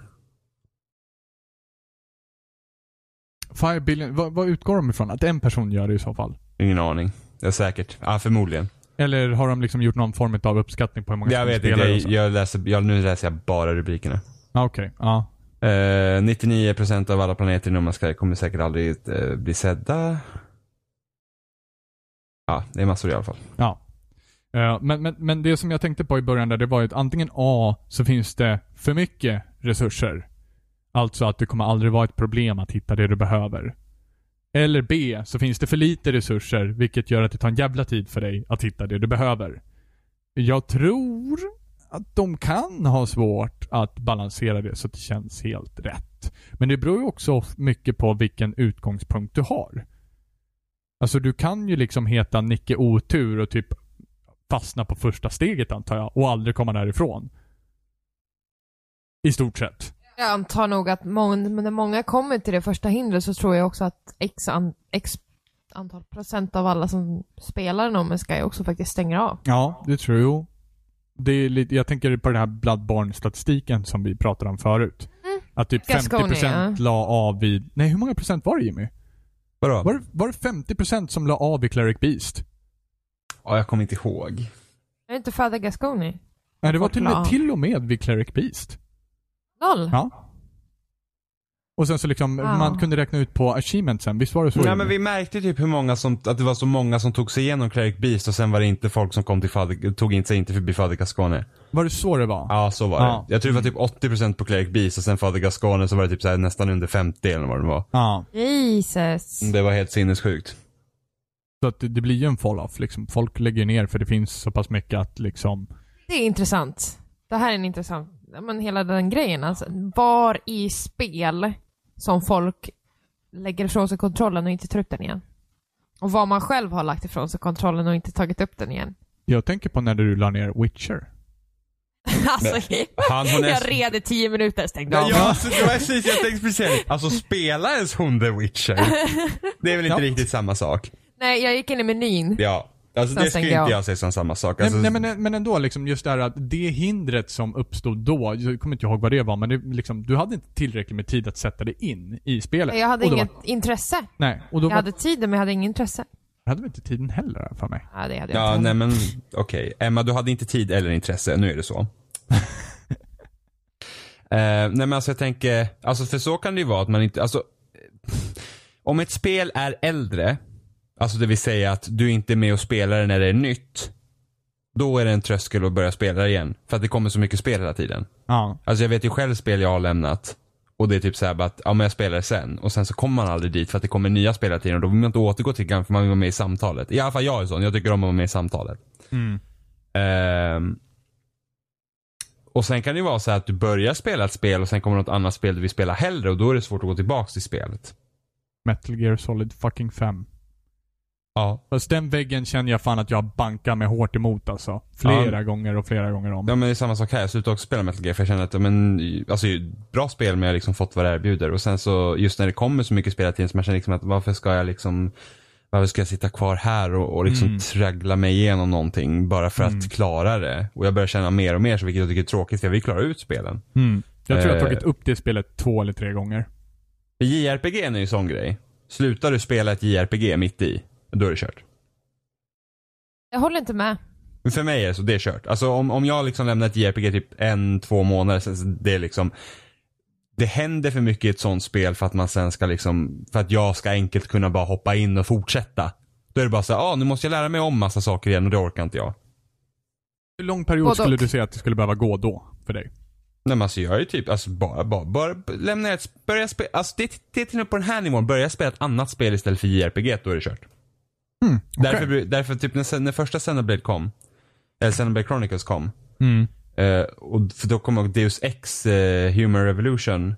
[SPEAKER 1] 5 billion, vad, vad utgår de ifrån? Att en person gör det i så fall?
[SPEAKER 2] Ingen aning. Det är säkert. Ja, förmodligen.
[SPEAKER 1] Eller har de liksom gjort någon form av uppskattning på hur många
[SPEAKER 2] Jag
[SPEAKER 1] som
[SPEAKER 2] vet inte.
[SPEAKER 1] spelar?
[SPEAKER 2] Jag,
[SPEAKER 1] och så?
[SPEAKER 2] jag läser, jag, nu läser jag bara rubrikerna.
[SPEAKER 1] Ja, Okej, ja.
[SPEAKER 2] Eh, 99% av alla planeter i No Man's Sky kommer säkert aldrig eh, bli sedda. Ja, det är massor i alla fall.
[SPEAKER 1] ja. Eh, Men, men, men det som jag tänkte på i början där, det var ju att antingen A, så finns det för mycket resurser. Alltså att det kommer aldrig vara ett problem att hitta det du behöver. Eller B, så finns det för lite resurser, vilket gör att det tar en jävla tid för dig att hitta det du behöver. Jag tror att de kan ha svårt att balansera det så att det känns helt rätt. Men det beror ju också mycket på vilken utgångspunkt du har. Alltså du kan ju liksom heta Nicke Otur och typ fastna på första steget antar jag och aldrig komma därifrån. I stort sett.
[SPEAKER 3] Jag antar nog att många, men när många kommer till det första hindret så tror jag också att x, an, x antal procent av alla som spelar No Man's Sky också faktiskt stänger av.
[SPEAKER 1] Ja, det tror jag. Det är lite, jag tänker på den här Bloodborne-statistiken som vi pratade om förut. Att typ
[SPEAKER 3] Gascony,
[SPEAKER 1] 50% la av vid... Nej, hur många procent var det Jimmy?
[SPEAKER 2] Vadå?
[SPEAKER 1] Var det, var det 50% som la av vid Cleric Beast?
[SPEAKER 2] Ja, jag kommer inte ihåg.
[SPEAKER 3] Är det inte Father Gasconi?
[SPEAKER 1] Nej, det var till och
[SPEAKER 3] la av.
[SPEAKER 1] med, till och med vid Cleric Beast.
[SPEAKER 3] Noll?
[SPEAKER 1] Ja. Och sen så liksom,
[SPEAKER 3] Wow.
[SPEAKER 1] man kunde räkna ut på achievementsen. Visst var det så?
[SPEAKER 2] Nej
[SPEAKER 1] Jimmy?
[SPEAKER 2] men vi märkte typ hur många som, att det var så många som tog sig igenom Cleric Beast och sen var det inte folk som kom till Fader, tog inte sig inte förbi Fader Gascone.
[SPEAKER 1] Var det så det var?
[SPEAKER 2] Ja, så var det.
[SPEAKER 1] Ja.
[SPEAKER 2] Jag tror det var typ 80% på Cleric Beast och sen Fader Gascone så var det typ så här nästan under 50 eller vad det var.
[SPEAKER 1] Ja.
[SPEAKER 3] Jesus.
[SPEAKER 2] Det var helt sinnessjukt.
[SPEAKER 1] Så att det, det blir ju en fall-off liksom. Folk lägger ju ner för det finns så pass mycket att liksom...
[SPEAKER 3] Det är intressant. Det här är en intressant, ja, men hela den grejen alltså. Var i spel som folk lägger ifrån sig kontrollen och inte tar upp den igen? Och vad man själv har lagt ifrån sig kontrollen och inte tagit upp den igen.
[SPEAKER 1] Jag tänker på när du la ner Witcher.
[SPEAKER 3] [laughs] Alltså,
[SPEAKER 2] Han hon
[SPEAKER 3] [laughs] jag red i tio minuter, stängde
[SPEAKER 2] Ja,
[SPEAKER 3] av.
[SPEAKER 2] ja alltså, det var precis, jag tänkte precis Alltså spela ens hon The
[SPEAKER 3] [laughs]
[SPEAKER 2] Witcher? Det är väl inte
[SPEAKER 1] Ja.
[SPEAKER 2] riktigt samma sak?
[SPEAKER 3] Nej, jag gick in i menyn.
[SPEAKER 2] Ja. Alltså
[SPEAKER 3] Sen
[SPEAKER 2] det skulle
[SPEAKER 3] stängde
[SPEAKER 2] inte
[SPEAKER 3] jag.
[SPEAKER 2] jag se som samma sak.
[SPEAKER 1] Nej, nej
[SPEAKER 2] Alltså,
[SPEAKER 1] men, men ändå liksom just det här att det hindret som uppstod då, jag kommer inte ihåg vad det var, men det, liksom, du hade inte tillräckligt med tid att sätta dig in i spelet.
[SPEAKER 3] Jag hade
[SPEAKER 1] Och då
[SPEAKER 3] inget
[SPEAKER 1] Var,
[SPEAKER 3] intresse.
[SPEAKER 1] nej, och då
[SPEAKER 3] Jag
[SPEAKER 1] var, hade...
[SPEAKER 3] hade tiden men jag hade inget intresse.
[SPEAKER 1] hade vi inte tiden heller här för mig.
[SPEAKER 3] Ja, det hade jag
[SPEAKER 2] Ja,
[SPEAKER 3] inte.
[SPEAKER 2] nej men okej. Emma, du hade inte tid eller intresse. Nu är det så.
[SPEAKER 3] [laughs]
[SPEAKER 2] eh, nej men alltså jag tänker, alltså för så kan det ju vara att man inte, alltså om ett spel är äldre, alltså det vill säga att du inte är med och spelar det när det är nytt, då är det en tröskel att börja spela det igen. För att det kommer så mycket spel hela tiden.
[SPEAKER 1] Ja.
[SPEAKER 2] Alltså jag vet ju själv spel jag har lämnat. Och det är typ såhär bara att, ja men jag spelar sen. Och sen så kommer man aldrig dit för att det kommer nya spelare till en och då vill man inte återgå till gamla för man vill vara med i samtalet. I alla fall jag är sån, jag tycker om att vara med i samtalet.
[SPEAKER 1] Mm.
[SPEAKER 2] Ehm. och sen kan det ju vara så här att du börjar spela ett spel och sen kommer något annat spel du vill spela hellre och då är det svårt att gå tillbaks till spelet.
[SPEAKER 1] Metal Gear Solid fucking 5.
[SPEAKER 2] Ja.
[SPEAKER 1] Fast den väggen känner jag fan att jag bankar mig hårt emot alltså. Flera gånger och flera gånger om.
[SPEAKER 2] Ja men det är samma sak här, jag slutade också spela Metal Gear för jag kände att, ja, men, alltså bra spel men jag har liksom fått vad det erbjuder och sen så just när det kommer så mycket spel hela tiden så man känner liksom att varför ska jag liksom varför ska jag sitta kvar här och, och liksom
[SPEAKER 1] Mm.
[SPEAKER 2] traggla mig igenom någonting bara för
[SPEAKER 1] Mm.
[SPEAKER 2] att klara det? Och jag börjar känna mer och mer, så vilket jag tycker är tråkigt för jag vill klara ut spelen.
[SPEAKER 1] Mm. Jag tror jag har
[SPEAKER 2] Eh.
[SPEAKER 1] tagit upp det spelet två eller tre gånger.
[SPEAKER 2] För JRPG är ju en sån grej. Slutar du spela ett JRPG mitt i, då är det kört.
[SPEAKER 3] Jag håller inte med.
[SPEAKER 2] Men För mig är det så, det är kört. Alltså om, om jag liksom lämnar ett JRPG typ en, två månader sen, så det är liksom det händer för mycket i ett sånt spel för att man sen ska liksom, för att jag ska enkelt kunna bara hoppa in och fortsätta. Då är det bara så här, ah, nu måste jag lära mig om massa saker igen och det orkar inte jag.
[SPEAKER 1] Hur lång period
[SPEAKER 3] Både
[SPEAKER 1] skulle
[SPEAKER 3] och.
[SPEAKER 1] du säga att det skulle behöva gå då, för dig?
[SPEAKER 2] Nej men alltså jag är ju typ, alltså bara, bara, bara lämna ett, börja spela, alltså det, det är till och med på den här nivån, börja spela ett annat spel istället för JRPG, då är det kört.
[SPEAKER 1] Mm,
[SPEAKER 2] Därför, blir- därför typ när, sen- när första Xenoblade kom, eller Xenoblade Chronicles kom,
[SPEAKER 1] Mm.
[SPEAKER 2] Eh, och för då kommer jag ihåg Deus Ex eh, Human Revolution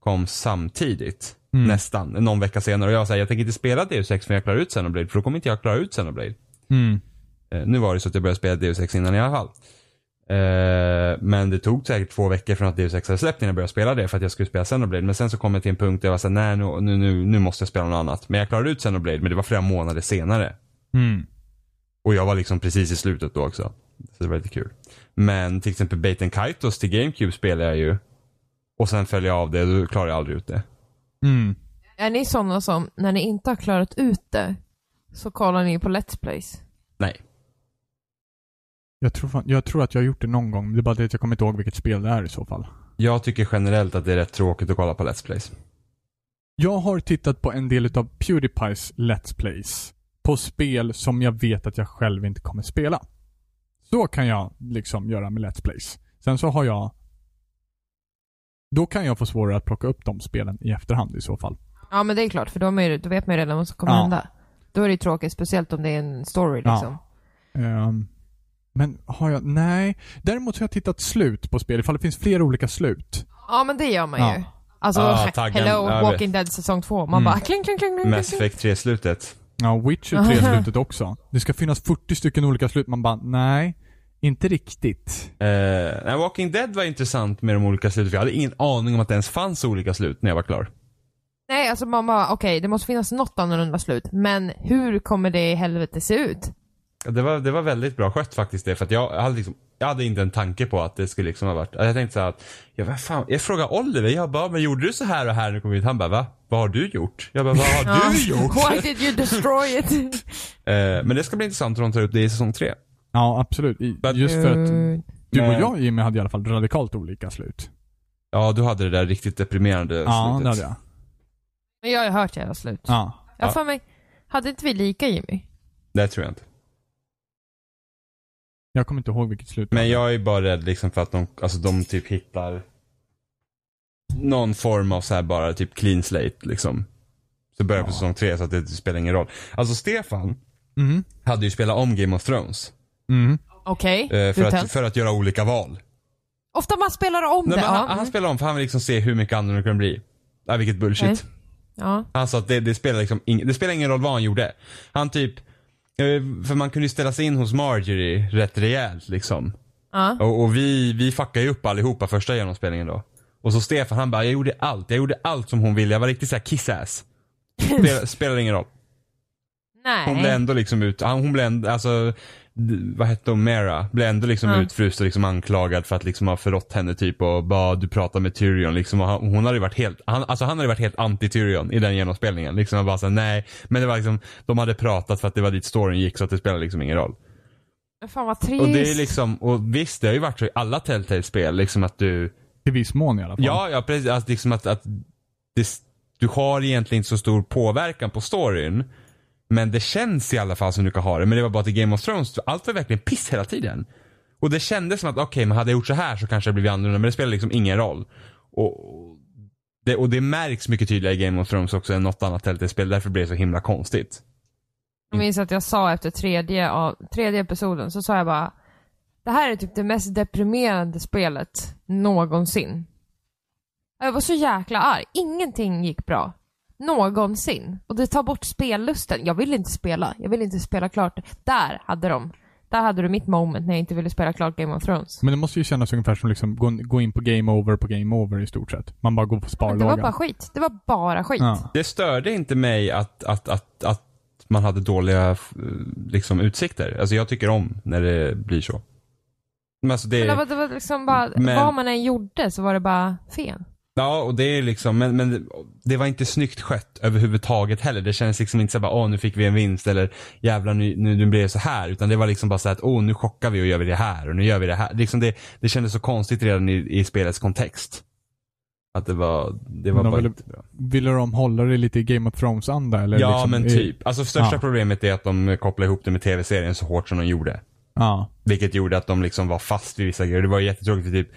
[SPEAKER 2] kom samtidigt.
[SPEAKER 1] Mm.
[SPEAKER 2] Nästan, någon vecka senare. Och jag sa jag tänker inte spela Deus Ex förrän jag klarar ut Xenoblade. För då kommer inte jag klara ut Xenoblade.
[SPEAKER 1] Mm.
[SPEAKER 2] Eh, nu var det så att jag började spela Deus Ex innan i alla fall. Eh, men det tog säkert två veckor från att Deus Ex hade släppt innan jag började spela det för att jag skulle spela Xenoblade. Men sen så kom jag till en punkt där jag var såhär, nej nu, nu, nu, nu måste jag spela något annat. Men jag klarade ut Xenoblade, men det var flera månader senare.
[SPEAKER 1] Mm.
[SPEAKER 2] Och jag var liksom precis i slutet då också. Så det var lite kul. Men till exempel Baiten Kaitos till GameCube spelade jag ju. Och sen följde jag av det, då klarade jag aldrig ut det.
[SPEAKER 1] Mm.
[SPEAKER 3] Är ni sådana som, när ni inte har klarat ut det, så kollar ni på Let's Plays?
[SPEAKER 2] Nej.
[SPEAKER 1] Jag, tror fan, jag tror att jag har gjort det någon gång. Det är bara det att jag kommer inte ihåg vilket spel det är i så fall.
[SPEAKER 2] Jag tycker generellt att det är rätt tråkigt att kolla på Let's Plays.
[SPEAKER 1] Jag har tittat på en del av Pewdiepies Let's Plays. På spel som jag vet att jag själv inte kommer spela. Så kan jag liksom göra med Let's Plays. Sen så har jag... Då kan jag få svårare att plocka upp de spelen i efterhand i så fall.
[SPEAKER 3] Ja men det är klart, för då, är man ju, då vet man ju redan vad som kommer
[SPEAKER 1] Ja.
[SPEAKER 3] hända. Då är det ju tråkigt, speciellt om det är en story
[SPEAKER 1] Ja.
[SPEAKER 3] liksom.
[SPEAKER 1] Ehm, men har jag... Nej. Däremot så har jag tittat slut på spel, ifall det finns flera olika slut.
[SPEAKER 3] Ja, men det gör man
[SPEAKER 1] Ja.
[SPEAKER 3] ju. Alltså,
[SPEAKER 2] Ah, taggen.
[SPEAKER 3] hello,
[SPEAKER 2] Ja, jag
[SPEAKER 3] Walking Dead säsong 2. Man
[SPEAKER 1] Mm.
[SPEAKER 3] bara kling, kling, kling, kling,
[SPEAKER 2] Mass
[SPEAKER 3] kling.
[SPEAKER 2] Effect 3-slutet.
[SPEAKER 1] Ja, Witcher 3-slutet också. Det ska finnas 40 stycken olika slut. Man bara, nej. Inte riktigt.
[SPEAKER 2] Eh, nej, Walking Dead var intressant med de olika sluten. för Jag hade ingen aning om att det ens fanns olika slut när jag var klar.
[SPEAKER 3] Nej, alltså man bara, okej, det måste finnas något annorlunda slut, men hur kommer det i helvete se ut?
[SPEAKER 2] Ja, Det var, det var väldigt bra skött faktiskt det, för att jag hade, liksom, jag hade inte en tanke på att det skulle liksom ha varit. Jag tänkte så här att, ja, vad fan, jag frågade Oliver, jag bara, men gjorde du så här och här när du kom hit? Han bara, va? Vad har du gjort? Jag bara, vad har du gjort?
[SPEAKER 1] [laughs]
[SPEAKER 3] [laughs] Why did you destroy it?
[SPEAKER 2] Eh, men det ska bli intressant om de tar upp det i säsong tre.
[SPEAKER 1] Ja, absolut. I-
[SPEAKER 2] Men-
[SPEAKER 1] Just för att
[SPEAKER 3] eh,
[SPEAKER 1] Du och
[SPEAKER 2] Men-
[SPEAKER 1] jag Jimmy hade i alla fall radikalt olika slut.
[SPEAKER 2] Ja, du hade det där riktigt deprimerande
[SPEAKER 1] Ja, det
[SPEAKER 2] slutet.
[SPEAKER 1] hade jag.
[SPEAKER 3] Men jag har ju hört era slut.
[SPEAKER 1] Ja.
[SPEAKER 3] Jag
[SPEAKER 2] Ja.
[SPEAKER 3] har för mig, hade inte vi lika Jimmy?
[SPEAKER 2] Det tror jag inte.
[SPEAKER 1] Jag kommer inte ihåg vilket slut det
[SPEAKER 2] Men
[SPEAKER 1] var.
[SPEAKER 2] jag är bara rädd liksom för att de, alltså de typ hittar någon form av så här bara typ clean slate liksom. Så börjar på
[SPEAKER 1] Ja.
[SPEAKER 2] säsong tre så att det spelar ingen roll. Alltså Stefan
[SPEAKER 1] Mm.
[SPEAKER 2] hade ju spelat om Game of Thrones.
[SPEAKER 1] Mm.
[SPEAKER 3] Okej,
[SPEAKER 2] Eh, för,
[SPEAKER 3] du
[SPEAKER 2] att,
[SPEAKER 3] tänd.
[SPEAKER 2] för att göra olika val.
[SPEAKER 3] Ofta man spelar om
[SPEAKER 2] Nej,
[SPEAKER 3] det,
[SPEAKER 2] men
[SPEAKER 3] ja.
[SPEAKER 2] han, han spelar om för han vill liksom se hur mycket annorlunda det kan bli. Nej, vilket bullshit.
[SPEAKER 3] Nej. ja.
[SPEAKER 2] Han sa att det, det, spelar liksom ing, det spelar ingen roll vad han gjorde. Han typ, eh, för man kunde ju ställa sig in hos Marjorie rätt rejält liksom.
[SPEAKER 3] ja.
[SPEAKER 2] Och, och vi, vi fuckade ju upp allihopa första genomspelningen då. Och så Stefan han bara, jag gjorde allt, jag gjorde allt som hon ville, jag var riktigt såhär kiss-ass.
[SPEAKER 3] [laughs]
[SPEAKER 2] Spelar, spelar ingen roll. Hon blev
[SPEAKER 3] Nej.
[SPEAKER 2] ändå liksom ut, han- hon blev ändå, alltså, d- vad hette hon, Mera? Blev ändå liksom
[SPEAKER 3] Ja.
[SPEAKER 2] utfryst och liksom anklagad för att liksom ha förrått henne typ och bara du pratar med Tyrion liksom. Och han, hon hade ju varit helt, han, alltså han hade varit helt anti-Tyrion i den genomspelningen. Liksom han bara såhär, nej. Men det var liksom, de hade pratat för att det var dit storyn gick så att det spelar liksom ingen roll.
[SPEAKER 3] Fan vad trist.
[SPEAKER 2] Och det är liksom, och visst det har ju varit så i alla Telltale-spel liksom att du,
[SPEAKER 1] Till viss mån i alla fall.
[SPEAKER 2] Ja, ja precis. Alltså, liksom att, att det, du har egentligen inte så stor påverkan på storyn. Men det känns i alla fall som du kan ha det. Men det var bara till Game of Thrones, allt var verkligen piss hela tiden. Och det kändes som att, okej, men hade jag gjort så här så kanske det blivit annorlunda. Men det spelar liksom ingen roll. Och och det, och det märks mycket tydligare i Game of Thrones också än något annat Telltale-spel. Därför blir det så himla konstigt.
[SPEAKER 3] Jag minns att jag sa efter tredje, av, tredje episoden, så sa jag bara Det här är typ det mest deprimerande spelet någonsin. Jag var så jäkla arg. Ingenting gick bra. Någonsin. Och det tar bort spellusten. Jag vill inte spela. Jag vill inte spela klart. Där hade de. Där hade du mitt moment när jag inte ville spela klart Game of Thrones.
[SPEAKER 1] Men det måste ju kännas ungefär som liksom gå, gå in på game over på game over i stort sett. Man bara går på
[SPEAKER 3] Men det var
[SPEAKER 1] sparlåga.
[SPEAKER 3] bara skit. Det var bara skit.
[SPEAKER 1] ja.
[SPEAKER 2] Det störde inte mig att, att, att, att man hade dåliga eh, liksom, utsikter. Alltså jag tycker om när det blir så. Men alltså det,
[SPEAKER 3] Men det, var, det var liksom bara,
[SPEAKER 2] Men-
[SPEAKER 3] vad man än gjorde så var det bara fel.
[SPEAKER 2] Ja, och det är liksom, men, men det, det var inte snyggt skött överhuvudtaget heller. Det kändes liksom inte så här bara, åh nu fick vi en vinst eller jävlar nu, nu, nu blev det så här. Utan det var liksom bara så här att, åh nu chockar vi och gör vi det här och nu gör vi det här. Liksom det, det kändes så konstigt redan i, i spelets kontext. Att det var, det var
[SPEAKER 1] Men de
[SPEAKER 2] bara
[SPEAKER 1] ville-
[SPEAKER 2] inte bra.
[SPEAKER 1] Ville de hålla det lite i Game of Thrones-anda eller?
[SPEAKER 2] Ja,
[SPEAKER 1] liksom,
[SPEAKER 2] men
[SPEAKER 1] i-
[SPEAKER 2] typ. Alltså största
[SPEAKER 1] Ja.
[SPEAKER 2] problemet är att de kopplade ihop det med tv-serien så hårt som de gjorde.
[SPEAKER 1] Ja.
[SPEAKER 2] Vilket gjorde att de liksom var fast vid vissa grejer. Det var ju jättetråkigt, för typ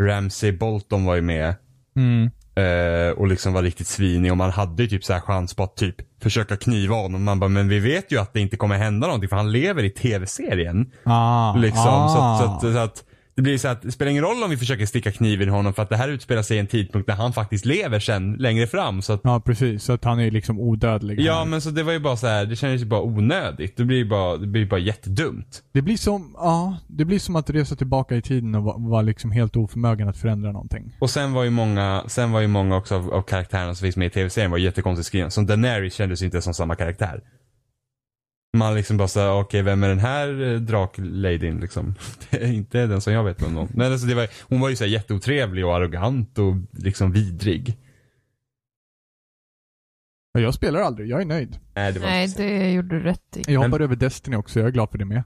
[SPEAKER 2] Ramsey Bolton var ju med.
[SPEAKER 1] Mm.
[SPEAKER 2] Eh, och liksom var riktigt svinig och man hade ju typ så här chans på att typ försöka kniva honom. Man bara, men vi vet ju att det inte kommer hända någonting för han lever i tv-serien.
[SPEAKER 1] Ah.
[SPEAKER 2] Liksom.
[SPEAKER 1] ah.
[SPEAKER 2] Så, att, så, att, så att Det blir så att det spelar ingen roll om vi försöker sticka kniven i honom för att det här utspelar sig i en tidpunkt när han faktiskt lever sen längre fram. Så att,
[SPEAKER 1] Ja, precis. Så att han är liksom odödlig.
[SPEAKER 2] ja men så det var ju bara så här, det kändes ju bara onödigt. Det blir ju bara, det blir bara jättedumt.
[SPEAKER 1] Det blir som, ja, det blir som att resa tillbaka i tiden och vara var liksom helt oförmögen att förändra någonting.
[SPEAKER 2] Och sen var ju många, sen var ju många också av, av karaktärerna som finns med i tv-serien var jättekonstigt skrivna. Som Daenerys kändes ju inte som samma karaktär. Man liksom bara såhär, okej vem är den här eh, drakladyn liksom? [laughs] Det är inte den som jag vet om någon. Men alltså det var, hon var ju såhär jätteotrevlig och arrogant och liksom vidrig.
[SPEAKER 1] Men jag spelar aldrig, jag är nöjd.
[SPEAKER 2] Nej det var
[SPEAKER 3] Nej,
[SPEAKER 2] inte så.
[SPEAKER 3] det gjorde du rätt i.
[SPEAKER 1] Jag hoppar över Destiny också, jag är glad för det med.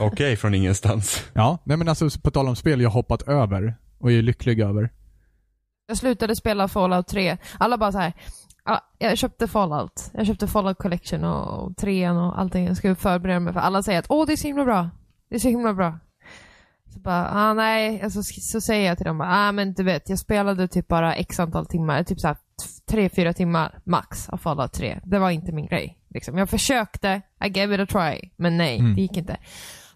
[SPEAKER 2] Okej, från ingenstans.
[SPEAKER 1] Ja, nej men alltså på tal om spel jag hoppat över och är lycklig över.
[SPEAKER 3] Jag slutade spela Fallout 3. Alla bara så här. "Ja, Jag köpte Fallout. Jag köpte Fallout Collection och och trean och allting. Jag skulle förbereda mig för alla säger att åh det är så himla bra. Det är så himla bra. Så bara, ah, nej. Alltså, sk- så säger jag till dem, ah, men du vet jag spelade typ bara x antal timmar. Typ så här t- tre, fyra timmar max av Fallout 3. Det var inte min grej. Liksom. Jag försökte, I gave it a try. Men nej,
[SPEAKER 1] Mm.
[SPEAKER 3] det gick inte.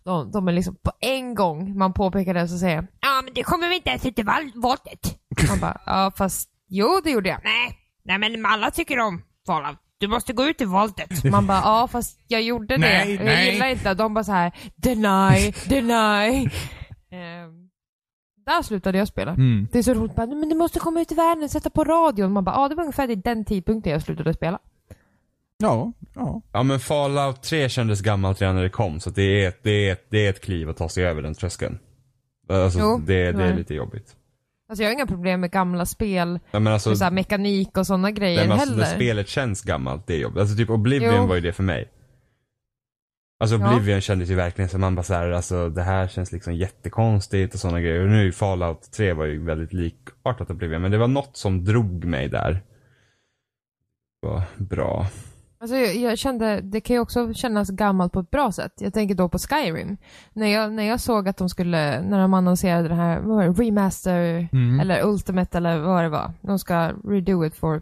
[SPEAKER 3] De, de är liksom på en gång man påpekar det så säger jag, [laughs] ja men det kommer vi inte ens ut i val- valet. Man bara, ja fast jo det gjorde jag. Nej, nej men alla tycker om Fallout. Du måste gå ut i voltet. [laughs] Man bara, ja fast jag gjorde det.
[SPEAKER 1] Nej,
[SPEAKER 3] jag
[SPEAKER 1] nej.
[SPEAKER 3] gillar inte. De bara så här, deny,
[SPEAKER 1] [laughs]
[SPEAKER 3] deny. Ehm, där slutade jag spela.
[SPEAKER 1] Mm.
[SPEAKER 3] Det är så roligt, bara, men du måste komma ut i världen, sätta på radion. Man bara, ja det var ungefär vid den tidpunkten jag slutade spela.
[SPEAKER 1] Ja, ja.
[SPEAKER 2] Ja men Fallout 3 kändes gammalt redan när det kom så att det är ett, det är ett, det är ett kliv att ta sig över den tröskeln. Alltså
[SPEAKER 3] Jo,
[SPEAKER 2] det, det är
[SPEAKER 3] nej.
[SPEAKER 2] lite jobbigt.
[SPEAKER 3] Alltså jag har inga problem med gamla spel,
[SPEAKER 2] Ja, men alltså,
[SPEAKER 3] med så här mekanik och sådana grejer
[SPEAKER 2] Nej, men alltså,
[SPEAKER 3] heller.
[SPEAKER 2] när spelet känns gammalt, det är jobbigt. Alltså typ Oblivion
[SPEAKER 3] Jo.
[SPEAKER 2] var ju det för mig. Alltså
[SPEAKER 3] Ja.
[SPEAKER 2] Oblivion kändes ju verkligen som man bara såhär, alltså det här känns liksom jättekonstigt och sådana grejer. Och nu Fallout 3 var ju väldigt likartat Oblivion, men det var något som drog mig där. Det var bra.
[SPEAKER 3] Alltså, jag, jag kände, det kan ju också kännas gammalt på ett bra sätt. Jag tänker då på Skyrim. När jag, när jag såg att de skulle, när de annonserade den här vad var det, remaster
[SPEAKER 1] Mm.
[SPEAKER 3] eller ultimate eller vad det var. De ska redo it for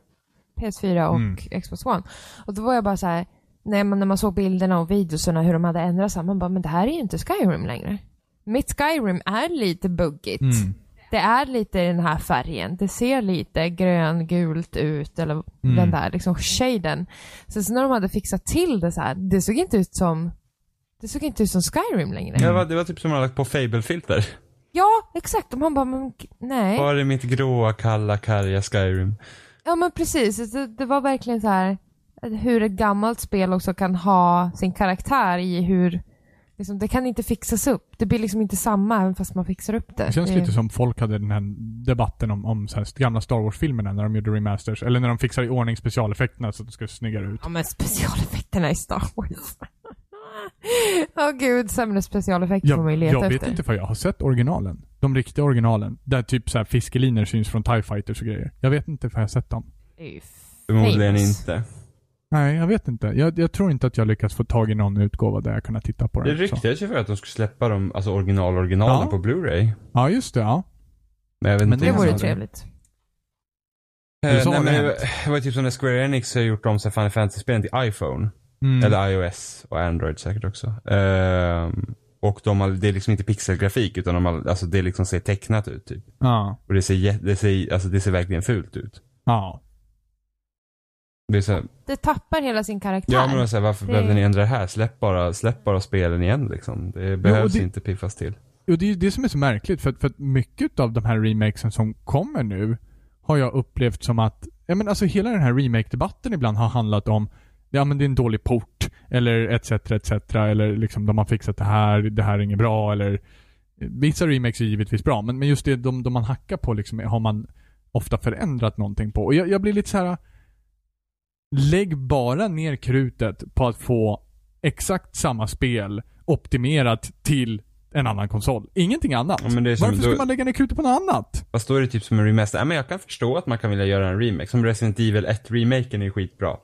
[SPEAKER 3] PS4 och
[SPEAKER 1] Mm.
[SPEAKER 3] Xbox One. Och då var jag bara så här, när man, när man såg bilderna och videorna hur de hade ändrat sig, man bara, men det här är ju inte Skyrim längre. Mitt Skyrim är lite buggigt.
[SPEAKER 1] Mm.
[SPEAKER 3] Det är lite i den här färgen. Det ser lite gröngult ut eller
[SPEAKER 1] Mm.
[SPEAKER 3] den där liksom shaden. Sen så när de hade fixat till det så här, det såg inte ut som det såg inte ut som Skyrim längre.
[SPEAKER 2] Det, var, det var typ som att man hade lagt på Fable-filter.
[SPEAKER 3] Ja, exakt. Och man bara, men, g- nej.
[SPEAKER 2] Var är mitt gråa, kalla, karga Skyrim?
[SPEAKER 3] Ja men precis. Det, det var verkligen så här hur ett gammalt spel också kan ha sin karaktär i hur liksom, det kan inte fixas upp. Det blir liksom inte samma även fast man fixar upp det.
[SPEAKER 1] Det känns
[SPEAKER 3] det,
[SPEAKER 1] lite som folk hade den här debatten om, om så här, gamla Star Wars-filmerna när de gjorde remasters. Eller när de fixar i ordning specialeffekterna så att de ska se snyggare ut.
[SPEAKER 3] Ja men specialeffekterna i Star Wars. Åh gud, sämre specialeffekter får man ju
[SPEAKER 1] Jag,
[SPEAKER 3] leta
[SPEAKER 1] jag vet
[SPEAKER 3] efter.
[SPEAKER 1] inte för jag har sett originalen. De riktiga originalen. Där typ så här fiskeliner syns från TIE Fighters och grejer. Jag vet inte för jag har sett dem.
[SPEAKER 3] Det är ju
[SPEAKER 2] Förmodligen
[SPEAKER 3] famous.
[SPEAKER 2] inte.
[SPEAKER 1] Nej, jag vet inte. Jag, jag tror inte att jag lyckats få tag i någon utgåva där jag kunnat titta på den.
[SPEAKER 2] Det
[SPEAKER 1] så.
[SPEAKER 2] ryktades ju för att de skulle släppa de, alltså original
[SPEAKER 1] Ja.
[SPEAKER 2] originalen på Blu-ray.
[SPEAKER 1] Ja, just det. Ja.
[SPEAKER 2] Men jag vet
[SPEAKER 1] Men
[SPEAKER 2] inte
[SPEAKER 1] det
[SPEAKER 3] Det
[SPEAKER 2] om
[SPEAKER 1] vore
[SPEAKER 3] vore
[SPEAKER 2] de-
[SPEAKER 3] trevligt.
[SPEAKER 1] Eller
[SPEAKER 2] Eh,
[SPEAKER 1] så
[SPEAKER 2] nej,
[SPEAKER 1] har det
[SPEAKER 2] men det,
[SPEAKER 1] hänt.
[SPEAKER 2] var- det var typ som när Square Enix har gjort om så här Final Fantasy-spelen till iPhone.
[SPEAKER 1] Mm.
[SPEAKER 2] Eller iOS och Android säkert också. Ehm, och de har, det är liksom inte pixelgrafik utan de har, alltså det liksom ser tecknat ut typ.
[SPEAKER 1] Ja.
[SPEAKER 2] Och det ser, jä- det ser, alltså det ser verkligen fult ut.
[SPEAKER 1] Ja.
[SPEAKER 2] Det är så här,
[SPEAKER 3] Det tappar hela sin karaktär.
[SPEAKER 2] ja men alltså, jag säger, varför
[SPEAKER 3] Det-
[SPEAKER 2] behövde ni ändra det här? Släpp bara, släpp bara spelen igen liksom. Det behövs
[SPEAKER 1] det-
[SPEAKER 2] inte piffas till.
[SPEAKER 1] Och det är ju det som är så märkligt för att, för att mycket av de här remakesen som kommer nu har jag upplevt som att, ja men alltså hela den här remake-debatten ibland har handlat om Ja men det är en dålig port, eller etc, etc, eller liksom de har fixat det här, det här är inget bra, eller Vissa remakes är givetvis bra, men, men just det de, de man hackar på liksom, har man ofta förändrat någonting på. Och jag, jag blir lite så här. Lägg bara ner krutet på att få exakt samma spel optimerat till en annan konsol. Ingenting annat.
[SPEAKER 2] Ja, men det är som-
[SPEAKER 1] Varför ska
[SPEAKER 2] då-
[SPEAKER 1] man lägga ner krutet på något annat?
[SPEAKER 2] Fast då är det typ som en remaster. Nej men jag kan förstå att man kan vilja göra en remake. Som Resident Evil 1-remaken är ju skitbra.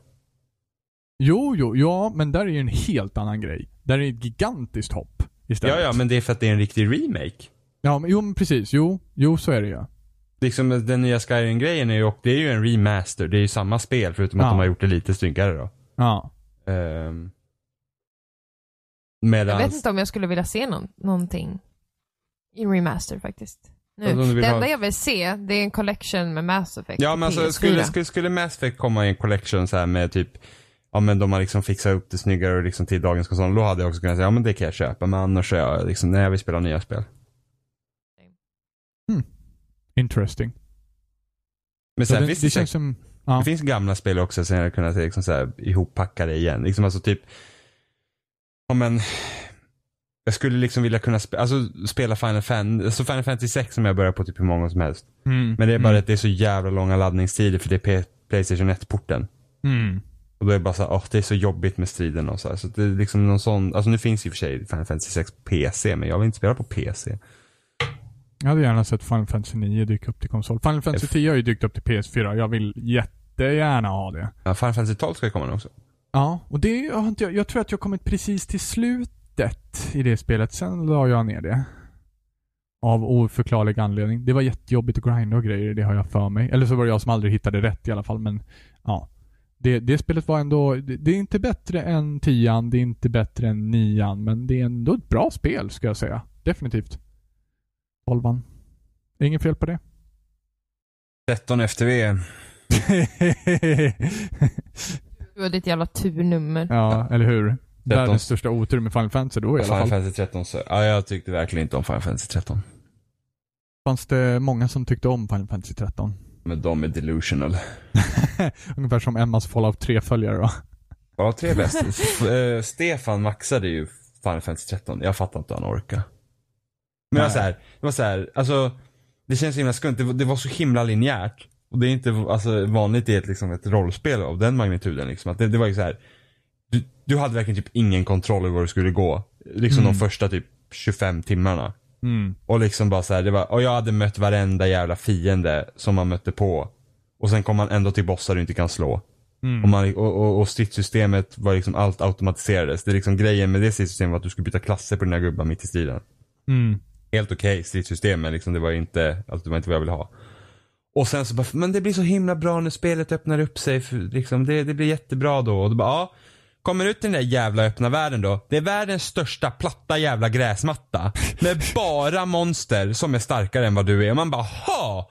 [SPEAKER 1] Jo, jo, ja, men där är ju en helt annan grej. Där är ett gigantiskt hopp istället.
[SPEAKER 2] Ja ja men det är för att det är en riktig remake.
[SPEAKER 1] ja men, jo, men precis. Jo, jo, så är det ju.
[SPEAKER 2] Liksom den nya Skyrim-grejen är ju, och det är ju en remaster. Det är ju samma spel förutom
[SPEAKER 1] Ja.
[SPEAKER 2] att de har gjort det lite snyggare då.
[SPEAKER 1] Ja.
[SPEAKER 2] Um,
[SPEAKER 3] Jag
[SPEAKER 2] Medan,
[SPEAKER 3] vet inte om jag skulle vilja se någon, någonting i remaster faktiskt. Nu.
[SPEAKER 2] Alltså, om du vill
[SPEAKER 3] det
[SPEAKER 2] ha-
[SPEAKER 3] enda jag vill se, det är en collection med Mass Effect
[SPEAKER 2] Ja
[SPEAKER 3] till
[SPEAKER 2] men alltså
[SPEAKER 3] PS4.
[SPEAKER 2] skulle, skulle, skulle Mass Effect komma i en collection så här med typ Ja men de har liksom fixat upp det snyggare liksom till dagens konsol. Då hade jag också kunnat säga ja men det kan jag köpa. Men annars så är jag liksom, nej jag vill spela nya spel.
[SPEAKER 1] Interesting.
[SPEAKER 2] Men
[SPEAKER 1] Så
[SPEAKER 2] sen
[SPEAKER 1] det,
[SPEAKER 2] finns
[SPEAKER 1] det
[SPEAKER 2] det,
[SPEAKER 1] känns
[SPEAKER 2] säkert-
[SPEAKER 1] som...
[SPEAKER 2] det
[SPEAKER 1] Ja.
[SPEAKER 2] finns gamla spel också som jag hade kunnat liksom så här, ihoppacka det igen. Liksom alltså typ Ja men Jag skulle liksom vilja kunna spela, alltså spela Final Fantasy, alltså Final Fantasy 6 som jag börjar på typ hur många som helst.
[SPEAKER 1] Mm,
[SPEAKER 2] Men det är bara
[SPEAKER 1] mm,
[SPEAKER 2] att det är så jävla långa laddningstider för det är P- Playstation 1-porten.
[SPEAKER 1] Mm.
[SPEAKER 2] Och då är det bara så här, åh det är så jobbigt med striden och så här. Så det är liksom någon sån, alltså nu finns ju i och för sig Final Fantasy 6 PC, men jag vill inte spela på PC.
[SPEAKER 1] Jag hade gärna sett Final Fantasy 9 dyka upp till konsol. Final Fantasy 10 har ju dykt upp till PS4. Jag vill jättegärna ha det.
[SPEAKER 2] Ja, Final Fantasy 12 ska ju komma nu också.
[SPEAKER 1] Ja, och det har inte jag... Jag tror att jag kommit precis till slutet i det spelet. Sen la jag ner det. Av oförklarlig anledning. Det var jättejobbigt att grinda och grejer, det har jag för mig. Eller så var det jag som aldrig hittade rätt i alla fall, men ja. Det, det spelet var ändå... Det, det är inte bättre än 10 det är inte bättre än 9 men det är ändå ett bra spel, ska jag säga. Definitivt. 12 Inget fel på
[SPEAKER 2] [laughs]
[SPEAKER 1] det.
[SPEAKER 2] 13 FTV.
[SPEAKER 3] Du har ditt jävla turnummer.
[SPEAKER 1] ja, eller hur?
[SPEAKER 2] Tretton.
[SPEAKER 1] Världens största otur med Final Fantasy då i alla
[SPEAKER 2] Final
[SPEAKER 1] fall.
[SPEAKER 2] Fantasy 13 så, ja jag tyckte verkligen inte om Final Fantasy 13.
[SPEAKER 1] fanns det många som tyckte om Final Fantasy 13.
[SPEAKER 2] Men de är delusional.
[SPEAKER 1] Ungefär som Emmas Fallout 3-följare då.
[SPEAKER 2] Ja, tre bäst. F- eh, Stefan maxade ju Final Fantasy 13. Jag fattar inte hur han orkar. Men det var
[SPEAKER 1] Nej.
[SPEAKER 2] så här, det var så här, alltså. Det känns så himla skumt. Det var, det var så himla linjärt. Och det är inte alltså, vanligt i ett, liksom, ett rollspel av den magnituden. Liksom. Att det, det var ju så här. Du, du hade verkligen typ ingen kontroll över var du skulle gå. Liksom de första typ 25 timmarna.
[SPEAKER 1] Mm.
[SPEAKER 2] Och liksom bara så här, det var, och jag hade mött varenda jävla fiende som man mötte på. Och sen kom man ändå till bossar du inte kan slå. Och, man, och, och, och stridssystemet var liksom, allt automatiserades. Det är liksom grejen med det stridssystemet var att du skulle byta klasser på dina gubbar mitt i striden.
[SPEAKER 1] Mm.
[SPEAKER 2] Helt okej stridssystem men liksom, det var inte, alltså, det var inte vad jag ville ha. Och sen så bara, men det blir så himla bra när spelet öppnar upp sig. För, liksom, det, det blir jättebra då. Och då bara, ja. Kommer ut i den där jävla öppna världen då. Det är världens största platta jävla gräsmatta. [laughs] Med bara monster som är starkare än vad du är. Och man bara, ha!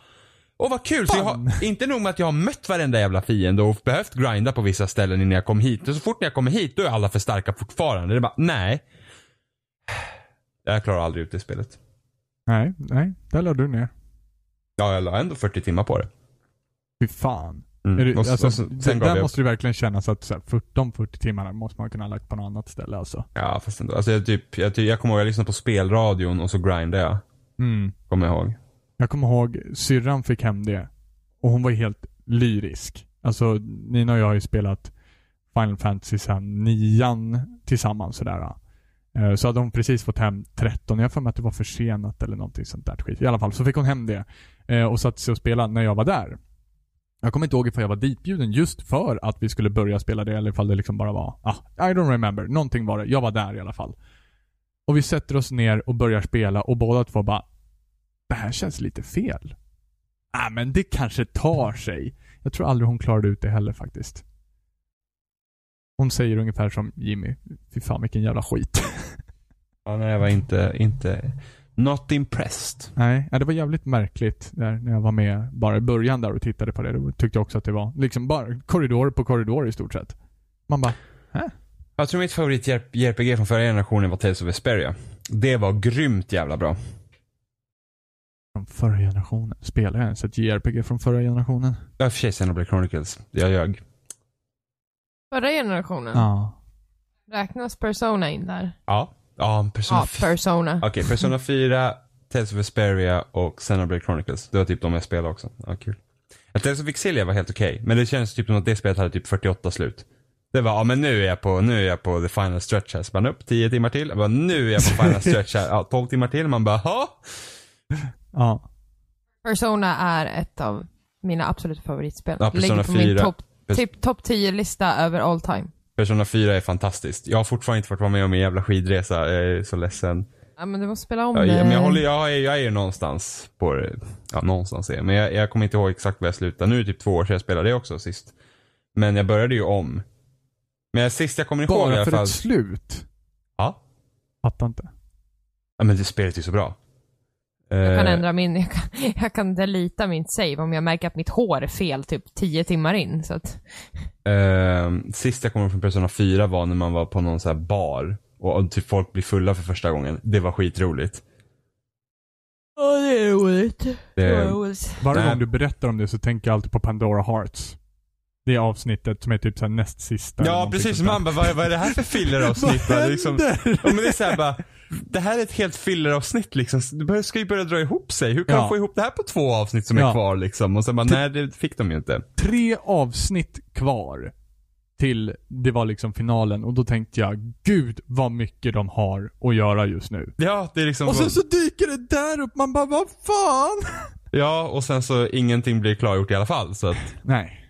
[SPEAKER 2] Och vad kul! Så jag har, inte nog med att jag har mött varenda jävla fiende och behövt grinda på vissa ställen innan jag kom hit. Och så fort när jag kommer hit då är alla för starka fortfarande. Det är bara, nej. [sighs] Jag klarar aldrig ut det spelet.
[SPEAKER 1] Nej, nej. Där la du ner.
[SPEAKER 2] Ja, jag la ändå 40 timmar på det.
[SPEAKER 1] Fy fan.
[SPEAKER 2] Mm.
[SPEAKER 1] Är det,
[SPEAKER 2] Och så-
[SPEAKER 1] alltså,
[SPEAKER 2] och så- sen
[SPEAKER 1] det,
[SPEAKER 2] gav
[SPEAKER 1] där
[SPEAKER 2] jag
[SPEAKER 1] måste det verkligen kännas att så här, 40, de 40 timmarna måste man kunna ha lagt på något annat ställe alltså.
[SPEAKER 2] Ja, fast ändå. Alltså, jag, typ, jag, typ, jag kommer ihåg, jag lyssnade på spelradion och så grindade jag.
[SPEAKER 1] Mm.
[SPEAKER 2] Kommer jag ihåg.
[SPEAKER 1] Jag kommer ihåg syrran fick hem det och hon var helt lyrisk. Alltså Nina och jag har ju spelat Final Fantasy sen nian tillsammans sådär. Eh, Så hade hon precis fått hem 13. Jag har för mig att det var försenat eller någonting sånt där skit. I alla fall så fick hon hem det eh, och satte sig och spelade när jag var där. Jag kommer inte ihåg ifall jag var ditbjuden just för att vi skulle börja spela det eller ifall det liksom bara var, ah, I don't remember. Någonting var det. Jag var där i alla fall. Och vi sätter oss ner och börjar spela och båda två bara det här känns lite fel. Ah, men det kanske tar sig. Jag tror aldrig hon klarade ut det heller faktiskt. Hon säger ungefär som Jimmy. Fy fan vilken jävla skit. [laughs]
[SPEAKER 2] Ja, nej, jag var inte, inte, not impressed.
[SPEAKER 1] Nej, ja, det var jävligt märkligt där när jag var med bara i början där och tittade på det. Då tyckte jag också att det var liksom bara korridor på korridor i stort sett. Man bara,
[SPEAKER 2] Jag tror mitt favorit JRPG från förra generationen var Tales of Vesperia. Det var grymt jävla bra.
[SPEAKER 1] från förra generationen. Spelar jag ens ett JRPG från förra generationen?
[SPEAKER 2] Ja, i och för sig Xenoblade Chronicles. Jag ljög.
[SPEAKER 3] Förra generationen.
[SPEAKER 1] Ja.
[SPEAKER 3] Räknas Persona in där?
[SPEAKER 2] Ja. Ja, Persona
[SPEAKER 3] Ja,
[SPEAKER 2] 4.
[SPEAKER 3] Persona.
[SPEAKER 2] Okej, Persona 4, Tales of Vesperia och Xenoblade Chronicles. Det var typ de jag spelade också. Ja, kul. Att Tales of Exilia var helt okej, men det känns typ som att det spelet hade typ 48 slut. Det var, ja men nu är jag på, nu är jag på the final stretch här. Så man upp 10 timmar till. Jag bara, nu är jag på final stretch här. Ja, 12 timmar till. Man bara, ha?
[SPEAKER 1] Ja.
[SPEAKER 3] Persona är ett av mina absoluta favoritspel.
[SPEAKER 2] Ja,
[SPEAKER 3] Det Ligger
[SPEAKER 2] Persona
[SPEAKER 3] på
[SPEAKER 2] 4.
[SPEAKER 3] min topp
[SPEAKER 2] Pers-
[SPEAKER 3] typ top 10-lista över all time.
[SPEAKER 2] Persona 4 är fantastiskt. Jag har fortfarande inte fått vara med om min jävla skidresa. Jag är så ledsen.
[SPEAKER 3] Ja, men du måste spela om
[SPEAKER 2] Ja,
[SPEAKER 3] det.
[SPEAKER 2] ja, men jag, håller, jag, är, jag är ju någonstans på det. Ja, någonstans är jag. Men jag, jag kommer inte ihåg exakt var jag slutade. Nu är det typ två år sedan jag spelade det också sist. Men jag började ju om. Men sist jag kommer ihåg i
[SPEAKER 1] Bara
[SPEAKER 2] alla
[SPEAKER 1] för
[SPEAKER 2] fall.
[SPEAKER 1] ett slut?
[SPEAKER 2] Ja.
[SPEAKER 1] Fattar inte.
[SPEAKER 2] ja, men det spelet är ju så bra.
[SPEAKER 3] Jag kan
[SPEAKER 2] Eh,
[SPEAKER 3] ändra min, jag kan, jag kan delita mitt save om jag märker att mitt hår är fel typ 10 timmar in. Så att,
[SPEAKER 2] Ehm, sist jag kommer från Persona 4 var när man var på någon så här bar och, och typ folk blir fulla för första gången. Det var skitroligt.
[SPEAKER 3] Ja, det är roligt.
[SPEAKER 2] Det,
[SPEAKER 1] Varje
[SPEAKER 2] Nej.
[SPEAKER 1] gång du berättar om det så tänker jag alltid på Pandora Hearts. Det är avsnittet som är typ såhär näst sista. eller
[SPEAKER 2] ja
[SPEAKER 1] någonting
[SPEAKER 2] precis,
[SPEAKER 1] sånt där.
[SPEAKER 2] man bara vad, vad är det här för
[SPEAKER 3] [laughs]
[SPEAKER 1] [laughs]
[SPEAKER 2] filleravsnitt?
[SPEAKER 1] Vad
[SPEAKER 2] Det är liksom,
[SPEAKER 1] händer?
[SPEAKER 2] ja, men det är så här bara, det här är ett helt filleravsnitt liksom. Du bör- ska ju börja dra ihop sig. Hur kan
[SPEAKER 1] Ja.
[SPEAKER 2] man få ihop det här på två avsnitt som är
[SPEAKER 1] Ja.
[SPEAKER 2] kvar liksom? Och sen bara, nej det fick de ju inte.
[SPEAKER 1] Tre avsnitt kvar till det var liksom finalen och då tänkte jag gud vad mycket de har att göra just nu.
[SPEAKER 2] Ja, det är liksom
[SPEAKER 1] Och sen så dyker det där upp, man bara vad fan?
[SPEAKER 2] Ja, och sen så ingenting blir klargjort i alla fall. Så att,
[SPEAKER 1] Nej.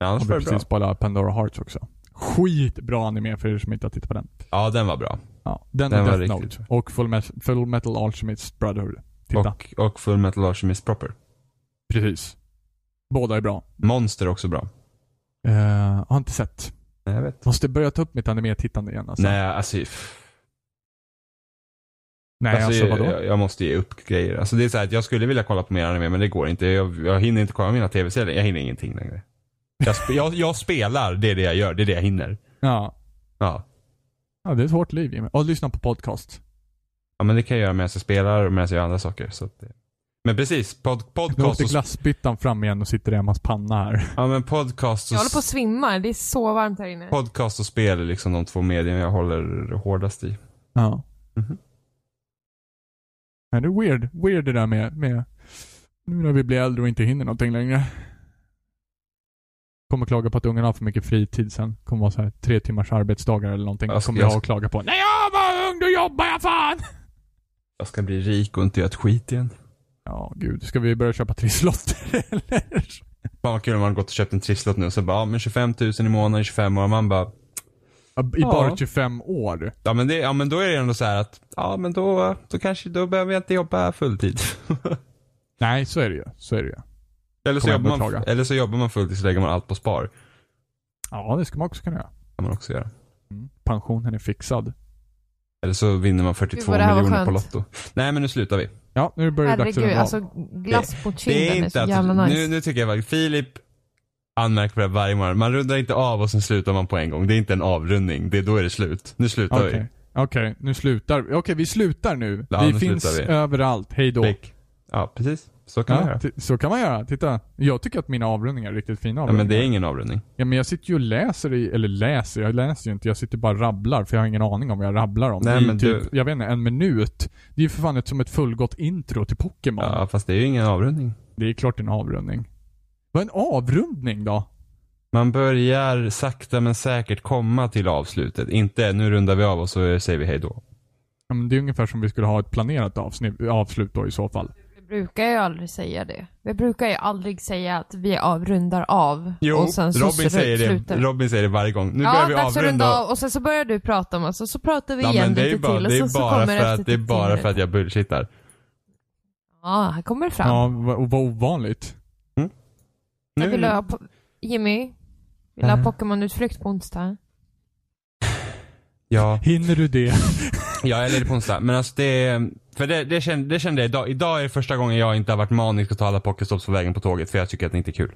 [SPEAKER 2] annars
[SPEAKER 1] Jag
[SPEAKER 2] var
[SPEAKER 1] har
[SPEAKER 2] det bra.
[SPEAKER 1] precis spelat Pandora Hearts också. Skitbra anime för er som inte har tittat på den.
[SPEAKER 2] Ja, den var bra.
[SPEAKER 1] Ja, den,
[SPEAKER 2] Den
[SPEAKER 1] och
[SPEAKER 2] var
[SPEAKER 1] Death Note
[SPEAKER 2] riktigt
[SPEAKER 1] och Full, Met- Full Metal Alchemist Brotherhood. Titta.
[SPEAKER 2] Och, och Full Metal Alchemist Proper.
[SPEAKER 1] Precis. Båda är bra.
[SPEAKER 2] Monster är också bra.
[SPEAKER 1] Eh, har inte sett.
[SPEAKER 2] Nej, jag vet.
[SPEAKER 1] Måste börja ta upp mitt anime-tittande igen alltså.
[SPEAKER 2] Nej, alltså, f-
[SPEAKER 1] Nej, alltså,
[SPEAKER 2] alltså,
[SPEAKER 1] vadå?
[SPEAKER 2] jag, jag måste ge upp grejer. Alltså, det är så här att jag skulle vilja kolla på mer anime, men det går inte. Jag, jag hinner inte kolla mina tv-serier. Jag hinner ingenting längre. Jag, sp- jag, jag spelar, det är det jag gör. Det är det jag hinner.
[SPEAKER 1] Ja.
[SPEAKER 2] Ja.
[SPEAKER 1] ja, det är ett hårt liv Jimmy. Och lyssna på podcast.
[SPEAKER 2] ja, men det kan jag göra medan jag spelar och medan jag gör andra saker. Så att det... Men precis, pod,
[SPEAKER 1] Nu
[SPEAKER 2] podcast,
[SPEAKER 1] åkte
[SPEAKER 2] och,
[SPEAKER 1] glassbyttan fram igen och sitter i Emmas panna här.
[SPEAKER 2] ja, men podcast,
[SPEAKER 3] Jag håller på
[SPEAKER 2] och,
[SPEAKER 3] att svimma, det är så varmt här inne.
[SPEAKER 2] podcast och spel är liksom de två medier jag håller hårdast i.
[SPEAKER 1] Ja.
[SPEAKER 2] Mhm.
[SPEAKER 1] Men det är weird. Weird det där med, med nu när vi blir äldre och inte hinner någonting längre. Kommer klaga på att ungarna har för mycket fritid sen. Kommer vara så här tre timmars arbetsdagar eller någonting.
[SPEAKER 2] Jag ska-
[SPEAKER 1] Kommer jag
[SPEAKER 2] Alltså, jag
[SPEAKER 1] att klaga på. När jag var ung då jobbade jag fan!
[SPEAKER 2] Jag ska bli rik och inte göra ett skit igen.
[SPEAKER 1] Ja, gud. Ska vi börja köpa trisslotter [laughs] eller?
[SPEAKER 2] Fan vad kul om man gått och köpt en trisslott nu och så bara, ja men 25 000 i månaden i 25 år. Man bara,
[SPEAKER 1] I bara
[SPEAKER 2] Ja.
[SPEAKER 1] 25 år.
[SPEAKER 2] Ja men, det, ja men då är det ändå så här att, ja men då, då kanske, då behöver jag inte jobba fulltid. [laughs]
[SPEAKER 1] Nej, så är det ju. Så är det ju.
[SPEAKER 2] eller, så
[SPEAKER 1] Kommer jag
[SPEAKER 2] jobbar
[SPEAKER 1] beklaga.
[SPEAKER 2] man, eller så jobbar man fulltid så lägger man allt på spar.
[SPEAKER 1] Ja, det ska man också kunna göra. Mm.
[SPEAKER 2] kan man också göra.
[SPEAKER 1] Pensionen är fixad.
[SPEAKER 2] Eller så vinner man 42
[SPEAKER 3] Gud, vad det här var
[SPEAKER 2] miljoner på
[SPEAKER 3] skönt.
[SPEAKER 2] Lotto. Nej men nu slutar vi.
[SPEAKER 1] Ja, nu börjar det dags att
[SPEAKER 3] Herregud,
[SPEAKER 1] runda av.
[SPEAKER 3] alltså glass på
[SPEAKER 2] Det är
[SPEAKER 3] kinden är, så
[SPEAKER 2] inte
[SPEAKER 3] liksom. jävla
[SPEAKER 2] att,
[SPEAKER 3] nice.
[SPEAKER 2] nu, nu tycker jag faktiskt, Filip anmärker på det här varje morgon. Man rundar inte av och sen slutar man på en gång. Det är inte en avrundning. Det, är- då är det slut. Nu slutar
[SPEAKER 1] Okej, Okej, nu slutar vi. Okej, vi slutar nu.
[SPEAKER 2] Ja,
[SPEAKER 1] vi
[SPEAKER 2] nu
[SPEAKER 1] finns
[SPEAKER 2] slutar vi.
[SPEAKER 1] överallt. Hej då.
[SPEAKER 2] vi. Klick. Ja precis. Så kan man
[SPEAKER 1] Ja, typ
[SPEAKER 2] göra.
[SPEAKER 1] t- så kan man göra. Titta. Jag tycker att mina avrundningar är riktigt fina
[SPEAKER 2] Ja, men
[SPEAKER 1] avrundningar.
[SPEAKER 2] det är ingen avrundning.
[SPEAKER 1] ja, men jag sitter ju och läser i, eller läser, jag läser ju inte. Jag sitter bara och rabblar för jag har ingen aning om vad jag rabblar om.
[SPEAKER 2] Nej,
[SPEAKER 1] I
[SPEAKER 2] men
[SPEAKER 1] typ, jag vet inte, en minut. Det är ju för fan ett, som ett fullgott intro till Pokémon.
[SPEAKER 2] Ja fast det är ju ingen avrundning.
[SPEAKER 1] Det är klart en avrundning. Vad är en avrundning då?
[SPEAKER 2] Man börjar sakta men säkert komma till avslutet. Inte nu rundar vi av och så säger vi hej då.
[SPEAKER 1] Ja, men Det är ungefär som vi skulle ha ett planerat avsnitt, avslut då i så fall.
[SPEAKER 3] Vi brukar ju aldrig säga det. Vi brukar ju aldrig säga att vi avrundar av och sen så
[SPEAKER 2] Robin
[SPEAKER 3] slu-
[SPEAKER 2] säger,
[SPEAKER 3] slutar
[SPEAKER 2] det.
[SPEAKER 3] vi.
[SPEAKER 2] Robin säger det varje gång. Nu
[SPEAKER 3] Ja,
[SPEAKER 2] börjar vi
[SPEAKER 3] dags att runda
[SPEAKER 2] avrunda.
[SPEAKER 3] av och sen så börjar du prata om oss och så pratar vi
[SPEAKER 2] Ja,
[SPEAKER 3] igen
[SPEAKER 2] men det är
[SPEAKER 3] lite
[SPEAKER 2] ju bara,
[SPEAKER 3] till och
[SPEAKER 2] det är
[SPEAKER 3] sen så
[SPEAKER 2] bara
[SPEAKER 3] kommer
[SPEAKER 2] för
[SPEAKER 3] efter
[SPEAKER 2] att, det är
[SPEAKER 3] tio
[SPEAKER 2] bara för
[SPEAKER 3] minuter.
[SPEAKER 2] att jag bullshittar.
[SPEAKER 3] Ja, här kommer det fram.
[SPEAKER 1] Ja, vad vad ovanligt.
[SPEAKER 3] Jag vill
[SPEAKER 2] Nu-
[SPEAKER 3] ha po- Jimmy, vill du ha
[SPEAKER 2] Äh.
[SPEAKER 3] Pokémon-utflykt på onsdag?
[SPEAKER 2] Ja,
[SPEAKER 1] Hinner du det?
[SPEAKER 2] ja, jag är ledig på onsdag. Men alltså det, för det, det, kände, det kände jag idag. Idag är det första gången jag inte har varit manisk och ta alla pokestops på vägen på tåget för jag tycker att det inte är kul.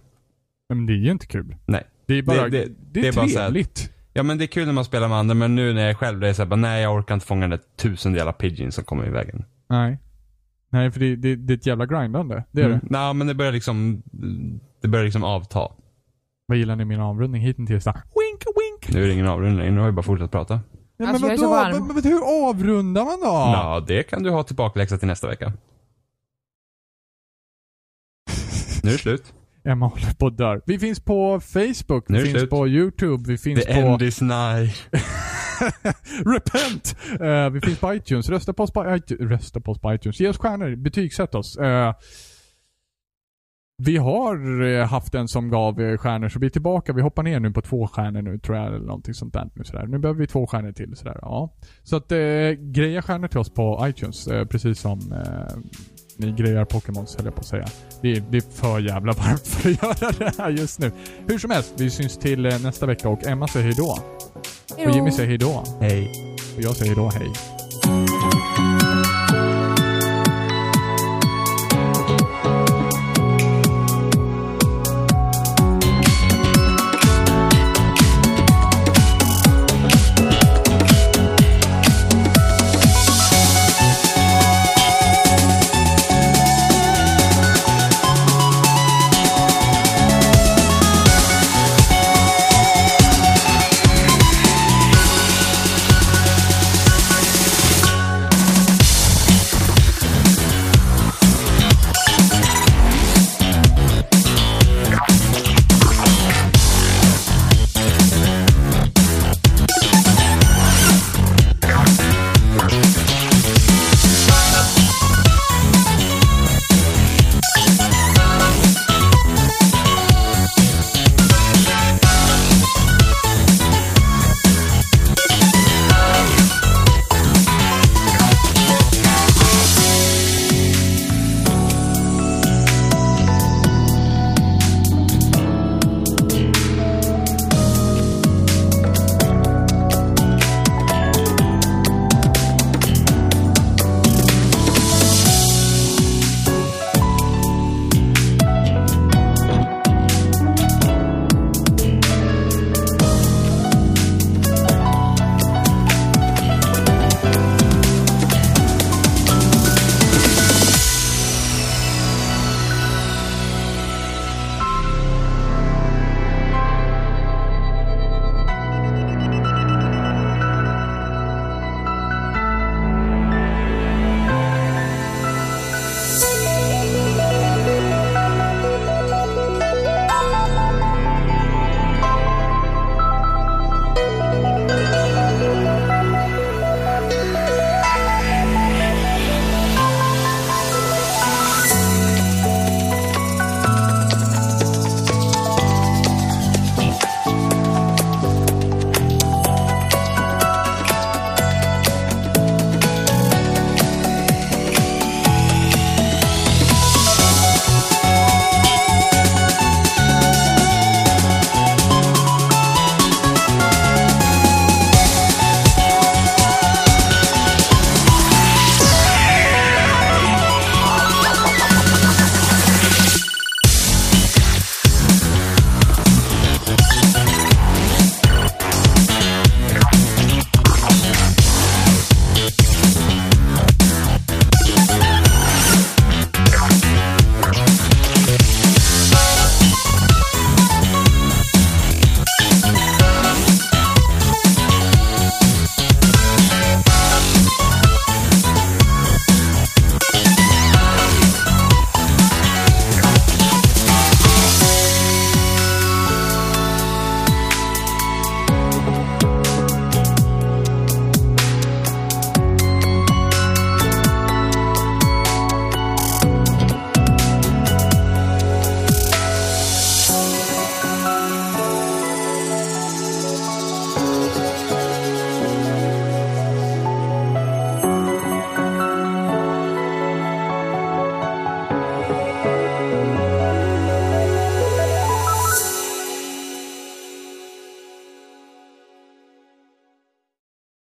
[SPEAKER 1] Men det är ju inte kul.
[SPEAKER 2] Nej.
[SPEAKER 1] Det är bara,
[SPEAKER 2] Det-
[SPEAKER 1] det,
[SPEAKER 2] det- det
[SPEAKER 1] är
[SPEAKER 2] är bara så här-
[SPEAKER 1] trevligt.
[SPEAKER 2] Ja men det är kul när man spelar med andra men nu när jag är själv det är såhär bara nej jag orkar inte fånga den där tusen jävla pidgin som kommer i vägen.
[SPEAKER 1] Nej. Nej, för det, det, det är ett jävla grindande. Det är det.
[SPEAKER 2] Nej, Mm. men det börjar liksom, det börjar liksom avta.
[SPEAKER 1] Vad gillar ni min avrundning hittills? då? Wink, wink!
[SPEAKER 2] Nu är det ingen avrundning, nu har vi bara fortsatt prata.
[SPEAKER 1] Ja,
[SPEAKER 3] Alltså, jag är så varm.
[SPEAKER 1] Men, men hur avrundar man då?
[SPEAKER 2] Ja, det kan du ha tillbakaläxa till nästa vecka. Nu är det slut.
[SPEAKER 1] [laughs] Emma håller på att dö. Vi finns på Facebook,
[SPEAKER 2] Nu
[SPEAKER 1] vi
[SPEAKER 2] är det
[SPEAKER 1] finns
[SPEAKER 2] slut.
[SPEAKER 1] på YouTube, vi finns på...
[SPEAKER 2] is nigh.
[SPEAKER 1] Repent! Eh, vi finns på iTunes. Rösta på oss på iTunes. Rösta på oss på iTunes. Ge oss stjärnor. Betygsätt oss. Eh, vi har eh, haft en som gav eh, stjärnor, så vi är tillbaka. Vi hoppar ner nu på två stjärnor nu tror jag, eller någonting sånt där. Nu, sådär. nu behöver vi två stjärnor till. Sådär. Ja. Så att eh, greja stjärnor till oss på iTunes, eh, precis som eh, ni grejar Pokémons höll jag på att säga. Det är, det är för jävla varmt för att [laughs] göra det här just nu. Hur som helst, vi syns till eh, nästa vecka och Emma säger hejdå. Och Jimmy säger hejdå.
[SPEAKER 2] Hej.
[SPEAKER 1] Och jag säger då hej.